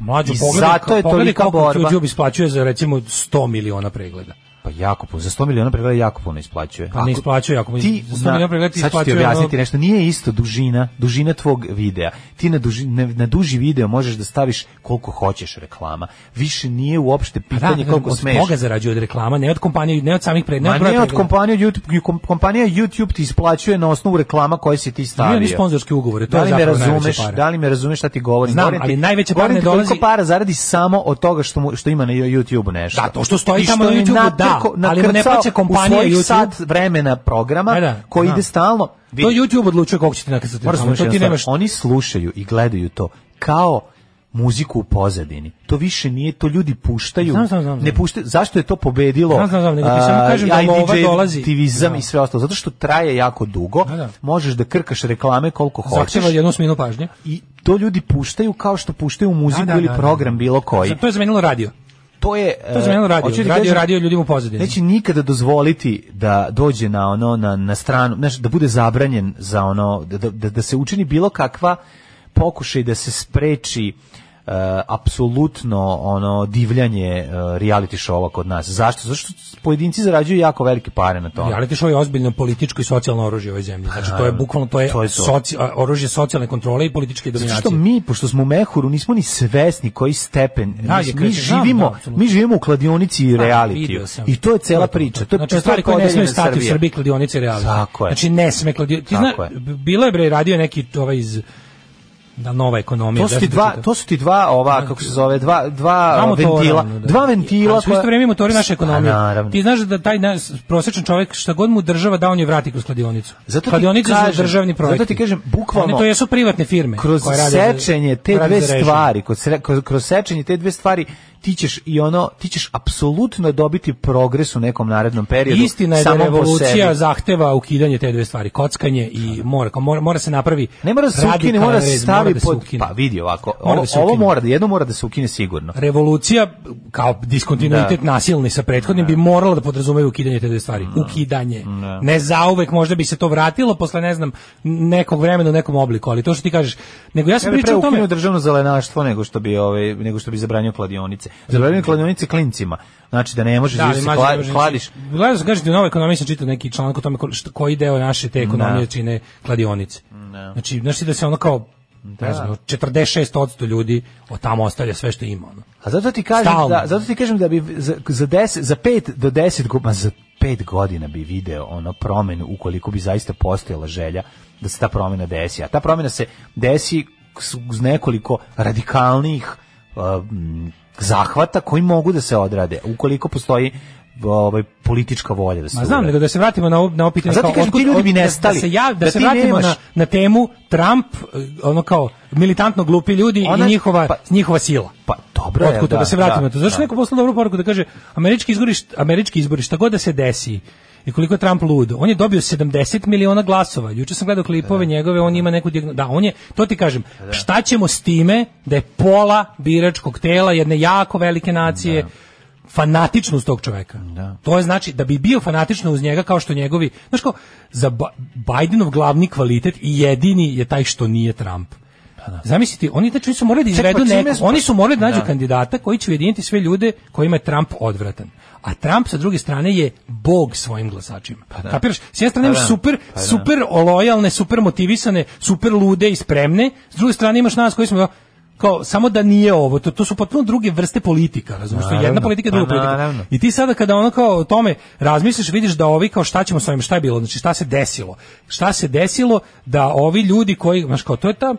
Mlađo, I pogledaj, zato je pogledaj tolika koliko borba. YouTube isplaćuje za recimo 100 miliona pregleda. Pa jako puno, za 100 miliona pregleda jako puno isplaćuje. Pa ne isplaćuje, ako mi- ti, za 100 na- miliona pregleda ti sad ću ti isplaćuje objasniti ono- nešto, nije isto dužina, dužina tvog videa. Ti na, duži, na, na duži video možeš da staviš koliko hoćeš reklama. Više nije uopšte pitanje da, koliko od smeš. toga zarađuje od reklama, ne od kompanije, ne od samih pre, ne Ma od broja ne od pregleda. kompanije YouTube, kom- kompanija YouTube ti isplaćuje na osnovu reklama koje si ti Imaju oni stavio. sponzorske ugovore, to da je li me zapravo najveća razumeš, para. da li me razumeš šta ti govorim? Znam, Govorim ti- ali najveće pare govorim ne ti koliko dolazi- para zaradi samo od toga što mu, što ima na YouTubeu nešto. Da, to što stoji I što tamo na je YouTubeu, natrko- da, ali mu ne nakrcao plaća kompanija u svojih YouTube. sat vremena programa Da, da, koji znam. ide stalno. Vidi, To YouTube odlučuje koliko će ti nakazati. moraš reklama, da to ti znaš nemaš jednostavno, Oni slušaju i gledaju to kao muziku u pozadini. To više nije, to ljudi puštaju. Znam, znam, znam, znam. Ne puštaju, zašto je to pobedilo? Znam, znam, znam, nego ti samo a, kažem da IDJ lova dolazi. Aktivizam Da. i sve ostalo. Zato što traje jako dugo, Da, da. možeš da krkaš reklame koliko hoćeš. zahtjeva jednu sminu pažnje. I to ljudi puštaju kao što puštaju muziku Da, da, ili da, da. program bilo koji. To je zamenilo radio. To je To je zamenilo radio. E, hoću ti radio, kažem, radio ljudima u pozadini. Neće nikada dozvoliti da dođe na ono na, na stranu, znaš, da bude zabranjen za ono da, da, da se učini bilo kakva pokušaj da se spreči e, apsolutno ono divljanje e, reality showa kod nas. Zašto? Zašto pojedinci zarađuju jako velike pare na tome. Reality show je ozbiljno političko i socijalno oružje ove zemlje. Znači to je bukvalno to je, To je to. soci- a, oružje socijalne kontrole i političke Zato dominacije. što mi, pošto smo u mehuru, nismo ni svesni koji stepen. Da, je mi, mi kreće, znam, živimo, da, apsolutno. mi živimo u kladionici i Da, reality. vidio sam. I to je To cela to. priča. To je znači, to je stvari koje ne smiju podeljena stati u Srbija. Srbiji kladionice i reality. Tako je. Znači ne sme kladionice. Ti Tako zna, je. b- bilo je bre radio je neki ovaj iz da nova ekonomija. To su ti zašto dva, čita? to su ti dva ova kako se zove, dva dva da- Dva motora, ventila, ono, da. dva ventila Ali su u isto vrijeme i motori naše ekonomije. Pa, naravno. Ti znaš da taj nas, prosječan čovjek šta god mu država da on je vrati kroz kladionicu. Zato ti kladionice su kažem- državni projekti. zato ti kažem, bukvalno- One to jesu privatne firme kroz koje rade za- sečenje te koje rade dve za režim. stvari, kroz, sre- kroz, kroz sečenje te dve stvari ti ćeš i ono, ti ćeš apsolutno dobiti progres u nekom narednom periodu. Istina je da samo po revolucija sebi. Da. zahteva ukidanje te dve stvari, kockanje i mora, kao mora, mora se napravi. Ne mora da se radikalan ukine, mora da se rez, stavi mora da se pod... ukine. Pa vidi ovako, Mora ovo, da se ovo ukine. mora da, jedno mora da se ukine sigurno. Revolucija kao Da. diskontinuitet nasilni sa prethodnim bi morala da podrazumeva ukidanje te dve stvari. Ukidanje. Ne. zauvek, možda bi se to vratilo posle ne znam nekog vremena u nekom obliku, ali to što ti kažeš. Nego ja sam Ja bih pre pričao o ukinuo tome. državno zelenaštvo nego što bi ovaj nego što bi zabranio kladionice. Zabranio kladionice klincima. Znači da ne možeš da, ali se mlađe, kla- mlađe, kladiš. Gledao sam, kažete, u novoj ekonomiji sam čitao neki članak o tome ko- šta- koji deo naše te ekonomije čine kladionice. Znači, znaš ti da se ono kao, Da. ne znam, 46% ljudi od tamo ostavlja sve što ima. Ono. A zato ti kažem Stalno. da zato ti kažem da bi za za 10 za 5 do 10 godina za 5 godina bi video ono promenu ukoliko bi zaista postojala želja da se ta promena desi. A ta promena se desi s- uz nekoliko radikalnih uh, m, zahvata koji mogu da se odrade ukoliko postoji ovaj politička volja da se Ma znam, uradi. nego da se vratimo na ovo, na ovo pitanje. A zato kao kažem, otkud- ti ljudi bi od- da- nestali, Da se, jav, da da se ti vratimo nemaš. na, na temu Trump, eh, ono kao militantno glupi ljudi Ona- i njihova, pa- njihova sila. Pa dobro je, Otkud to, da, da, se vratimo da, na to. Zašto da. neko poslao dobru poruku da kaže američki izbori, št- američki izbori šta god da se desi i koliko je Trump lud, on je dobio 70 miliona glasova. Juče sam gledao klipove njegove, on ima neku dijagno- Da, on je, to ti kažem, Da. šta ćemo s time da je pola biračkog tela jedne jako velike nacije Da. fanatično uz tog čoveka. To je znači da bi bio fanatično uz njega kao što njegovi, znaš kao, za Ba- Bidenov glavni kvalitet i jedini je taj što nije Trump. Zamisliti, Pa oni znači su morali da Čekaj, izvedu pa čime neko, smo- oni su morali da nađu kandidata koji će ujediniti sve ljude kojima je Trump odvratan. A Trump sa druge strane je bog svojim glasačima. Kapiraš? S jedne strane imaš Pa da. super, super lojalne, super motivisane, super lude i spremne. S druge strane imaš nas koji smo kao samo da nije ovo to, to su potpuno druge vrste politika razumiješ to je jedna Naravno. politika druga Pa, politika naravno. i ti sada kada ono kao o tome razmisliš, vidiš da ovi kao šta ćemo s ovim, šta je bilo, znači šta se desilo. Šta se desilo da ovi ljudi koji, znaš kao, to je ta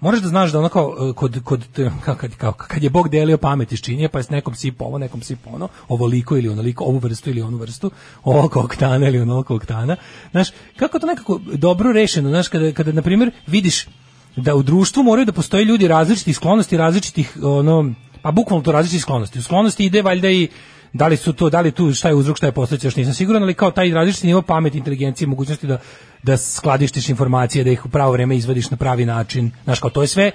moraš da znaš da ono kao e, kod, kod te- ka- kad, kao, kad je Bog delio pamet iz činje, pa je s nekom sipa ovo, nekom sipa ono, ovoliko ili onoliko, ovu vrstu ili onu vrstu, ovog oktana ili onog oktana. Znaš, kako je to nekako dobro rešeno, znaš, kada, kada na primjer, vidiš da u društvu moraju da postoje ljudi različitih sklonosti, različitih, ono, pa bukvalno to različitih sklonosti. U sklonosti ide valjda i da li su to, da li tu šta je uzrok, šta je posledica, još nisam siguran, ali kao taj različiti nivo pameti, inteligencije, mogućnosti da, da skladištiš informacije, da ih u pravo vreme izvadiš na pravi način. Znaš, kao to je sve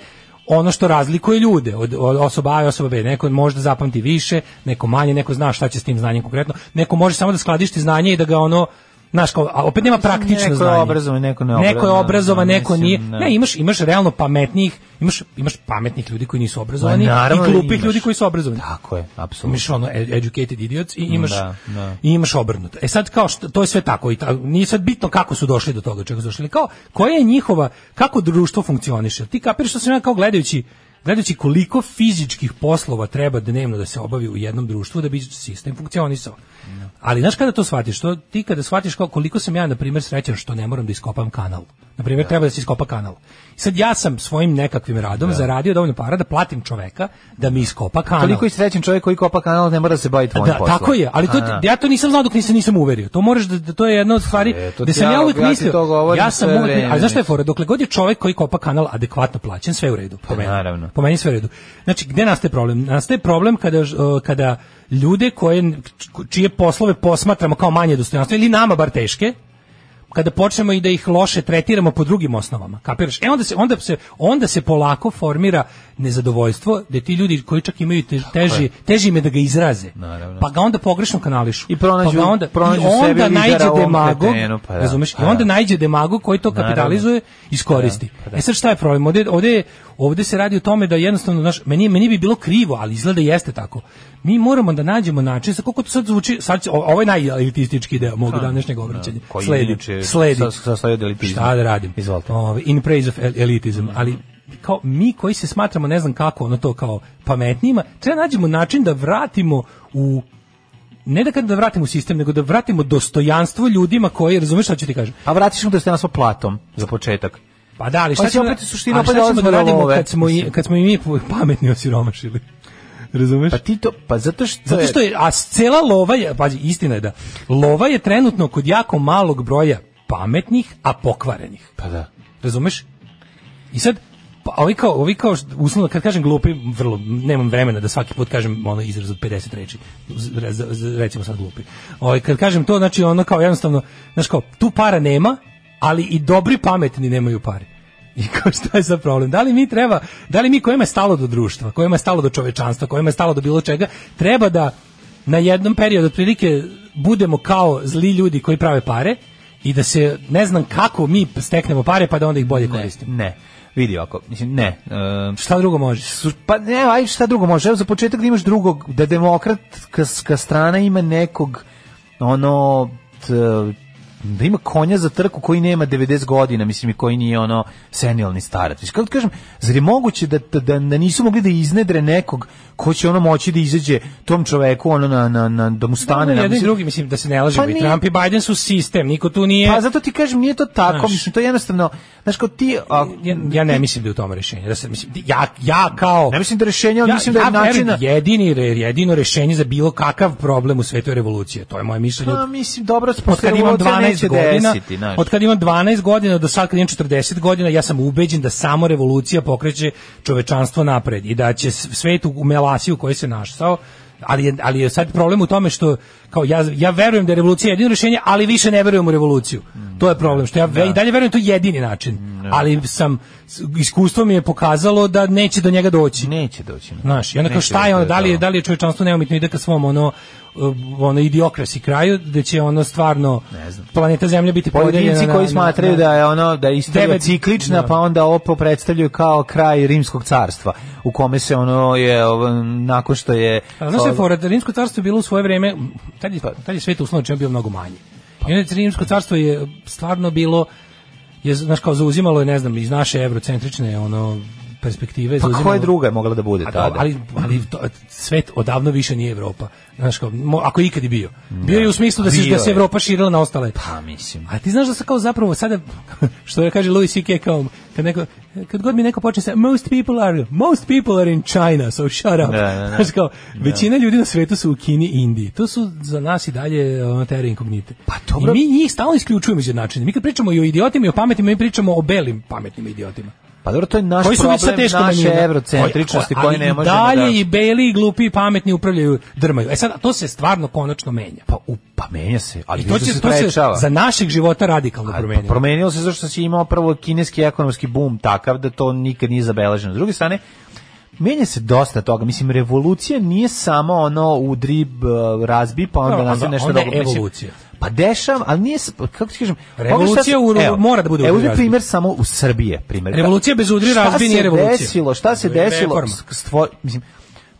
ono što razlikuje ljude od, od osoba A i osoba B. Neko možda zapamti više, neko manje, neko zna šta će s tim znanjem konkretno. Neko može samo da skladišti znanje i da ga ono Znaš, kao, a opet nema praktično Neko je znanje. obrazovan, neko ne Neko je obrazovan, obrazovan, da, neko mislim, nije. da. Ne, imaš imaš realno pametnih, imaš imaš pametnih ljudi koji nisu obrazovani Ma, naravno i da glupih imaš. ljudi koji su obrazovani. Tako je, apsolutno. Imaš ono ed- educated idiots i imaš Da, da. i imaš obrnuto. E sad kao što, to je sve tako i ta, nije sad bitno kako su došli do toga, čega su došli, ali kao koja je njihova kako društvo funkcioniše. Ti kapiraš što sam ja kao gledajući gledajući koliko fizičkih poslova treba dnevno da se obavi u jednom društvu da bi sistem funkcionisao. Ali znaš kada to shvatiš? To, ti kada shvatiš kao koliko sam ja, na primjer, srećan što ne moram da iskopam kanal. Na primjer, treba da se iskopa kanal. I sad ja sam svojim nekakvim radom zaradio dovoljno para da platim čoveka da mi iskopa kanal. Koliko je srećen čovjek koji kopa kanal ne mora da se bavi tvojim Da, poslom. tako je, ali to, A, da. ja to nisam znao dok nisam, nisam uverio. To moraš da, da to je jedna od stvari E, to da ti sam ja- ja uvek ja ti mislio. to govorim ja sam sve uvek, vreme, a znaš šta je mislim. fora? Dokle god je čovjek koji kopa kanal adekvatno plaćen, sve je u redu. Po meni. naravno. Po meni sve u redu. Znači, gde nastaje problem? Nastaje problem kada ž- e, kada ljude koje čije poslove posmatramo kao manje dostojanstva ili nama bar teške, kada počnemo i da ih loše tretiramo po drugim osnovama, kapiraš? E onda se onda se onda se polako formira nezadovoljstvo da ti ljudi koji čak imaju te- teži teži im je da ga izraze. Naravno. Pa ga onda pogrešno kanališu. I pronađu- pa ga onda, pronađu i onda sebi lidera naiđe u ovom demagog, kretenu, pa da, razumeš? pa I onda da. naiđe demagog koji to Naravno. Pa da, kapitalizuje, iskoristi. E sad šta je problem? Ovde, ovde, ovde se radi o tome da jednostavno, znaš, meni, meni bi bilo krivo, ali izgleda jeste tako. Mi moramo da nađemo način, sa koliko to sad zvuči, sad, će- o- ovo je najelitistički deo Pa, mog današnjeg obraćanja. Da, koji inače Znači, sledi, sledi. sa- sastoji od elitizma. Šta da radim? Izvolite. Mm. Ovaj, in praise of el- elitism, ali kao mi koji se smatramo ne znam kako ono to kao pametnijima, treba nađemo način da vratimo u ne da kada da vratimo u sistem, nego da vratimo dostojanstvo ljudima koji, razumeš šta ću ti kažem? A vratiš mu dostojanstvo platom za početak. Pa da, ali Pa šta će ćemo, opet suština ali šta opet da ćemo da odmora radimo love, kad smo, i, mislim. kad smo i mi pametni osiromašili? Razumeš? Pa ti to, pa zato što Zato što je, a cela lova je, pazi, istina je da, lova je trenutno kod jako malog broja pametnih, a pokvarenih. Pa da. Razumeš? I sad, pa, ovi kao, ovi kao, št- uslovno, kad kažem glupi, vrlo, nemam vremena da svaki put kažem ono izraz od 50 reči, Z- re- z- z- recimo sad glupi. Ovaj, kad kažem to, znači ono kao jednostavno, znaš kao, tu para nema, ali i dobri pametni nemaju pare. I kao šta je za problem? Da li mi treba, da li mi kojima je stalo do društva, kojima je stalo do čovečanstva, kojima je stalo do bilo čega, treba da na jednom periodu otprilike budemo kao zli ljudi koji prave pare i da se ne znam kako mi steknemo pare pa da onda ih bolje koristimo. Ne. Vidi ovako, mislim, ne. E, Šta drugo možeš? su, pa ne, aj šta drugo može. Evo za početak da imaš drugog, da demokratska strana ima nekog, ono, t, da ima konja za trku koji nema 90 godina, mislim, i koji nije ono senilni starac. Mislim, kako ti kažem, zar je moguće da, da, da, da nisu mogli da iznedre nekog ko će ono moći da izađe tom čoveku, ono, na, na, na, da mu stane. na, jedan i mislim, drugi, mislim, da se ne lažemo. Pa I nije- Trump i Biden su sistem, niko tu nije... Pa zato ti kažem, nije to tako, E, Znaš. mislim, to je jednostavno, znaš, kao ti... A, ja, ja ne mislim da je u tome rešenje. Da se, mislim, ja, ja kao... Ne mislim da je rešenje, ali ja, mislim da je ja verujem načina- Jedini, re- jedino rešenje za bilo kakav problem u svetu je revolucija. To je moje mišljenje. pa, mislim, dobro, od posle kad imam revolucije 12 neće godina, desiti, znaš. od kad imam 12 godina do sad kad imam 40 godina, ja sam ubeđen da samo revolucija pokreće čovečanstvo napred i da će s- svet u u melasiju u kojoj se našao Ali je, ali je sad problem u tome što kao ja, ja verujem da je revolucija jedino rješenje, ali više ne verujem u revoluciju. To je problem, što ja ve- i dalje verujem da je to jedini način. Ali sam, s- iskustvo mi je pokazalo da neće do njega doći. Neće doći. no. Znaš, i onda kao Neće šta je ono, doći do da li, je- toga. da li je čovječanstvo neumitno ide ka svom ono, uh, ono idiokrasi kraju, da će ono stvarno Ne znam. planeta Zemlja biti Pojedinci podeljena na- koji na- smatraju na- da je ono da je istorija Devet- ciklična, da. pa onda ovo predstavljaju kao kraj rimskog carstva, u kome se ono je ovo, nakon što je Pa A znaš šta je fora, da Rimsko carstvo je bilo u svoje vreme, m, tad je, tad je svet uslovno čemu bio mnogo manje. Pa- I onda Rimsko carstvo je stvarno bilo, je, znaš kao zauzimalo je, ne znam, iz naše evrocentrične ono, perspektive. pa koja zauzimalo- druga je mogla da bude A tada? dobro, ali, ali to, svet odavno više nije Evropa. Znaš, kao, mo- ako je ikad i bio. Bio je u smislu da se, Bio da se je. Evropa širila na ostale. pa mislim. <laughs> A ti znaš da se kao zapravo sada, što je kaže Louis C.K. kao, kad, neko, kad god mi neko počne sa most people are most people are in China, so shut up. Da, da, da. Znaš kao, većina ljudi na svetu su u Kini i Indiji. To su za nas i dalje ono, terra incognite. Pa dobro. I mi njih stalno isključujemo iz jednačine. Mi kad pričamo i o idiotima i o pametnima, mi pričamo o belim pametnim idiotima. Pa dobro, to je naš Koji su mi sad problem, teško naše manjina. evrocentričnosti Koji- koje ali ne i možemo dalje da... i beli i glupi i pametni upravljaju drmaju. E sad, to se stvarno konačno menja. Pa, u, pa menja se, ali I to to će se to se sprečava. za našeg života radikalno A, promenilo. Pa promenilo se zašto si imao prvo kineski ekonomski boom takav da to nikad nije zabeleženo. S druge strane, menja se dosta toga. Mislim, revolucija nije samo ono udri, b- razbi, pa onda Dobro, nas onda- nešto onda je drugo. Mislim, evolucija. Pa dešavam, ali nije, s- pa kako ti kažem... Revolucija u- mora da bude udri, Evo uzmi razbi. primjer samo u Srbije. Primjer. Revolucija bez udri, Šta razbi se nije revolucija. Desilo, Pa šta se To je desilo? reforma. Stvo, mislim,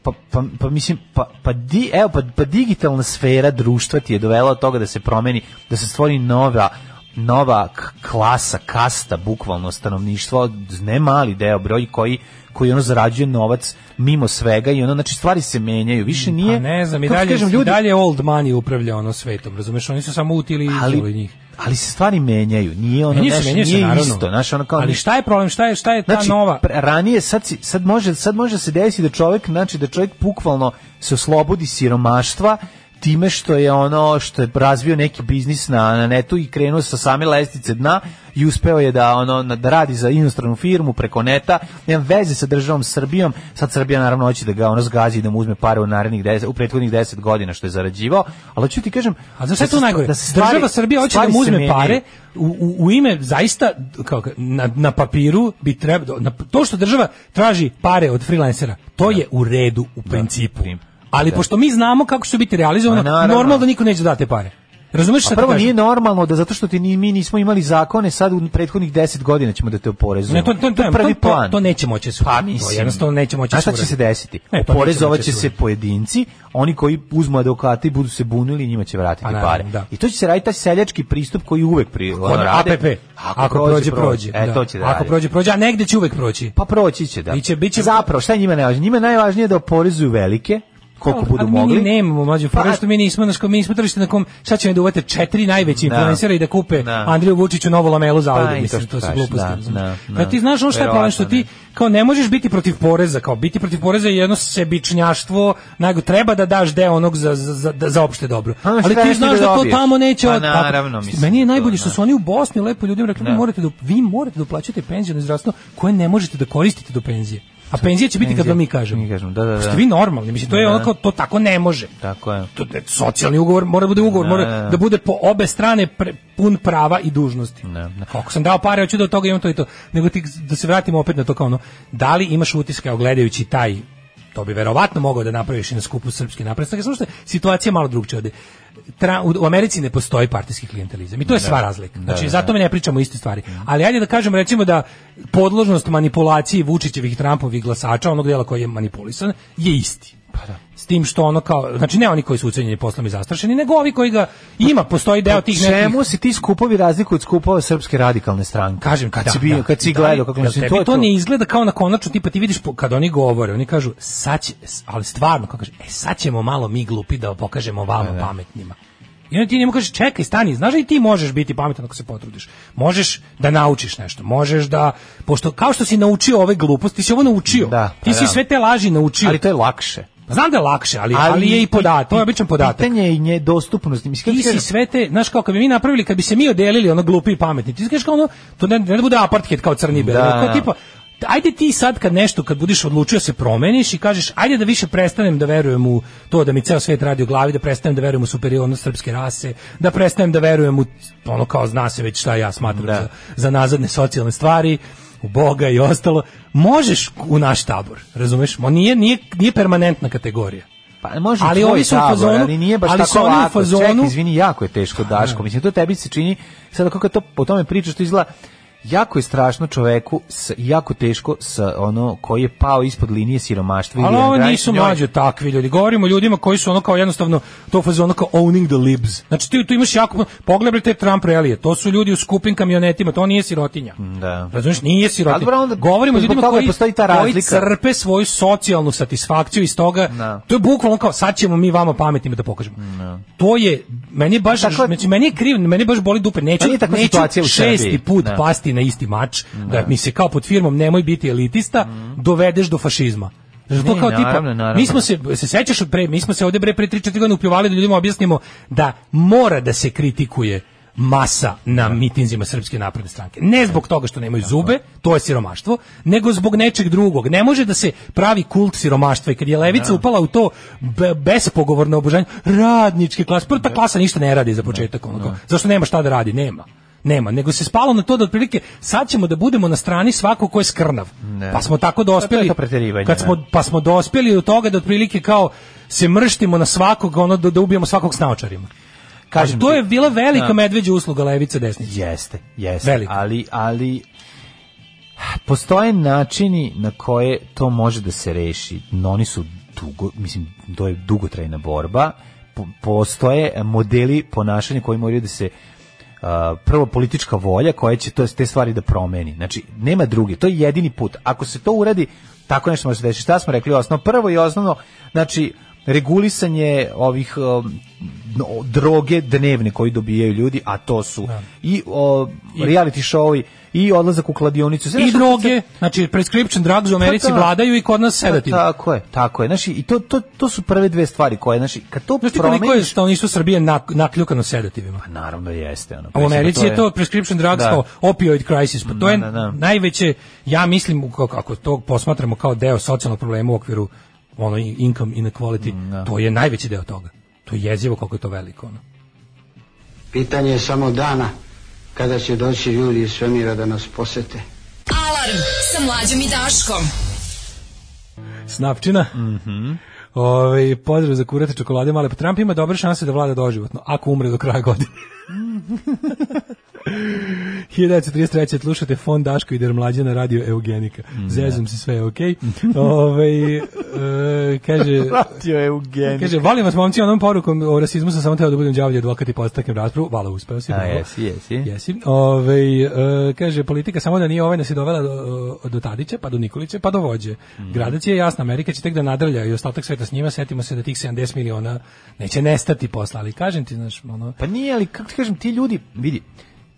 pa, pa, pa mislim pa, pa, di, evo, pa, pa digitalna sfera društva ti je dovela od toga da se promeni da se stvori nova nova k- klasa, kasta, bukvalno stanovništvo, ne mali deo broj koji koji ono zarađuje novac mimo svega i ono znači stvari se menjaju, više nije Pa ne znam, i kako ti dalje, kažem, i dalje old money upravlja ono svetom, razumeš? Oni su samo utili ali, ali, njih. ali se stvari menjaju, nije ono Menjaju se, nešto, menjaju se, nije naravno. isto, znaš, ono kao ali šta je problem, šta je, šta je ta znači, nova... pre- ranije sad, si- sad može sad može se desiti da čovjek znači da čovjek bukvalno se oslobodi siromaštva time što je ono što je razvio neki biznis na, na netu i krenuo sa same lestice dna i uspeo je da ono na- da radi za inostranu firmu preko neta nema veze sa državom Srbijom sad Srbija naravno hoće da ga ono zgazi i da mu uzme pare u narednih 10 u prethodnih 10 godina što je zarađivao ali hoću ti kažem A za sve da se to st- najgore? da se stvari- Država Srbija hoće da stvari mu se uzme menjaju. pare u, u, u ime zaista kao, ka- na, na papiru bi trebalo na, to što država traži pare od freelancera, to Da. je u redu u principu. prim- Ali da. pošto mi znamo kako će to biti realizovano, Ma, naravno. normalno da niko neće dati pare. Razumeš šta ti A prvo kažem? nije normalno da zato što ti ni, mi nismo imali zakone, sad u prethodnih 10 godina ćemo da te oporezujemo. Ne, to, to, to, je to, prvi to, plan. to neće moći da se Pa uradi. To mislim. jednostavno neće moći A da šta se će se uradi. desiti? Ne, pa Oporezovat neće će moći da se uradi. pojedinci, oni koji uzmu advokate i budu se bunili, njima će vratiti Pa naravno, pare. da. I to će se raditi taj seljački pristup koji uvek pri ono, Kod rade. APP. Ako, prođe, prođe. E, da. to će da Ako rade. prođe, prođe, a negde će uvek proći. Pa proći će, da. Biće- biće- Zapravo, šta je njima najvažnije? Njima je najvažnije da oporezuju velike, koliko Ali- budu ali mogli. Mi ni nemamo mlađu Pa- pa, što mi nismo, znaš, kao mi nismo tržište na kom sad će me da uvate četiri najveći influencera i da kupe Da. Andriju Vučiću novu lamelu za Pa, Audi, i to mislim, što to su kažeš, gluposti. da, razumeš? da, da. Pa ti znaš ono šta je problem, što ti kao ne možeš biti protiv poreza, kao biti protiv poreza je jedno sebičnjaštvo, nego treba da daš deo onog za, za, za, za opšte dobro. Pa, ono što Ali ti trebaš ti znaš da da to dobiješ. tamo neće... Pa, od- tako. naravno, mislim, Meni je to, najbolje da. što su oni u Bosni lepo ljudima rekli, vi Da. morate da, vi morate da uplaćate penzijono zdravstvo koje ne možete da koristite do penzije. A penzija će biti kad Penzija, vam mi kažemo. mi kažemo, da, da, Pa ste da. vi normalni, mislim, to je onako, to tako ne može. Tako je. To je socijalni ugovor, mora da bude ugovor, Da, da, mora da. da bude po obe strane pre- pun prava i dužnosti. Da, da. Ako sam dao pare, hoću da od toga imam to i to. Nego ti, da se vratimo opet na to kao ono, da li imaš utiske, evo, gledajući taj, to bi verovatno mogao da napraviš i na skupu srpske napredstake, samo što je situacija malo drugčija ovde. Tra- u, u Americi ne postoji partijski klijentelizam i to je sva razlika. Znači, zato mi ne pričamo iste stvari. Ali ajde da kažem, recimo da podložnost manipulaciji Vučićevih i Trumpovih glasača, onog dela koji je manipulisan, je isti. S tim što ono kao, znači ne oni koji su ucenjeni poslom i zastrašeni, nego ovi koji ga ima, postoji deo tih nekih Pa Čemu se ti skupovi razlikuju od skupova srpske radikalne stranke? Kažem ti, kad da, si bio, da. kad si Da, gledao kako jel mislim, tebi to je to, to. ne izgleda kao na konačno tipa ti vidiš po- kad oni govore, oni kažu sad će, s- ali stvarno kako kaže, e sad ćemo malo mi glupi da pokažemo vama pametnima. I onda ti njemu kažeš, čekaj, stani, znaš da i ti možeš biti pametan ako se potrudiš. Možeš da naučiš nešto, možeš da, pošto kao što si naučio ove gluposti, ti si ovo naučio. Da, pa ti si da. sve te laži naučio. Ali to je lakše. Znam da je lakše, ali, ali, je i podatak, to je običan podatak. Pitanje je i nje dostupnosti. Ti Mislim, kako ti si kažem, sve te, znaš kako bi mi napravili, kad bi se mi odelili ono glupi i pametni, ti kažeš kao ono, to ne, ne da bude apartheid kao crni bel, Da, kao da. tipa, ajde ti sad kad nešto, kad budiš odlučio da se promeniš i kažeš, ajde da više prestanem da verujem u to da mi ceo svet radi u glavi, da prestanem da verujem u superiornost srpske rase, da prestanem da verujem u ono kao zna se već šta ja smatram Da. za, za nazadne socijalne stvari, u Boga i ostalo, možeš u naš tabor, razumeš? On nije, nije, nije permanentna kategorija. pa može ali ali ovi ovi su u fazonu- ali nije baš ali su tako oni u lako. fazonu- Da. Čekaj, izvini, jako je teško Daško. Mislim to tebi se čini sad kako to po tome pričaš to izgleda jako je strašno čoveku, s, jako teško sa ono koji je pao ispod linije siromaštva Ali ili na ovo granici nisu da, njoj. mlađe takvi ljudi. Govorimo o ljudima koji su ono kao jednostavno to fazon ono kao owning the libs. Znači ti tu imaš jako pogledaj te Trump relije. To su ljudi u skupim kamionetima, to nije sirotinja. Da. Razumeš, nije Ali sirotinja. dobro, onda Govorimo o zbog ljudima toga koji postoji ta koji razlika. crpe svoju socijalnu satisfakciju iz toga. Da. To je bukvalno kao sad ćemo mi vama pametnima da pokažemo. To je meni je baš Tako je- znači meni je kriv, meni baš boli dupe. Neću Pa nije takva situacija neću u šesti Srbiji. put Da. pasti strasti na isti mač, da mi se kao pod firmom nemoj biti elitista, dovedeš do fašizma. Znaš, to Mhm. Ne, kao tipa, naravno, naravno. mi smo se, se sećaš od pre, mi smo se ovde bre pre 3-4 godine upljuvali da ljudima objasnimo da mora da se kritikuje masa Da. na mitinzima Srpske napredne stranke. Ne zbog toga što nemaju zube, to je siromaštvo, nego zbog nečeg drugog. Ne može da se pravi kult siromaštva i kad je Da. Levica upala u to be- bespogovorno obožanje radničke klase, Da. prva ta klasa ništa ne radi za početak. ono kao, Zašto nema šta da radi? Nema. Nema, nego se spalo na to da otprilike sad ćemo da budemo na strani svako ko je skrnav. Pa smo tako dospeli. to preterivanje, kad smo da. pa smo dospeli do toga da otprilike kao se mrštimo na svakog, ono da, da ubijamo svakog s naočarima. Kažem A to ti- je bila velika Da. medveđa usluga levice desnice. Jeste, jeste. Velika. Ali, ali postoje načini na koje to može da se reši. No, oni su dugo, mislim, to je dugotrajna borba. Po- Postoje modeli ponašanja koji moraju da se a, prvo politička volja koja će to, te stvari da promeni. Znači, nema druge. To je jedini put. Ako se to uradi, tako nešto može se desiti. Šta smo rekli osnovno? Prvo i osnovno, znači, regulisanje ovih um, no, droge dnevne koji dobijaju ljudi, a to su i o, reality showovi i odlazak u kladionicu. Sve I nešto- droge, znači prescription drugs u Americi Pa da. vladaju i kod nas sedativ. Pa tako je, tako je. Znači, i to, to, to su prve dve stvari koje, znači, kad to Znaš ti koliko je promeniš... Pa, stanovništvo Srbije nak, nakljukano sedativima? Naravno da jeste. Ono, A u Americi je to prescription preskripcija drugs Da. kao opioid crisis. Pa to je Da, da, da. najveće, ja mislim, u- kako- ako to posmatramo kao deo socijalnog problema u okviru ono, in- income inequality, Mm, da. to je najveći deo toga. To je jezivo koliko je to veliko. Ono. Pitanje je samo dana kada će doći ljudi iz svemira da nas posete. Alarm sa mlađom i Daškom. Snapčina. Mhm. Ovaj, pozdrav za kurate čokolade male. Pa Trump ima dobre šanse da vlada doživotno, ako umre do kraja <laughs> godine. 1933. slušate Fon Daško i Der Mlađe na radio Eugenika. Mm, da. Zezam se, sve je okej. Ovaj, e, <laughs> kaže... Pratio je Eugenij. Kaže, volim vas momci, onom porukom o rasizmu sam samo teo da budem đavolji advokat i podstaknem raspravu. Vala, uspeo si. A, bravo. Da, jesi, jesi. Jesi. Ovaj, e, kaže, politika samo da nije ovaj nas je dovela do, do Tadića, pa do Nikolića, pa do vođe. Mhm. Gradac je jasna, Amerika će tek da nadrlja i ostatak sveta s njima, setimo se da tih 70 miliona neće nestati posla, ali kažem ti, znaš, ono... Pa nije, ali kako ti kažem, ti ljudi, vidi,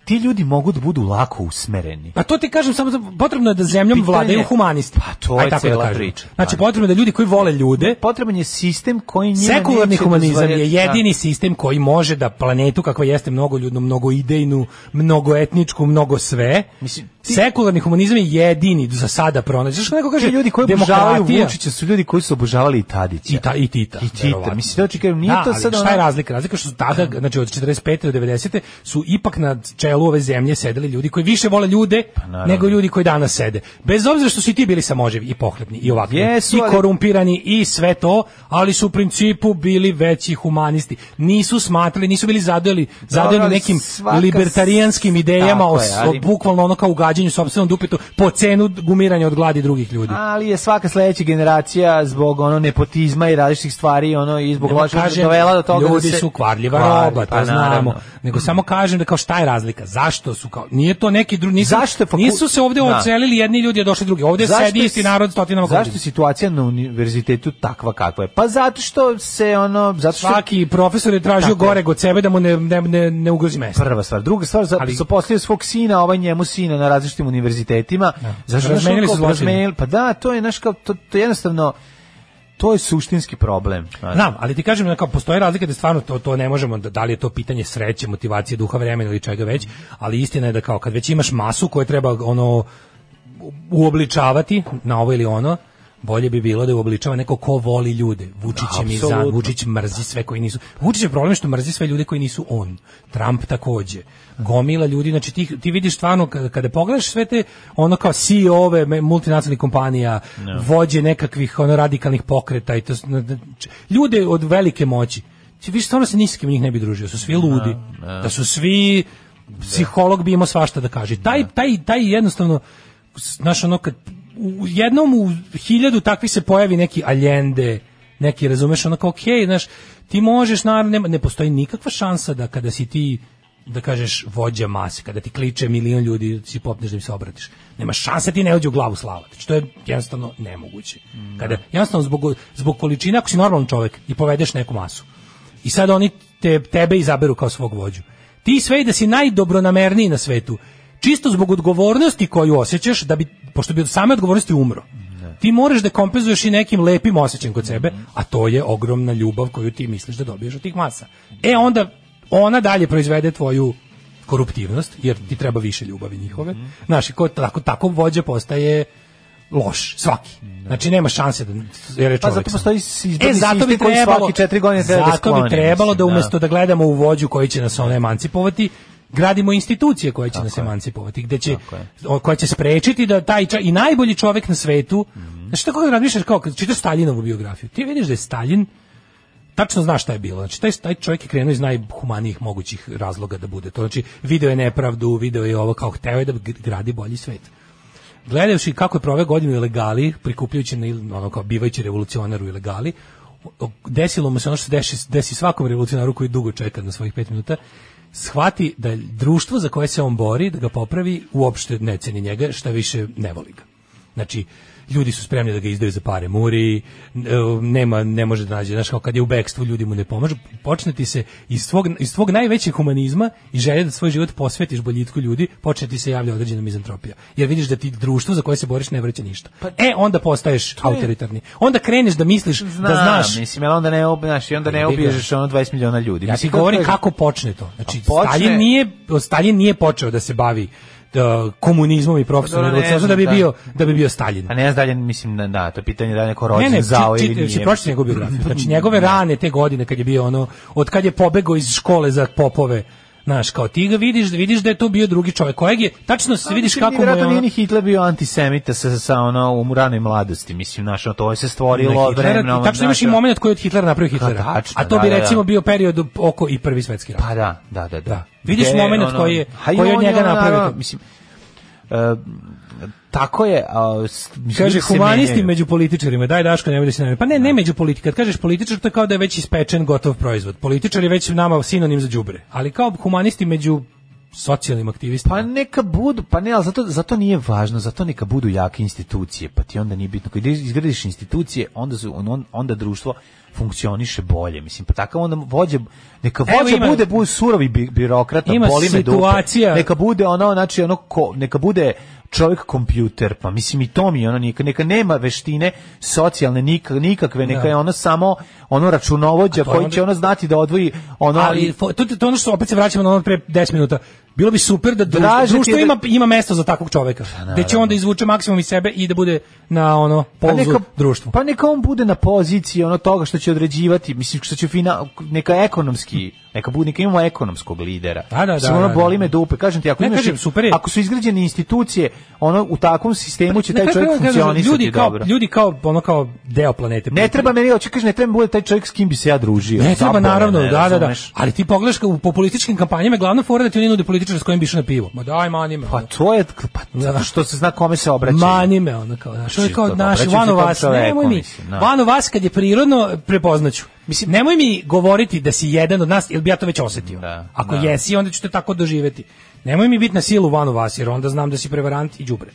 ti ljudi mogu da budu lako usmereni. Pa to ti kažem samo za- potrebno je da zemljom Pitanje- vladaju humanisti. Pa to Aj, je tako cela kažem. priča. Znači Pa. potrebno je da ljudi koji vole ljude Potreban je sistem koji njima Sekularni neće humanizam je dozvoljati- da. jedini sistem koji može da planetu kakva jeste mnogoljudnu, mnogoidejnu, mnogoetničku, mnogo sve. Mislim, ti- Sekularni humanizam je jedini za sada pronaći. Znaš kako neko Ti kaže ljudi koji obožavaju demokratija- Vučića su ljudi koji su obožavali i Tadića. i ta i Tita. I Tita. verovatno. Mislim, to očekujem, nije da, to ali sad šta ono- je razlika? Razlika je što su tada, znači od 45. do 90. su ipak na čelu ove zemlje sedeli ljudi koji više vole ljude Pa naravno. nego ljudi koji danas sede. Bez obzira što su i ti bili samoživi i pohlepni i ovakvi Jesu, i ali- korumpirani i sve to, ali su u principu bili veći humanisti. Nisu smatrali, nisu bili zadojeli, zadojeli ali nekim svaka- libertarijanskim idejama Tako o, je, ali- o bukvalno ono kao ugađanju sopstvenom dupetu po cenu gumiranja od gladi drugih ljudi. Ali je svaka sledeća generacija zbog ono nepotizma i različitih stvari ono i zbog Nego lošeg kažem, dovela do toga ljudi da se su kvarljiva Kvarljiva, roba, to pa znamo. naravno. Nego samo kažem da kao šta je razlika? Zašto su kao nije to neki drugi nisu, Zašto je faku- nisu se ovde Da. ocelili jedni ljudi, a došli drugi. Ovde Zašto sedi je- isti narod stotinama Zašto godina. je situacija na univerzitetu takva kakva je? Pa zato što se ono zato što Svaki profesor je tražio Tako je. gore od sebe da mu ne ne ne, ne ugrozi mesto. prva stvar. Druga stvar, za, Ali- ali, zaposlio svog sina, ovaj njemu sina na različitim univerzitetima. Da. Zašto Razmenili znaš, su ono, zločine. razmenili- Pa da, to je, znaš, kao, to, to je jednostavno, to je suštinski problem. znaš. Znam, ali ti kažem da kao postoje razlike da stvarno to to ne možemo da, da li je to pitanje sreće, motivacije, duha vremena ili čega već, ali istina je da kao kad već imaš masu koju treba ono uobličavati na ovo ili ono, bolje bi bilo da je uobličava neko ko voli ljude. Vučić je mi za, Apsolutno. Vučić mrzi sve koji nisu. Vučić je problem što mrzi sve ljude koji nisu on. Trump takođe. Gomila ljudi, znači ti, ti vidiš stvarno kada, kada pogledaš sve te ono kao CEO ove me- multinacionalnih kompanija, vođe nekakvih ono radikalnih pokreta i to s- na- na- č- ljude od velike moći. Ti vidiš stvarno se ni s kim od njih ne bi družio, su svi ludi. Da su svi psiholog bi imao svašta da kaže. Taj taj taj jednostavno znaš ono kad u jednom u hiljadu takvih se pojavi neki Allende, neki razumeš ono kao okej, znaš, ti možeš naravno nema, ne postoji nikakva šansa da kada si ti da kažeš vođa mase, kada ti kliče milion ljudi, si popneš da im se obratiš. Nema šanse da ti ne uđe u glavu slava. Znači, to je jednostavno nemoguće. Kada, jednostavno, zbog, zbog količine, ako si normalan čovek i povedeš neku masu, i sad oni te, tebe izaberu kao svog vođu. Ti sve i da si najdobronamerniji na svetu, čisto zbog odgovornosti koju osjećaš, da bi, pošto bi od same odgovornosti umro. Ti moraš da kompenzuješ i nekim lepim osjećajem kod sebe, a to je ogromna ljubav koju ti misliš da dobiješ od tih masa. E onda ona dalje proizvede tvoju koruptivnost, jer ti treba više ljubavi njihove. Mhm. Znaš, i ko tako, tako vođa postaje loš, svaki. Znači, nema šanse da jer je Pa čovjek zato sam. postoji izborni E, zato bi sistem koji trebalo, svaki četiri godine treba da zato bi skloni, trebalo da mislim, da. umesto da gledamo u vođu koji će nas ono emancipovati, gradimo institucije koje će nas emancipovati, gde će, je. o- koja će sprečiti da taj ča- i najbolji čovjek na svetu, Mhm. znači tako kad razmišljaš kao kad čitaš Staljinovu biografiju, ti vidiš da je Staljin tačno znaš šta je bilo. Znači, taj, taj čovjek je krenuo iz najhumanijih mogućih razloga da bude to. Znači, video je nepravdu, video je ovo kao hteo je da g- gradi bolji svet. Gledajući kako je prove godine u ilegali, prikupljujući na il- ono kao bivajući revolucionar u ilegali, o- o- desilo mu se ono što se desi, desi svakom revolucionaru koji dugo čeka na svojih pet minuta, shvati da društvo za koje se on bori, da ga popravi, uopšte ne ceni njega, šta više ne voli ga. Znači, ljudi su spremni da ga izdaju za pare muri, n- e, nema, ne može da nađe, znaš, kao kad je u bekstvu, ljudi mu ne pomažu, počne ti se iz tvog, iz tvog najvećeg humanizma i želje da svoj život posvetiš boljitku ljudi, počne ti se javlja određena mizantropija. Jer vidiš da ti društvo za koje se boriš ne vraća ništa. Pa e, onda postaješ autoritarni. Onda kreneš da misliš, da znaš, Mislim, ali onda ne, ob, znaš, i onda ne Vidi ga. obježeš ono 20 miliona ljudi. ja ti mislim, govorim je- kako počne to. Znači, A počne- Stalin, nije, Stalin nije počeo da se bavi e, komunizmom i Pa profesionalnim dobro, ne da bi znam, da. bio da bi bio Stalin. A ne znam dalje, mislim, da, da to je pitanje da li je neko rođen Ne, ne, zao či- ili či- nije. Da. či- pročite njegovu biografiju. Znači, njegove rane te godine kad je bio ono, od kad je pobegao iz škole za popove, znaš, kao ti ga vidiš, vidiš da je to bio drugi čovjek, kojeg je, tačno se vidiš Mislim, kako mu je vjerojatno nije ono, ni Hitler bio antisemita sa, sa ono u ranoj mladosti, mislim, znaš, ono, to je se stvorilo na Hitlera, vremenom. tačno imaš i znaš, moment koji je od Hitlera napravio Hitlera. Pa, tačno, a to da, bi da, da. recimo bio period oko i prvi svetski rat. Pa da, da, da, da. Da. Vidiš Gde, momenat koji je- a i koji je od on njega ono, napravio naravno, to. Mislim, e, tako je, a, s- mislim, Kaže ljudi se humanisti menjaju. među političarima, daj Daško, nemoj da se najavi. Pa ne, ne među politika. Kad kažeš političar, to je kao da je već ispečen gotov proizvod. Političar je već nama sinonim za đubre. Ali kao humanisti među socijalnim aktivistima. Pa neka budu, pa ne, ali zato, zato nije važno, zato neka budu jake institucije, pa ti onda nije bitno. Kada izgradiš institucije, onda, su, on- on, onda društvo funkcioniše bolje, mislim, pa takav onda vođe, neka Evo vođe ima- bude, bude surovi bi, birokrata, Ima boli me dupe. situacija- neka bude ono, znači, ono, ko, neka bude čovjek kompjuter, pa mislim i to mi je ono, neka, neka nema veštine socijalne nika- nikakve, neka Da. je ono samo ono računovođa A to je koji onda- će ono znati da odvoji ono ali fo- to, to je ono što opet se vraćamo na ono od pre 10 minuta. Bilo bi super da društvo, Draže ti je društvo da- Pa ima ima mesto za takvog čoveka. Da će onda izvuče maksimum iz sebe i da bude na ono polzu društvu. Pa neka on bude na poziciji ono toga što će određivati, mislim što će fina, neka ekonomski, neka bude neka imamo ekonomskog lidera. Da, da, da, Mislim, ono, da, da. boli me dupe, kažem ti, ako Ne, imaš kažem, super je. ako su izgrađene institucije, ono u takvom sistemu će Na taj kraju čovjek krajeva, kažem, funkcionisati ljudi kao, dobro. Ljudi kao ono kao deo planete. Ne treba meni, hoću kažem, ne treba mi bude taj čovjek s kim bi se ja družio. Ne treba Zabole me, naravno, da, da, da. razumeš? Ali ti pogledaš ka- u populističkim kampanjama je glavna fora da ti oni nude političara s kojim bi išao na pivo. Ma daj mani me. Pa ono. to je pa, Da. što se zna kome se obraća. mani me ono kao, znaš, ono je Čisto, kao da, naš, obraćam se vano tom vas, čoveku, nemoj mi, mislim, da. vano vas kad je prirodno prepoznaću. Mislim- Mislim, nemoj mi govoriti da si jedan od nas, jer bi ja to već osetio. Da, Ako da. jesi, onda ću te tako doživeti. Nemoj mi biti na silu vano vas, jer onda znam da si prevarant i đubre.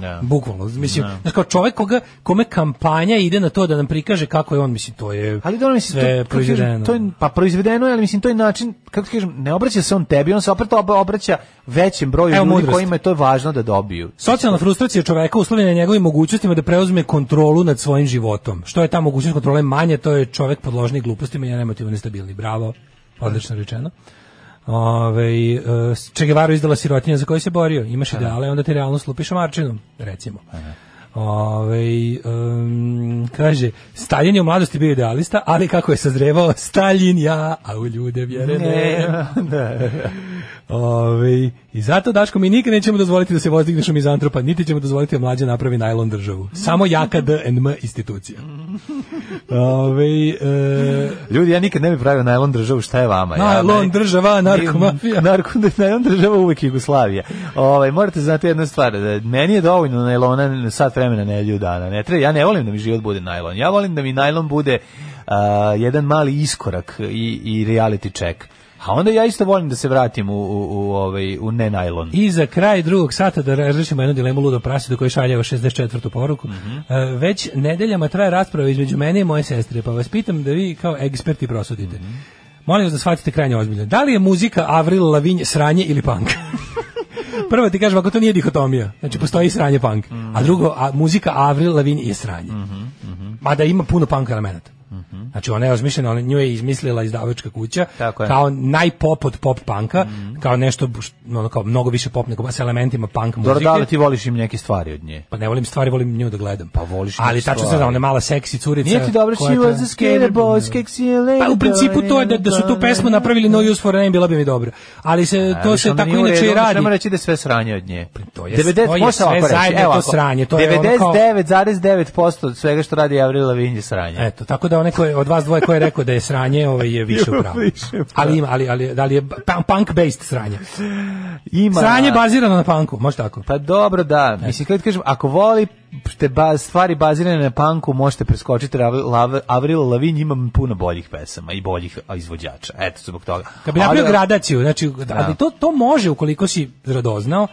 Da. Bukvalno, mislim, znaš, kao čovjek koga, kome kampanja ide na to da nam prikaže kako je on, mislim, to Da je Pa Ali dobro mislim sve to, kako kažem, proizvedeno. To je pa proizvedeno, je, ali mislim to je način kako ti kažem, ne obraća se on tebi, on se opet ob- obraća većem broju Evo ljudi mudrosti. kojima je to važno da dobiju. Socijalna frustracija čoveka uslovljena je njegovim mogućnostima da preuzme kontrolu nad svojim životom. Što je ta mogućnost kontrole manje, to je čovek podložni glupostima i emotivno nestabilni. Bravo, odlično rečeno. Ove, e, Che Guevara je izdala sirotinja za koju se borio. Imaš ideale, onda te realno slupiš Marčinom, recimo. Ove, em, kaže, Stalin je u mladosti bio idealista, ali kako je sazrevao, Stalin ja, a u ljude vjere <laughs> ne. Da. Ove, I zato, Daško, mi nikad nećemo dozvoliti da se vozdigneš u mizantropa, niti ćemo dozvoliti da mlađa napravi najlon državu. Samo jaka DNM institucija. Ove, e, Ljudi, ja nikad ne bih pravio najlon državu, šta je vama? ja, najlon naj- država, narkomafija. Narko, najlon država uvek Jugoslavija. Ovaj, morate znati jednu stvar, da meni je dovoljno najlona na sat vremena nedelju dana. Ne treba, ja ne volim da mi život bude najlon. Ja volim da mi najlon bude a, jedan mali iskorak i, i reality check. A onda ja isto volim da se vratim u, u, u, ovaj, u ne najlon. I za kraj drugog sata da razrešimo jednu dilemu ludo prasidu koji šalje 64. poruku. Mhm. E, Već nedeljama traje rasprava između mene i moje sestre, pa vas pitam da vi kao eksperti prosudite. Mhm. <laughs> Molim vas da shvatite krajnje ozbiljno. Da li je muzika Avril Lavigne sranje ili punk? prvo ti kažem, ako to nije dihotomija, znači postoji sranje punk, a Mhm. drugo, a, muzika Avril Lavigne je sranje. Mada ima puno punk elemenata. Znači ona je osmišljena, ona nju je izmislila izdavačka kuća Mhm. Tako je. kao najpop od pop punka, Mhm. kao nešto š- ono kao mnogo više pop nego sa elementima punk muzike. Dobro, da li ti voliš im neke stvari od nje? Pa ne volim stvari, volim nju da gledam. Pa voliš neke Ali tačno se stvari. da ona je mala seksi curica. Nije ti dobro, koja she was tra- a skater boy, skeksi je lady Pa u principu to je da, da su tu pesmu napravili No Use for a Name, bila bi mi dobro. Ali se, to Ali se onda tako da nije u redu, inače i onda radi. Pa Nema reći da je sve sranje od nje. to je- to je može se sve ovako reći, zajedno evo to ovako, sranje, to je ono kao- 99,9% svega što radi Avril Lavigne je sranje. Eto, tako da onaj ko je, od vas dvoje ko je rekao da je sranje, ovaj je više u pravu. Ali ima, ali, ali, ali je pa- punk based sranje. Ima Sranje bazirano na punku, može tako. Pa dobro, da. Mislim, kada ti kažem, ako voli te ba, stvari bazirane na panku, možete preskočiti Rav- Lav- Avril Lavigne, imam puno boljih pesama i boljih a, izvođača. Eto, zbog toga. Kad bi napravio Ali- gradaciju, znači, Da. ali to, to može ukoliko si radoznao,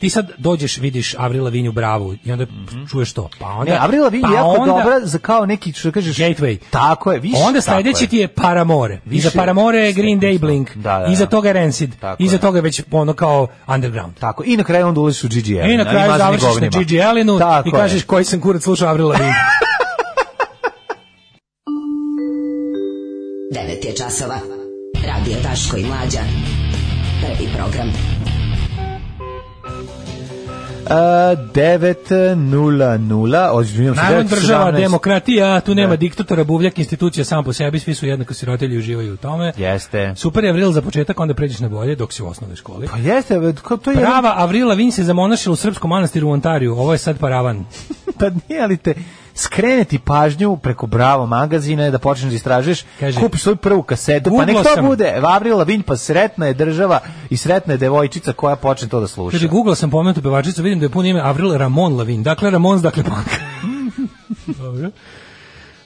ti sad dođeš, vidiš Avrila Vinju Bravu i onda čuješ to. Pa onda, Mhm. Ne, Avril Lavigne je pa jako onda- dobra za kao neki, što kažeš... Gateway. Tako je, više. Onda tako sledeći je. ti je Paramore. Više Iza Paramore je Green Day stepenicu. Blink. Da, da, Iza da. toga je Rancid. Tako Iza je. toga je već ono kao underground. Tako, i na kraju onda ulaziš u GG Elina. I na kraju završiš na Gigi Elinu i kažeš koji sam kurac slušao Avril <laughs> Lavigne. 9 je časova. Radio Daško i Mlađa. Prvi program. 9.00, ozbiljam se, Narod država, 9.17. demokratija, Da. tu nema diktatora, buvljak, institucija sam po sebi, svi su jednako sirotelji i uživaju u tome. Jeste. Super je Avril za početak, onda pređeš na bolje dok si u osnovnoj školi. Pa jeste, ve- ko- to je... Prava Avrila Vin se zamonašila u srpskom manastiru u Ontariju. Ovo je sad paravan. Pa nije ali te skreneti pažnju preko Bravo magazina je da počneš da istražuješ, Kaže, kupiš svoju prvu kasetu, pa nek Googlao to sam. bude Avril Lavigne, pa sretna je država i sretna je devojčica koja počne to da sluša. Kaže, googlao sam pomenutu pevačicu, vidim da je puno ime Avril Ramon Lavin. Dakle, Ramon, dakle, punk. Dobro.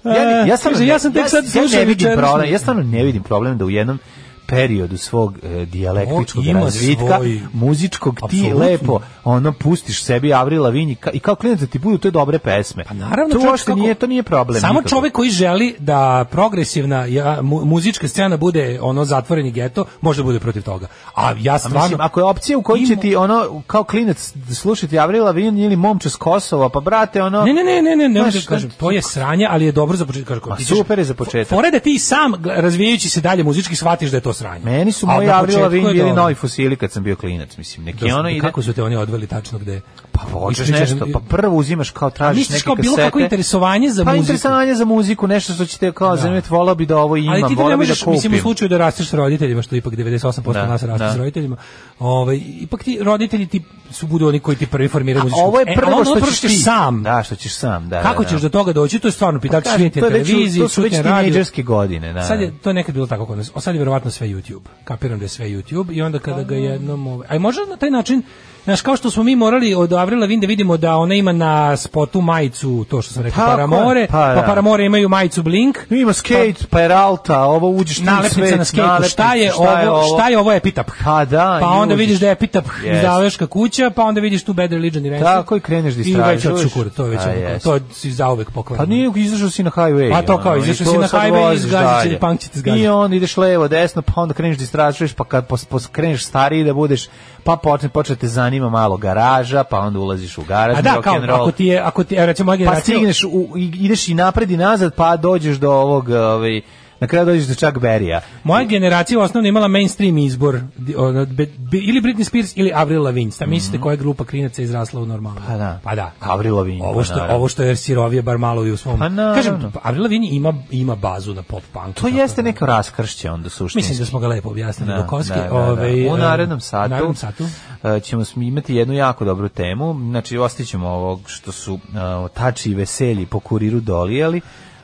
ja, ja, sam, Kaže, ja sam tek sad slušao ja ne vidim jučerašnju- problem, ja stvarno ne vidim problem da u jednom periodu svog e, dijalektičkog O, ima razvitka, svoj- muzičkog ti Apsolutno. lepo ono pustiš sebi Avril Lavigne i ka- i kao klinac da ti budu te dobre pesme. Pa Naravno, to čovjek uopšte kako- nije, to nije problem. Samo nikako. čovjek koji želi da progresivna ja, mu- muzička scena bude ono zatvoreni geto, može da bude protiv toga. A ja A stvarno... Mislim, ako je opcija u kojoj će ti ono kao klinac slušati Avril Lavigne ili momče s Kosova, pa brate ono Ne, ne, ne, ne, ne, ne, Znaš, ne, kažem, to je sranje, ali je dobro za početak. Kažem, Ma, ti ćeš- super je za početak. Fora je da ti sam, gle- razvijajući se dalje muzički, shvatiš da je to sranje. Meni su Ali moji na Avril početku Lavigne je da bili dobro. novi fosili kad sam bio klinac, mislim. Neki Da, ono da ide, Kako su te oni odveli tačno gde? pa hoćeš Ispričaš- nešto, pa prvo uzimaš kao tražiš Misliš neke kao kasete. bilo kako interesovanje za Pa muziku? interesovanje za muziku, nešto što će te kao zanimati, volao bi da ovo imam, Ali ti to volao ne bi možeš, da kupim. mislim, u slučaju da rasteš s roditeljima, što ipak 98% Da, nas raste da. s roditeljima, ovaj, ipak ti roditelji ti su budu oni koji ti prvi formiraju muzičku. Ovo je E, ali prvo ono što prvo ćeš ti. sam. Da, što ćeš sam, da. Kako da, ćeš da da. do toga doći? To je stvarno pitanje. Kažem, Svijet je to je već u- televiziji, to su već čuti na radiju. tinejdžerske godine, da. Sad je to je nekad bilo tako kod nas. O, sad je verovatno sve YouTube. Kapiram da je sve YouTube i onda kada ga jednom, ovaj, aj možda na taj način Znaš, kao što smo mi morali od Avrila Vinde vidimo da ona ima na spotu majicu, to što sam rekao, Tako je, Paramore, pa pa, da. Paramore imaju majicu Blink, No, Ima skate, pa je ralta, ovo uđeš ti u nalepnica svet, na skejtu, šta je nalepnica, ovo, šta je ovo Epitap? Ha, da, Pa i onda uđeš. vidiš da je Epitap Yes. izdavačka kuća, pa onda vidiš tu Bad Religion i Rancid. Tako i kreneš da istražuješ. I već odšukur, to je već A, ono, jest. to si zauvek pokvarno. Pa nije izašao si na highway. Pa to kao, ono, izašao i to si na sad highway i voziš zgazit će- dalje. punk će te zgaziti. I onda ideš levo, desno, pa onda kreneš da istražuješ, pa kad pos, pos, kreneš stariji da budeš, pa počne, počne te zanima malo garaža, pa onda ulaziš u garaž, A da, rock kao, and roll. ako ti je, ako ti je, recimo, moja pa generacija, stigneš, u, i- ideš i napred i nazad, pa dođeš do ovog, ovaj, na kraju dođeš do Chuck Berry-a. moja generacija osnovno imala mainstream izbor, di- ono, be- be- ili Britney Spears ili Avril Lavigne. Šta mislite koja grupa klinaca je izrasla u normalno? Mhm. Pa da. Pa da. Avril Lavigne, Ovo pa što, naravno. ovo što je sirovije bar malo i u svom. Pa naravno. Kažem, Avril Lavigne ima, ima bazu na pop punku. To tako jeste da. neko raskršće onda suštinski. Mislim da smo ga lepo objasnili Da, do koske. da, da, da. ovaj, u em, narednom satu, u narednom satu. e, ćemo smi- imati jednu jako dobru temu. Znači, ostićemo ovog što su e, tači i veselji po kuriru dolijali.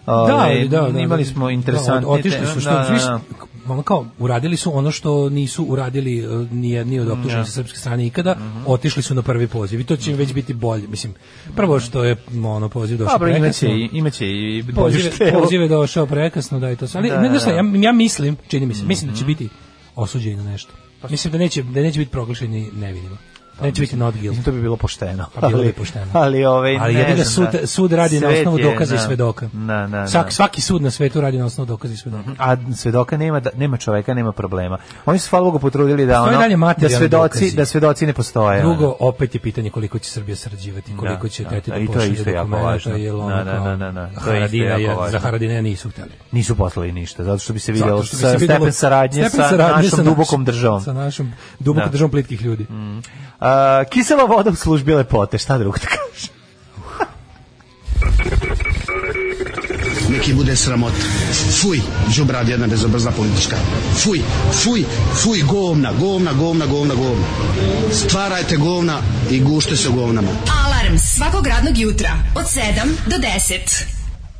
Ovaj, ali da, da, imali da. smo interesantne da, otišli su što da, da, viš- da. ono kao uradili su ono što nisu uradili eh, ni jedni od optuženih sa srpske strane ikada Mhm. otišli su na prvi poziv i to će im već biti bolje mislim prvo što je m, ono poziv došao Dobro, imaće, prekasno i- imaće i bolju pozive, štelu. pozive došao prekasno da i to sve ali Da, ne, da, znaš šta, da. Mhm. ja, ja mislim čini mi se mislim da će biti osuđeni na nešto mislim da neće da neće biti proglašeni nevinima pa Neće biti mislim- not guilty. mislim, To bi bilo pošteno. Pa bilo Ali- bi pošteno. Ali, ovaj, Ali ne jebi ga, znam, sud, da. sud radi na Svet osnovu je, dokaza i da. svedoka. Da, da, Mhm. Svak- da. Svaki sud na svetu radi na osnovu dokaza i svedoka. a svedoka nema da nema čoveka nema problema. Oni su hvala Bogu potrudili da Postoje dalje ono da materijalni svedoci dokazi. da svedoci ne postoje. ono. Drugo, opet je pitanje koliko će Srbija sarađivati, koliko će da. teti da, I to je pošalje isto jako dokumenta, važno. jer ono Da, da, kao, da, da, da. To je isto Haradina jako je- važno. za Haradina nisu hteli. nisu poslali ništa zato što bi se Zato videlo što bi sa se videlo- stepen saradnje stepen sa saradnje našom sa dubokom našim- državom. Sa našom dubokom Da. državom plitkih ljudi. A, kisela voda u službi lepote, šta drugo da kažem? Neki bude sramot. Fuj, džubrad jedna bezobrzna politička. Fuj, fuj, fuj, govna, govna, govna, govna, govna. Stvarajte govna i gušte se u govnama. Alarm svakog radnog jutra od 7 do 10. <laughs>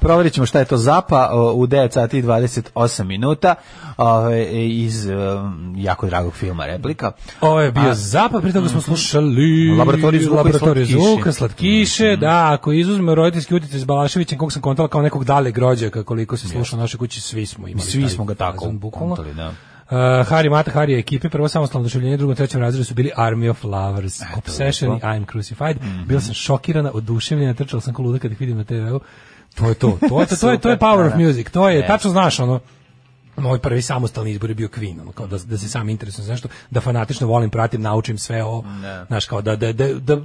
Proverit ćemo šta je to zapa o, u 9 sati i 28 minuta ove, iz um, jako dragog filma Replika. Ovo je bio A- mhm. zapad, prije toga smo slušali Laboratorij zvuka Mhm. i Laboratorij slatkiše. zvuka, slatkiše, da, ako izuzmemo roditeljski utjecaj s Balaševićem, kog sam kontala kao nekog dale grođaka, koliko se sluša u našoj kući, svi smo imali. Svi taj smo ga tako fazon, bukvalno. kontali, da. Uh, Hari Mata, Hari ekipe, prvo samostalno došavljenje, drugom, trećem razredu su bili Army of Lovers, Obsession i I'm Crucified. Mhm. Bila sam šokirana, oduševljena, trčala sam ko luda kad ih vidim na TV-u. To je to, to je, to, to je, to je Super, power da, of da. music, to je, Yes. tačno znaš, ono, moj prvi samostalni izbor je bio Queen, ono, kao da, da se sam interesujem za nešto, da fanatično volim, pratim, naučim sve o, znaš, kao da, da, da, da,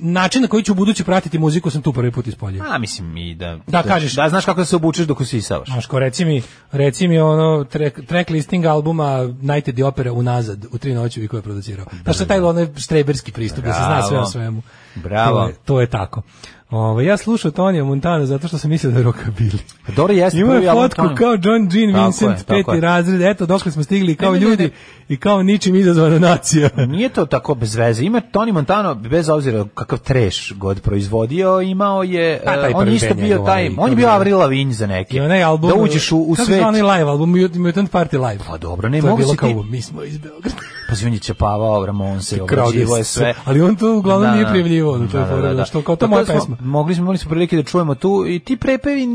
način na koji ću u budući pratiti muziku sam tu prvi put ispoljio. A, mislim i da... Da, kažeš. Da, znaš kako da se obučeš dok usisavaš. Znaš, kao reci mi, reci mi ono track, track listing albuma Nighted the Opera unazad u tri noći i ko je producirao. Znaš što je taj onaj štreberski pristup, da se zna sve o Bravo. svemu. Bravo. To je, to je tako. Ovo, ja slušao Tonija Montana zato što sam mislio da je rockabilly. Dobro jeste Imao prvi je album fotku Tonija. kao John Jean Tako Vincent, je, tako peti je. razred, eto dok smo stigli kao Ne, ne, ne, ljudi ne. i kao ničim izazvana <laughs> nacija. Nije to tako bez veze. Ima Tony Montano bez obzira kakav treš god proizvodio, imao je Pa, taj eh, on prvi je isto band bio njegov, taj, onaj, on je to bio je- Avril Lavigne za neke. I onaj album, da uđeš u, u kako se svet. zove onaj live album, Mut- Mutant Party Live. Pa dobro, ne to je mogu bilo se kao, ti. mi smo iz Beograda. Pazi, on je čepavao Ramonse, obrađivo je Crowdist. sve. Ali on to uglavnom Da, nije da. prijavljivao, da to je Da, da, fora, da, znaš, to kao, to Pa je moja smo- pesma. Mogli smo, imali smo prilike da čujemo tu i ti prepevi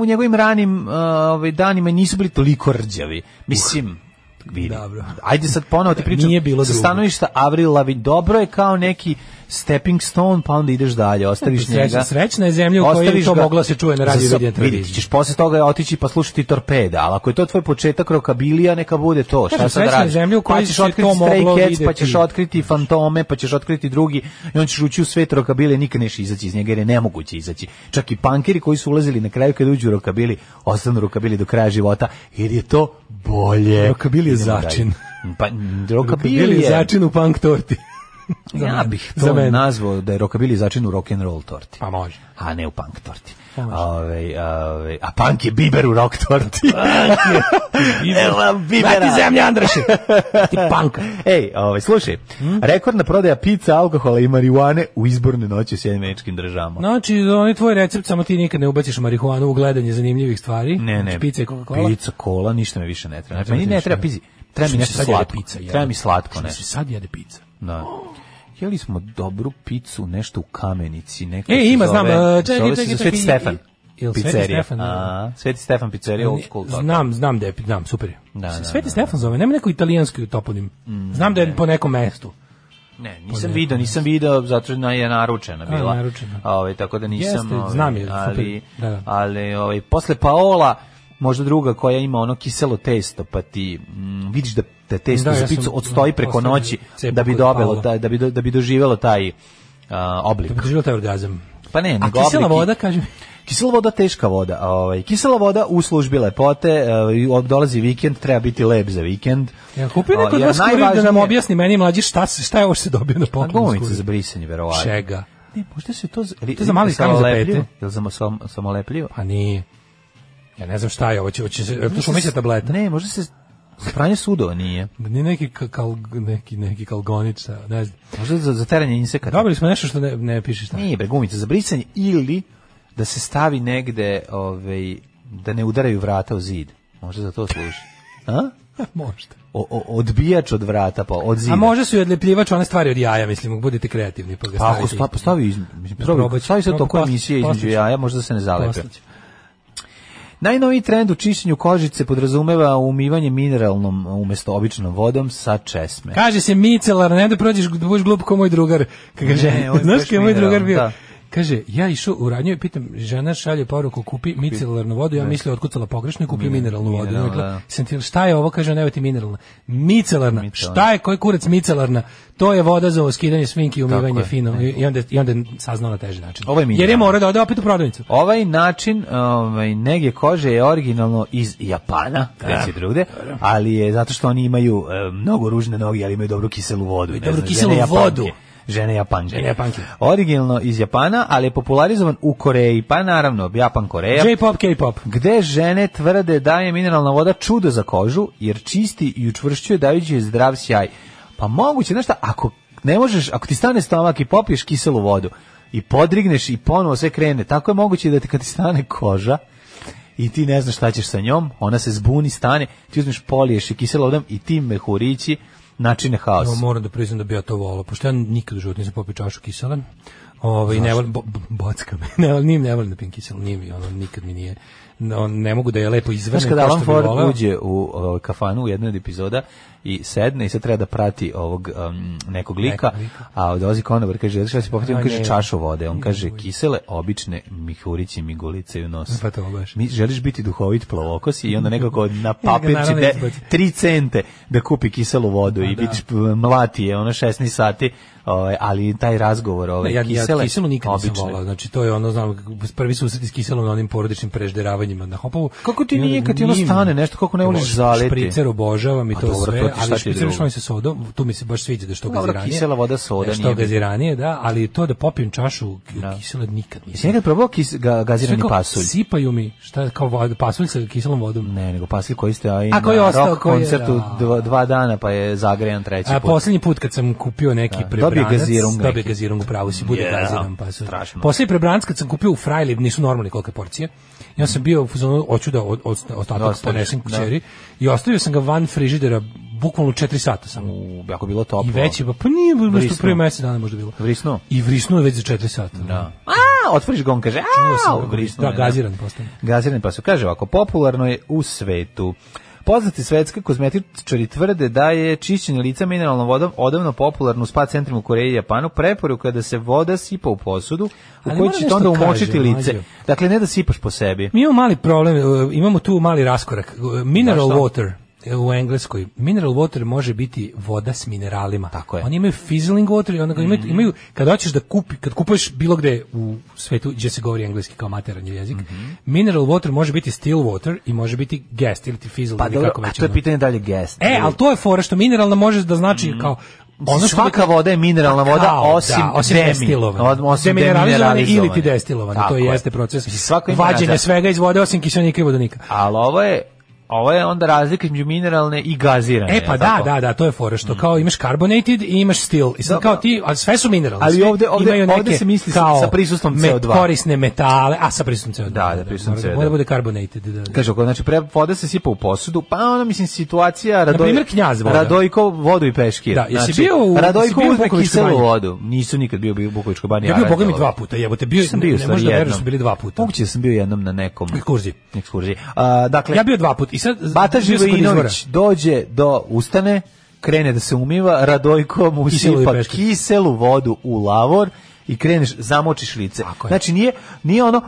u njegovim ranim eh, ovaj, danima nisu bili toliko rđavi. Mislim, vidi. Dobro. Ajde sad ponovo ti pričam. Nije bilo sa drugog. stanovišta Avril Lavigne. Dobro je kao neki stepping stone, pa onda ideš dalje, ostaviš Srećna- njega. srećna je zemlja u kojoj Ostaviš to ga- moglo da se čuje na radiju i Za- vidi na televiziji. Vidi, ćeš posle toga otići pa slušati torpeda, ali ako je to tvoj početak rokabilija, neka bude to. Šta Kažem, sad srećna je radiš? zemlja u Pa kojoj ćeš se to otkriti moglo Stray Cats, pa videti. ćeš otkriti fantome, pa ćeš otkriti drugi i on ćeš ući u svet rokabile, nikad neš izaći iz njega jer je nemoguće izaći. Čak i pankeri koji su ulazili na kraju kad uđu u rokabili, ostanu rokabili do kraja života jer je to bolje. Rockabilly je Idemo dalje. začin. Pa, rokabili Bili je... začin u punk torti. Za <laughs> Ja mene. bih Za to mene. nazvao da je rokabili začin u rock'n'roll torti. Pa može. <laughs> A ne u punk torti. može. Ove, ove, a punk je biber u rock torti. <laughs> Evo bibera. Vrati zemlje, Andraše! Ti panka! <laughs> Ej, ovaj, slušaj, Hm? rekordna prodaja pizza, alkohola i marihuane u izborne noći u Sjedinim američkim državama. Znači, onaj tvoj recept, samo ti nikad ne ubaciš marihuanu u gledanje zanimljivih stvari. Ne, ne. Pica znači, i Coca-Cola. Znači, Pizza, kola, ništa me više ne treba. Ne Znači, treba ti Meni ne ništa, treba ne. pizi. Treba mi Što nešto se sad jede slatko. pizza, jebe? Treba mi slatko Što se nešto. sad jede pizza. Da. Jeli smo dobru picu, nešto u kamenici, neko E, se ima, zove- znam, e, čekaj, zove se čekaj, za Sveti čekaj, Stefan. i- jel Sveti Pizzerija. Stefan, da. A, Sveti Stefan pizzerija, old school. tako. Znam, znam da je, znam, super je. Da, da, Sveti da, Mm, Stefan zove, nema neko italijanski toponim. znam da je po nekom mestu. Ne, Pa nisam video, nisam video, zato što je naručena bila. naručena. Ovaj, tako da nisam, Jeste, ovaj, znam je, ali, super, da, da. ali ovaj, posle Paola, možda druga koja ima ono kiselo testo, pa ti mm, vidiš da da testo Da, za ja sam, picu odstoji preko ostavio noći cepu da bi kod dobilo Paola. da, da bi do- da bi doživelo taj a, oblik. Živio taj orgazam. Pa ne, A nego kisela oblik i- voda, kaže mi. Kisela voda, teška voda. a, Ovaj, kisela voda u službi lepote, uh, dolazi vikend, treba biti lep za vikend. Ja kupio A, neko od jer vas kurir da nam najvažnije- objasni meni mlađi šta se šta je ovo što se dobio na Pa poklon. gumice skurir? za brisanje, verovatno. Čega? Ne, možda se to... Ili, To je za mali stan za samolepljivo? pete. Ili za sam, samolepljivo? Pa nije. Ja ne znam šta je ovo, će, će se, to su umeće tableta. Ne, možda se... Za pranje sudova nije. Da nije neki, ka- kal, neki, neki kalgonič, šta, ne znam. Možda za, za teranje insekata. Dobili smo nešto što ne, ne piše šta. Nije, bre, gumice za brisanje ili da se stavi negde, ovaj, da ne udaraju vrata u zid. Možda za to služi. A? <laughs> Možda. O, o, odbijač od vrata, pa od zida. A možda su i odlepljivač one stvari od jaja, mislim, budite kreativni pa ga Pa ako stavite. sta, stavi, iz, mislim, probi, probat ću. stavi se Probat toliko ću. emisije između Postaću. jaja, možda se ne zalepe. Postaću. Najnoviji trend u čišćenju kožice podrazumeva umivanje mineralnom umesto običnom vodom sa česme. E. Kaže se micelar, ne da prođeš, da budeš glup kao moj drugar. Kaže, Ne, ovo je znaš baš kaj je moj mineralno, drugar bio? da. Kaže, ja išao u radnju i pitam, žena šalje poruku, kupi micelarnu vodu, ja mislio, otkucala pogrešno i kupio mineralnu vodu. mineralna, Rekla, da. sam ti, šta je ovo, kaže, ne ti mineralna. Micelarna, Micelarna. šta je, koji kurac micelarna? To je voda za skidanje svinki i umivanje je. fino. I i onda, i onda je saznao na teži način. Ovo je Jer je mineralna. morao da ode opet u prodavnicu. Ovaj način ovaj, nege kože je originalno iz Japana, Da. kada se drugde, ali je zato što oni imaju e, mnogo ružne noge, ali imaju dobru kiselu vodu. ne dobru znam, kiselu žene Japanke. vodu. Žene Japanke. Žene Japanke. Originalno iz Japana, ali je popularizovan u Koreji, pa naravno, Japan, Koreja. J-pop, K-pop. gde žene tvrde da je mineralna voda čudo za kožu, jer čisti i učvršćuje dajući joj zdrav sjaj. Pa moguće, znaš šta, ako ne možeš, ako ti stane stomak i popiješ kiselu vodu i podrigneš i ponovo sve krene, tako je moguće da ti kad ti stane koža i ti ne znaš šta ćeš sa njom, ona se zbuni, stane, ti uzmeš poliješ i kiselu vodom i ti mehurići načine haos. Ja moram da priznam da bi ja to volao, pošto ja nikad u životu nisam popio čašu kisele. Ovaj ne volim bo, bo- bocka me. <laughs> Ne, volim- nim ne volim da pijem kiselu, nim i ono nikad mi nije. No, ne mogu da je lepo izvrnem Znaš kada kao što Alan bi Ford voleo. uđe u o, kafanu u jednoj od epizoda i sedne i sad treba da prati ovog um, nekog lika, Nekog lika. a dolazi Konobar, kaže, šta si pohvatio? On A, kaže ne. čašu vode, on kaže kisele, obične mihurići mi gulicaju nos. Pa to baš. Mi želiš biti duhovit plovokos i onda <laughs> nekako na papirci naravno de, izbaci. Pa da. tri cente da kupi kiselu vodu i vidiš p- mlati je ono 16 sati, ovaj, ali taj razgovor ovaj, Ne, ja, ja kisele, kiselu nikad nisam obične. volao. Znači to je ono znam prvi susret s kiselom na onim porodičnim prežderavanjima na Hopovu. Kako ti I onda nije kad ti ono nim- stane nešto, kako ne voliš Bože, zaliti? Špricer obožavam i A to dobro, to sve, ti šta ali ti špricer drugo? što sa sodom, tu mi se baš sviđa da što Dobro, gaziranije. kisela voda, soda Što nije bitno. Da. gaziranije, da, ali to da popijem čašu kisele nikad Jesi nisam. nekad probao kis, ga, gazirani Sve kao pasulj? Sipaju mi, šta kao vod- pasulj sa kiselom vodom. Ne, nego pasulj koji ste aj A koji je na ostao, rock koji je, koncertu da. dva, dva dana pa je zagrejan treći A put. poslednji put kad sam kupio neki Da, prebranac, dobio gazirung dobio neki. gazirung, pravo si, bude Yeah, gaziran pasulj. strašno. Poslednji prebranac kad sam kupio u Frajli, nisu normalne kolike porcije. Ja sam bio u fazonu hoću da od, od, ostatak Da, ostaviš, ponesem da. kućeri i ostavio sam ga van frižidera bukvalno 4 sata samo. U, jako bilo toplo. I već je, pa, pa nije bilo što Vrisnuo. prije mesec dana možda bilo. Vrisnuo? I vrisnuo je već za 4 sata. Da. A, otvoriš ga, on kaže, a, Vrisnuo da, gaziran postane. Gaziran pasulj. Kaže ovako, popularno je u svetu. Poznati svetski kozmetičari tvrde da je čišćenje lica mineralnom vodom odavno popularno u spa centrima u Koreji i Japanu, preporuka je da se voda sipa u posudu u Ali kojoj moram ćete onda nešto da umočiti kažem, lice. Mađo. Dakle, ne da sipaš po sebi. Mi imamo mali problem, e, imamo tu mali raskorak. E, Mineral Zašto? water e, u Engleskoj. Mineral water može biti voda s mineralima. Tako je. Mhm. Oni imaju fizzling water i onda ga imaju, imaju kad hoćeš da kupi, kad kupuješ bilo gde u svetu gdje se govori engleski kao materan jezik, Mhm. mineral water može biti still water i može biti guest ili ti fizzling Pa ili dobro, kako a već to je ono. pitanje dalje guest. da- E, ali to je fora što mineralna može da znači kao Ono svaka bi- voda je mineralna Kao, voda osim, da, osim demi- destilovane. od- osim Demineralizovane demineralizovane. ili ti destilovane, Tako to je. jeste proces Mislim, svako ima da. vađenja nazad. svega iz vode osim kiselnika i vodonika. Ali ovo je, ovo je onda razlika između mineralne i gazirane. E pa jel da, tako? Mhm. da, da, to je fora što kao imaš carbonated i imaš steel. I sad Dobro. kao ti, ali sve su mineralne. Ali sve ovde- ovde- imaju ovde se misli sa- sa prisustvom me- CO2. Korisne metale, a sa prisustvom CO2. Da, da, prisustvom mora- CO2. Mora da bude carbonated, da. da. Kaže, ako, znači, pre, voda se sipa u posudu, pa ona, mislim, situacija... Radoj, primer, Knjaz voda. Radojko vodu i peškir. Da, jesi znači, bio u- jesi Radojko bio u uzme Bukovičkoj kiselu banji? vodu. Nisu nikad bio bio u Bukovičkoj banji. Ja bio a boga mi razdelo. dva puta, jebote, bio Sam ne- bio, ne, stvari, možeš da veruješ jednom. su bili dva puta. Moguće da sam bio jednom na nekom Ekskurziji. ekskurziji. A, dakle, Ja bio dva puta. I sad Bata bio sam kod izvora. Živojinović dođe do ustane, krene da se umiva, Radojko mu Kiselu i sipa peškir. kiselu vodu u lavor i kreneš, zamočiš lice. Tako je. Znači nije, nije ono,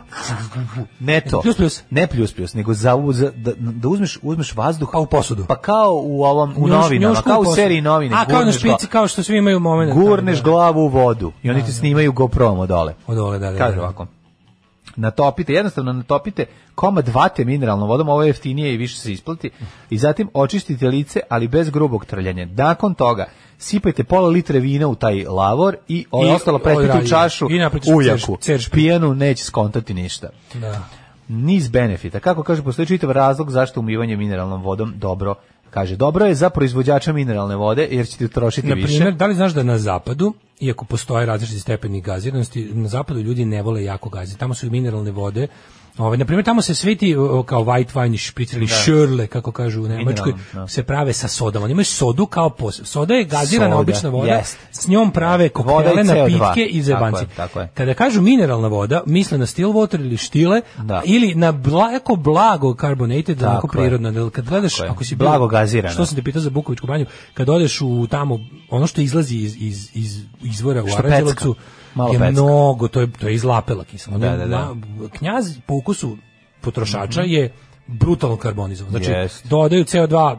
ne to. Pljus, pljus. Ne pljus pljus, nego za, za, da, da uzmeš, uzmeš vazduh. Pa u posudu. Pa kao u ovom, u Njuš- novinama, njušku kao u posao. seriji novine. A kao na Gurneš špici, Da, gla- kao što svi imaju moment. Gurneš glavu u vodu i oni ti snimaju GoProm dole. Od dole, da, da. Kaže da. ovako. Natopite, jednostavno natopite komad vate mineralnom vodom, ovo je jeftinije i više se isplati. I zatim očistite lice, ali bez grubog trljanja. Nakon toga sipajte pola litre vina u taj lavor i ovo I ostalo pretite odradi. u čašu I napratiš uljaku. cerš- ceršpin. Pijanu neće skontati ništa. Da. Niz benefita. Kako kaže, postoji čitav razlog zašto umivanje mineralnom vodom dobro Kaže, dobro je za proizvođača mineralne vode, jer ćete trošiti Na više. primjer, da li znaš da na zapadu, iako postoje različiti stepeni gaziranosti, na zapadu ljudi ne vole jako gazirati. Tamo su i mineralne vode Ovaj na primjer tamo se svi ti o, kao white wine i špric ili šörle kako kažu u Nemačkoj Da. Mineralno, da. se prave sa sodom. Oni imaju sodu kao pos... soda je gazirana Soda, obična voda. jest. S njom prave Voda koktele, i CO2. napitke i zebanci. Tako je, tako je. Kada kažu mineralna voda, misle na still water ili štile Da. ili na blago blago carbonated, onako Tako je. prirodno. Jer Kad gledaš Tako je. ako si Blago gazirana. Što sam te pitao za Bukovičku banju, kad odeš u tamo ono što izlazi iz iz iz izvora u Što pecka. Aranđelovcu Malo je pecka. mnogo, to je to je izlapela kiselina. Da, da, da. Ma- Knjaz po ukusu potrošača je brutalno karbonizovan. Znači, Jest. Mm. dodaju CO2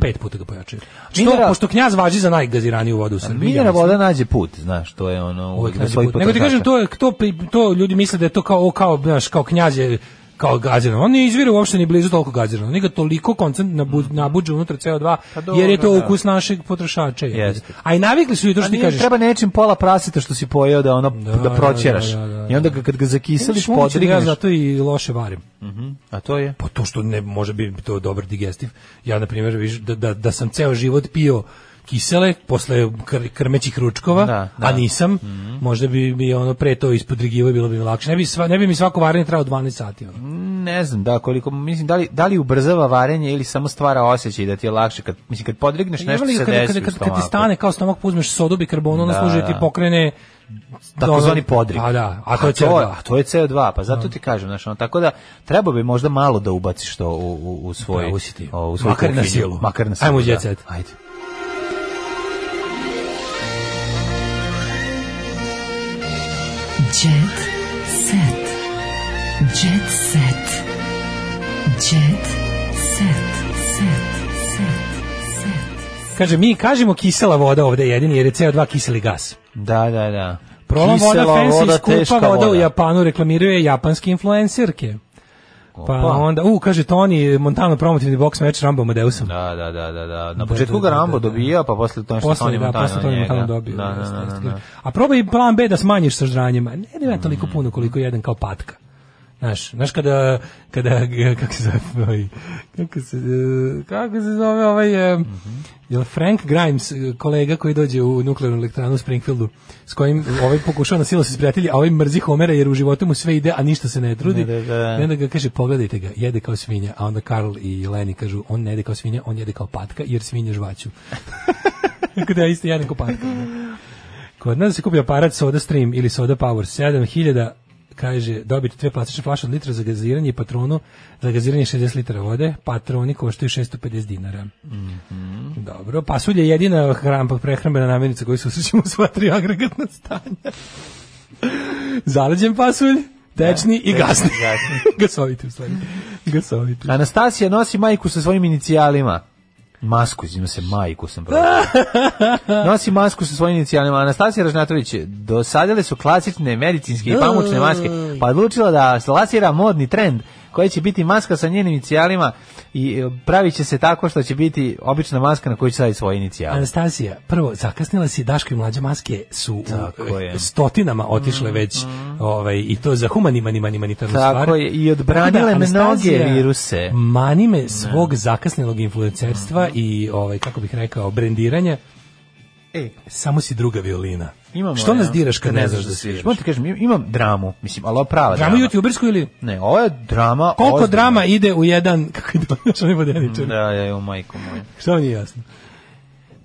pet puta ga pojačaju. Što, Mineral- pošto knjaz važi za najgaziraniju vodu u Srbiji. ja Minera mislim. voda nađe put, znaš, to je ono... Uvek na nađe svojih put. Nego ti potrošača. kažem, to, je, to, pri- to ljudi misle da je to kao, o, kao, znaš, kao knjaz je kao gazirano. On ne izvira uopšte ni blizu toliko gazirano. Oni ga toliko koncent nabu, nabuđe unutra CO2, Pa dobro, jer je to da. ukus našeg potrošača. je. Jeste. A i navikli su i to A što ti nije, kažeš. treba nečim pola praseta što si pojeo da ono da, da, proćeraš. da, da, da. I onda ga, kad ga zakiseliš, Moguće da Ja podrigneš. zato i loše varim. Mhm. A to je? Pa to što ne može biti to dobar digestiv. Ja, na primjer, viš, da, da, da sam ceo život pio kisele posle kr krmećih ručkova, Da, da. a nisam, možda bi mi ono pre to ispodrigivo i bilo bi mi lakše. Ne bi, sva, ne bi mi svako varenje trajao 12 sati. Ono. Ne znam, da, koliko, mislim, da li, da li ubrzava varenje ili samo stvara osjećaj da ti je lakše. Kad, mislim, kad podrigneš Ima nešto li se Pa kada, desi kada, u kada, kada stomaku. ti stane kao stomak, pa uzmeš sodu bikarbonu, ona Da, služi da ti da. pokrene takozvani ono- Da, podrig. A da, a to je to, CO2. a to je CO2, pa zato ti kažem, znači ono, tako da treba bi možda malo da ubaciš to u, u, u svoj, Pravo si Da, ti. o, u svoj Makar na kuhinju. silu. Makar na silu. Ajmo u da. Jet Set. Ajde. Jet set. Jet set. Jet set. Set. Kaže, mi kažemo kisela voda ovde jedini, jer je CO2 kiseli gas. Da, da, da. Prolom voda, Kisela fancy, voda, skupa teška voda, u Japanu reklamiraju je japanske influencerke. Pa Opa. onda, u, kaže Toni, Montano promotivni boks meč Rambo Madeusom. Da, da, da, da, da. Na Da, da, početku ga da, Rambo da. dobija, pa posle to nešto Posle, Tony da, Montana posle Toni njega. Montana dobio. Da, da, jeste, da, jeste, da, Mm. kaže. A probaj plan B da smanjiš sa žranjima. Ne da ja toliko puno koliko jedan kao patka. Znaš, znaš kada, kada, <laughs> kako se zove, ovaj, kako se, eh, kako se zove ovaj, eh, jel Frank Grimes, eh, kolega koji dođe u nuklearnu elektranu u Springfieldu, s kojim ovaj pokušava na silu se sprijatelji, a ovaj mrzi Homera jer u životu mu sve ide, a ništa se ne trudi. Ne, da, da. I onda ga kaže, pogledajte ga, jede kao svinja, a onda Karl i Lenny kažu, on ne jede kao svinja, on jede kao patka, jer svinje žvaću. <laughs> Tako da ja isto jedan kopatka. Kod nas se kupi aparat Soda Stream ili Soda Power 7000 kaže dobiti dve plastične flaše od litra za gaziranje i patronu za gaziranje 60 litara vode patroni koštaju 650 dinara Mhm. dobro, pasulj je jedina hram, prehrambena namirnica koju susrećemo u sva tri agregatna stanja zaleđen pasulj tečni i gasni <laughs> gasoviti u stvari gasoviti da. Anastasija nosi majku sa svojim inicijalima. Masku, izvim se, majku <laughs> sam pročitao. Nosi masku sa svojim inicijalima. Anastasija Ražnatović, dosadile su klasične medicinske i pamučne maske, pa odlučila da lansira modni trend koji će biti maska sa njenim inicijalima i e, pravit će se tako što će biti obična maska na kojoj će staviti svoje inicijale. Anastasija, prvo, zakasnila si Daško i mlađe maske su Tako u, eh, je. Mm, stotinama otišle već ovaj, i to za humaniman i manimanitarnu Tako stvar. je, i odbranile Tako da mnoge Anastasija, viruse. Mm. Mani me svog zakasnilog influencerstva i, ovaj, kako bih rekao, brendiranja. E, Samo si druga violina. imamo, Što nas ja, diraš kad ne znaš da sviraš? Moram ti kažem, im- imam dramu, mislim, ali ovo je prava Dramu drama. youtubersku ili... Ne, ovo je drama. Koliko ozbiljna. drama ide u jedan... <laughs> Kako je to? Što ne bude ničem? Da, da, jo, majko moja. Što mi nije jasno?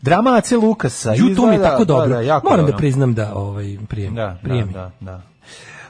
Drama AC Lukasa. Ju, to mi je Pa izgleda- tako dobro. Da, da, jako Moram da dobro. priznam da ovaj, prijem. Da, da, prijem. da, da.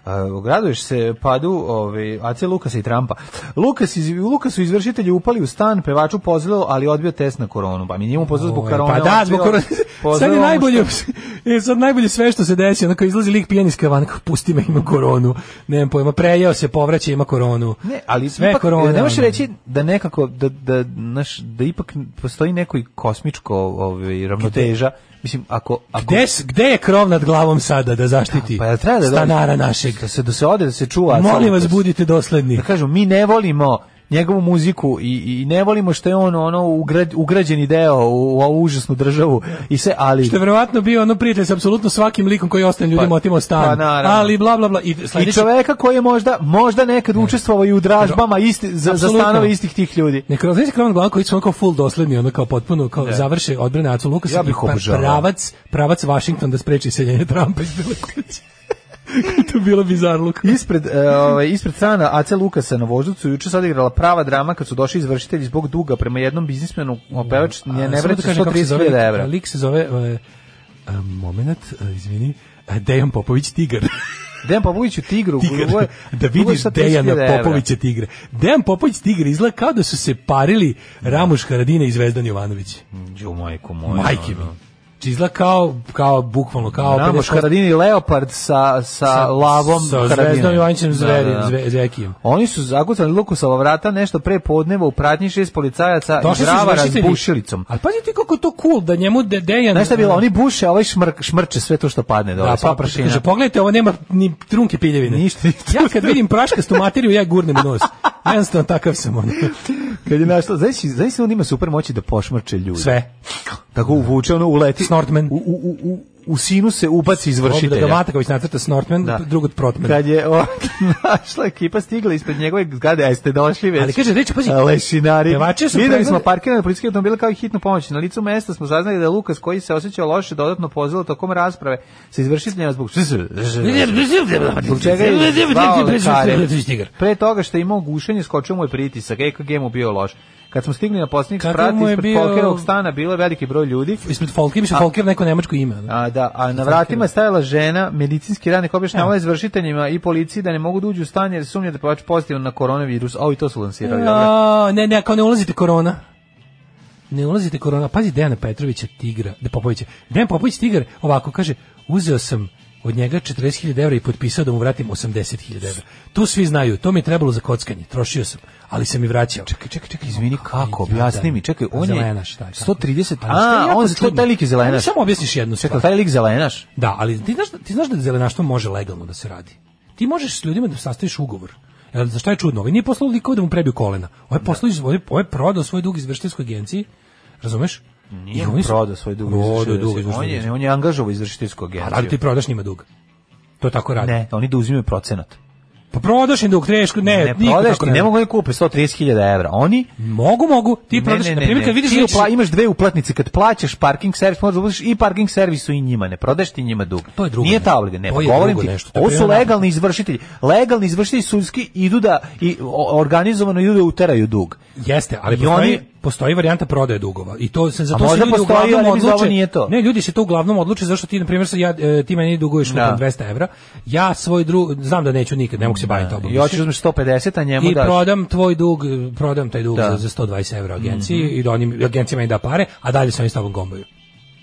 Uh, graduješ se padu ovaj, AC Lukasa i Trumpa. Lukas, iz, Lukas su izvršitelji upali u stan, pevaču pozvalo, ali odbio test na koronu. Pa mi njemu pozvao zbog Ovaj, korone. Pa da, odbio- zbog korone. Sad pozvao je mu najbolje, što- <laughs> je sad najbolje sve što se desi, onako izlazi lik pijan iz kavana, kao pusti me, ima koronu. Nemam pojma, prejeo se, povraća, ima koronu. Ne, ali sve ipak, korona. Ne možeš ono. reći da nekako da da naš da ipak postoji neko i kosmičko ovaj ravnoteža. Mislim ako ako Gde, s- gde je krov nad glavom sada da zaštiti pa jel treba da stanara našeg? da se da se ode da se čuva. AC Molim vas, Lukas? budite dosledni. da kažu mi ne volimo njegovu muziku i, i ne volimo što je on ono ugrad, ugrađeni deo u, u ovu užasnu državu i sve, ali Što je verovatno bio ono prijatelj sa apsolutno svakim likom koji je ostalim ljudima Pa- otimao stan. pa naravno. ali bla bla bla. I, i sledeći- čoveka koji je možda možda nekad učestvovao i u dražbama isti, za, za Apsolutno. stanove istih tih ljudi. Nekroz znači krovna glava koji su ono kao full dosledni, ono kao potpuno kao završe odbrane Acu Lukasa Da. Ja bih i pa- obožavao. pravac, pravac Washington da spreči seljenje Trumpa iz Bele kuće. <laughs> to je bilo bizarno luk. Ispred, e, ovaj, ispred strana AC Lukasa na vožducu juče se odigrala prava drama kad su došli izvršitelji zbog duga prema jednom biznismenu opevač ne, da ne vraća 130.000 evra. Lik se zove, e, e, moment, e, izvini, e, Dejan Popović Tigar. <laughs> Dejan Popović u Tigru. Tigar. ugovor- <laughs> da ugovor vidiš sa 30.000 Dejana evra. Popovića Tigra. Dejan Popović Tigar izgleda kao da su se parili Da. Ramuš Haradina i Zvezdan Jovanović. Ju, majku moju. Majke mi. ono. Znači, Izgleda kao, kao bukvalno, kao... Ramoš 50% Haradin i Leopard sa, sa, lavom sa Haradina. Zvezdom Jovanovićem Zveri, Da, da, da. Zve- Zvekijem. Oni su zakucali Lukusova vrata nešto pre podneva u pratnji šest policajaca i Došli su gravara s izvršitelji. bušilicom. Ali pazi ti kako je to cool da njemu De- Dejan... Znaš šta je bilo? Oni buše, a ovaj šmrk, šmrče sve to što padne dole, Da, sva pa prašina. Kaže, pogledajte, ovo nema ni trunke piljevine. Ništa, ništa. Ja kad vidim praškastu materiju, ja gurnem u nos. Jednostavno takav sam <laughs> on. Kad je našla, znači, znači on ima super moći da pošmrče ljude. Sve. Tako uvuče, ono uleti. Snortman. U, u, u, u, u sinu se ubaci Ovo Da ga izvršitelja. Mataković nacrta Snortman, Da. drugo Protman. Kad je o, našla ekipa stigla ispred njegove zgrade, a ste došli već. Ali kaže, reći, pazi, A, lešinari. Pevači su Videli pregled- smo parkirane policijske automobile kao i hitnu pomoć. Na licu mesta smo saznali da je Lukas koji se osjećao loše dodatno pozvao tokom rasprave sa izvršiteljima zbog Zbog čega je zvao lekare. Pre toga što je imao gušenje, skočio mu je pritisak, EKG mu bio loš. Kad smo stigli na posljednjih Kakav sprat, mu je ispred bio- Folkerovog stana bilo je veliki broj ljudi. Ispred Folke, mislim, A- Folker neko nemačko ime. ono. A, da, a na vratima je stajala žena, medicinski radnik objašnjavala izvršiteljima i policiji da ne mogu da uđu u stan jer sumnja da je pevač pozitivan na koronavirus. A i to su lansirali. dobro. A, ne, ne, kao ne ulazite korona. Ne ulazite korona. Pazi Dejana Petrovića Tigra, da Popovića. Dejan Popović Tigar ovako kaže, uzeo sam od njega 40.000 evra i potpisao da mu vratim 80.000 evra. To svi znaju, to mi je trebalo za kockanje, trošio sam, ali sam i vraćao. da, Čekaj, čekaj, čekaj, Izvini, kako? Objasni mi. Čekaj, on je Zelenaš, taj, tako. 130 Ali što je A, jako on- to- čudno. taj lik je zelenaš. Ali Samo objasniš jednu stvar. Čekaj, taj lik zelenaš? Da, ali ti znaš, da- ti znaš da zelenaštvo može legalno da se radi. Ti možeš s ljudima da sastaviš ugovor. Jel, za šta je čudno? Ovaj nije poslao likova da mu prebiju kolena. Ovo je poslao, iz, ovo je, ovo je prodao svoj dug izvršiteljskoj agenciji. Razumeš? Nije I on oni su- prodao svoj dug Prodao je dug izvršiteljskoj agenciji. On izvršiteljskoj je, ne, on je angažovao izvršiteljsku agenciju. agenciji. A da li ti prodaš njima dug? To tako radi. Ne, oni da uzimaju procenat. Pa prodaš im dug, treš, ne, Ne E, niko prodaješ tako ti, ne mogu oni da kupe 130.000 evra. Oni Mogu, mogu, ti prodaš, na primjer, kad vidiš Ti da će- upla- imaš dve uplatnice, kad plaćaš parking servis, možeš da uzmeš i parking servisu i njima, ne prodaješ ti njima dug. To je drugo Nije nešto. ta obliga, ne, To je govorim drugo ti, nešto, to je ovo su primjer legalni izvršitelji. Legalni izvršitelji sudski idu da, i o- organizovano idu da uteraju dug. Jeste, ali I postoji, oni- postoji varijanta prodaje dugova. I to se za A to se možda ljudi postoji, ali uglavnom mislim da ovo odluče. nije to. Ne, ljudi se to uglavnom odluče zašto ti na primjer sa ja e, ti meni duguješ Da. da. 200 evra. Ja svoj drug znam da neću nikad, ne mogu se baviti tobom. I hoćeš da uzmeš 150, a njemu I daš. prodam tvoj dug, e, prodam taj dug Da. Mhm. za, za 120 evra agenciji i da oni agencija meni da pare, a dalje sam i s tobom gombaju.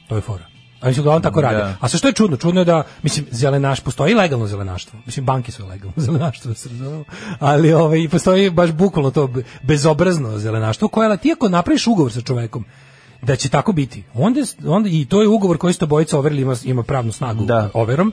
To je fora. Oni su uglavnom tako rade. Da. A sa što je čudno? Čudno je da, mislim, zelenaš, postoji legalno zelenaštvo. Mislim, banke su legalno <laughs> zelenaštvo, da se razumemo. Ali ovaj, postoji baš bukvalno to be- bezobrazno zelenaštvo koje, ali ti ako napraviš ugovor sa čovekom, da će tako biti. Onda, onda, I to je ugovor koji ste bojica overili, ima, ima pravnu snagu Da. overom.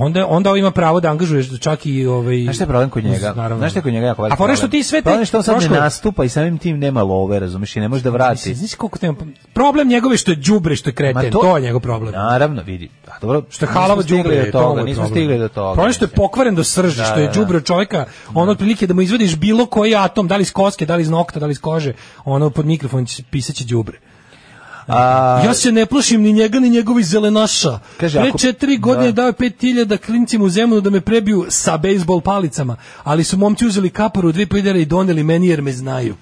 Onda, onda on ima pravo da angažuješ čak i ovaj Znaš šta je problem kod njega? uz- naravno. Znaš šta je kod njega jako veliki A fore što problem? ti sve te Problem je što on sad ne troškove- nastupa i samim tim nema love, razumiješ, i ne može da vrati. Mislim, Znaš koliko tema... Problem njegov je što je đubre, što je Ma kreten, to... je njegov problem. Naravno, vidi. A dobro, Što je halavo nismo stigli đubre, do to mu toga, je nismo problem. stigli do toga. Problem je što je mislim. pokvaren do srži, Da, što da, je da. đubre od čovjeka, ono otprilike da mu izvadiš bilo koji atom, da li iz koske, da li iz nokta, da li iz kože, ono pod mikrofon će pisaće đubre. A, Ja se ne plašim ni njega ni njegovi zelenaša. Kaže, Pre ako- četiri godine da. dao je 5000 klincima u zemlju da me prebiju sa bejsbol palicama, ali su momci uzeli kaparu, dve pedere i doneli meni jer me znaju.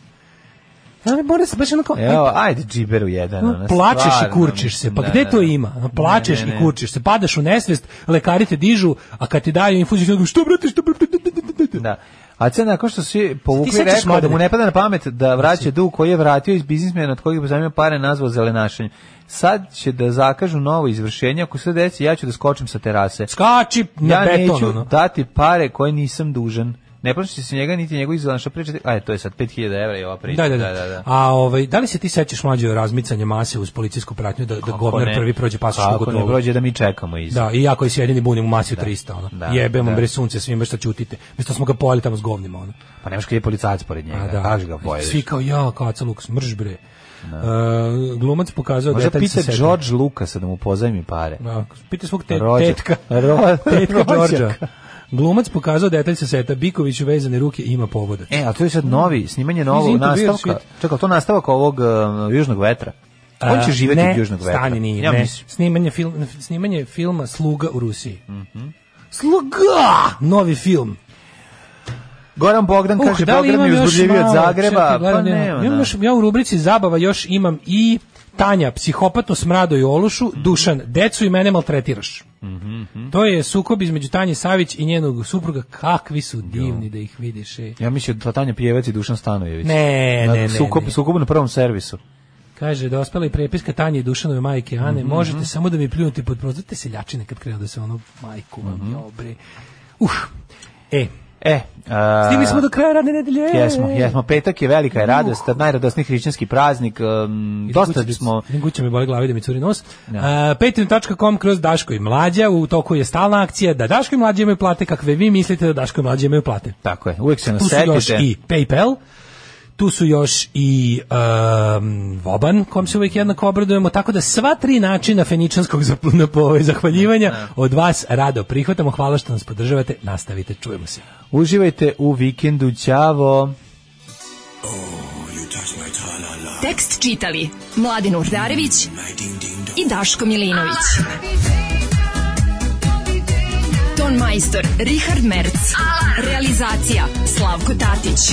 Ja, mora se baš onako, Evo, ajde džiberu jedan. No, ono, plačeš i stvarno. kurčiš se. Pa Da, gde da, to da. ima? A, Plačeš Ne, ne, i ne. kurčiš se. Padaš u nesvest, lekari te dižu, a kad ti daju infuziju, kažu, što brate, što brate, Da. A ce nakon što si povukli Ti sećaš rekao da mu Mladene? ne pada na pamet da vraća dug koji je vratio iz biznismena od kojeg je pozajmio pare nazvao zelenašenjem. Sad će da zakažu novo izvršenje, ako se desi ja ću da skočim sa terase. Skači na ja beton. neću ono. dati pare koje nisam dužan. Ne plaši se njega niti njegovih zelenaša pričati. Ajde, to je sad 5000 evra i ova priča. Da, da, da. A ovaj, da li se ti sećaš mlađe razmicanje mase uz policijsku pratnju da, da Kako govnar ne? prvi prođe pasošku Kako ne gotovo? prođe da mi čekamo iz. Da, i ja koji se jedini bunim u masi od 300, ono. da, Jebem vam da. bre sunce svima što ćutite. Mesto smo ga pojeli tamo s govnima, ono. Pa nemaš kada je policajac pored njega. A, Da. Kaži ga Da. pojedeš. Svi kao ja, kao Aca Lukas, mrž bre. E, glumac pokazao Možda detalj sa pita setom. George Lucasa da mu pozajmi pare. Da, pita svog te, Rođa- <laughs> tetka. Ro- <laughs> tetka rođaka. Đorđa. Glumac pokazao detalj sa seta. Biković vezane ruke ima povoda. E, a to je sad novi, snimanje novog Interview nastavka. Sweet. Čekaj, to nastavak ovog um, Južnog vetra. On će A, živeti E, ne, od Južnog vetra. Stani, nije, ja ne. mislim. Snimanje, film, snimanje filma Sluga u Rusiji. Sluga! Novi film. Goran Bogdan kaže da li Bogdan imam je još uzbudljiviji od malo? Zagreba, Čekaj, pa gledam, imam. nema. Imam da. još, ja u rubrici zabava još imam i Tanja, psihopatno smrado i olušu, Mhm. Dušan, decu i mene maltretiraš. To je sukob između Tanje Savić i njenog supruga, kakvi su divni da ih vidiš. e. Ja mislim da Tanja Prijevac i Dušan Stanojević. Ne, Na- ne, ne, Sukob, ne. sukob na prvom servisu. Kaže, dospela je prepiska Tanje i Dušanove majke Ane, Mhm. možete samo da mi pljunete pod prozor, te seljačine kad krenu da se ono, majku vam, Mhm. jao bre. Uf, e, E, a, stigli smo do kraja radne nedelje. Jesmo, jesmo. Petak je velika je radost, najradosniji hrišćanski praznik. Um, Idem dosta kući, smo... Da. idem kući, me boli glava, ide mi curi nos. Ja. Patreon.com kroz Daško i Mlađa, u toku je stalna akcija da Daško i Mlađa imaju plate kakve vi mislite da Daško i Mlađa imaju plate. Tako je, uvijek se nas Tu su još setite. i PayPal, tu su još i um, Voban, kom se uvijek jednako obradujemo, tako da sva tri načina feničanskog zap- na po- ovaj, zahvaljivanja od vas rado prihvatamo. Hvala što nas podržavate, nastavite, čujemo se. Uživajte u vikendu, ćavo. Tekst čitali Mladin Urdarević i Daško Milinović. Ton majstor Richard Merc. Realizacija Slavko Tatić.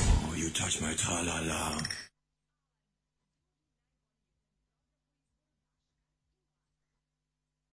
You touch my tra-la-la.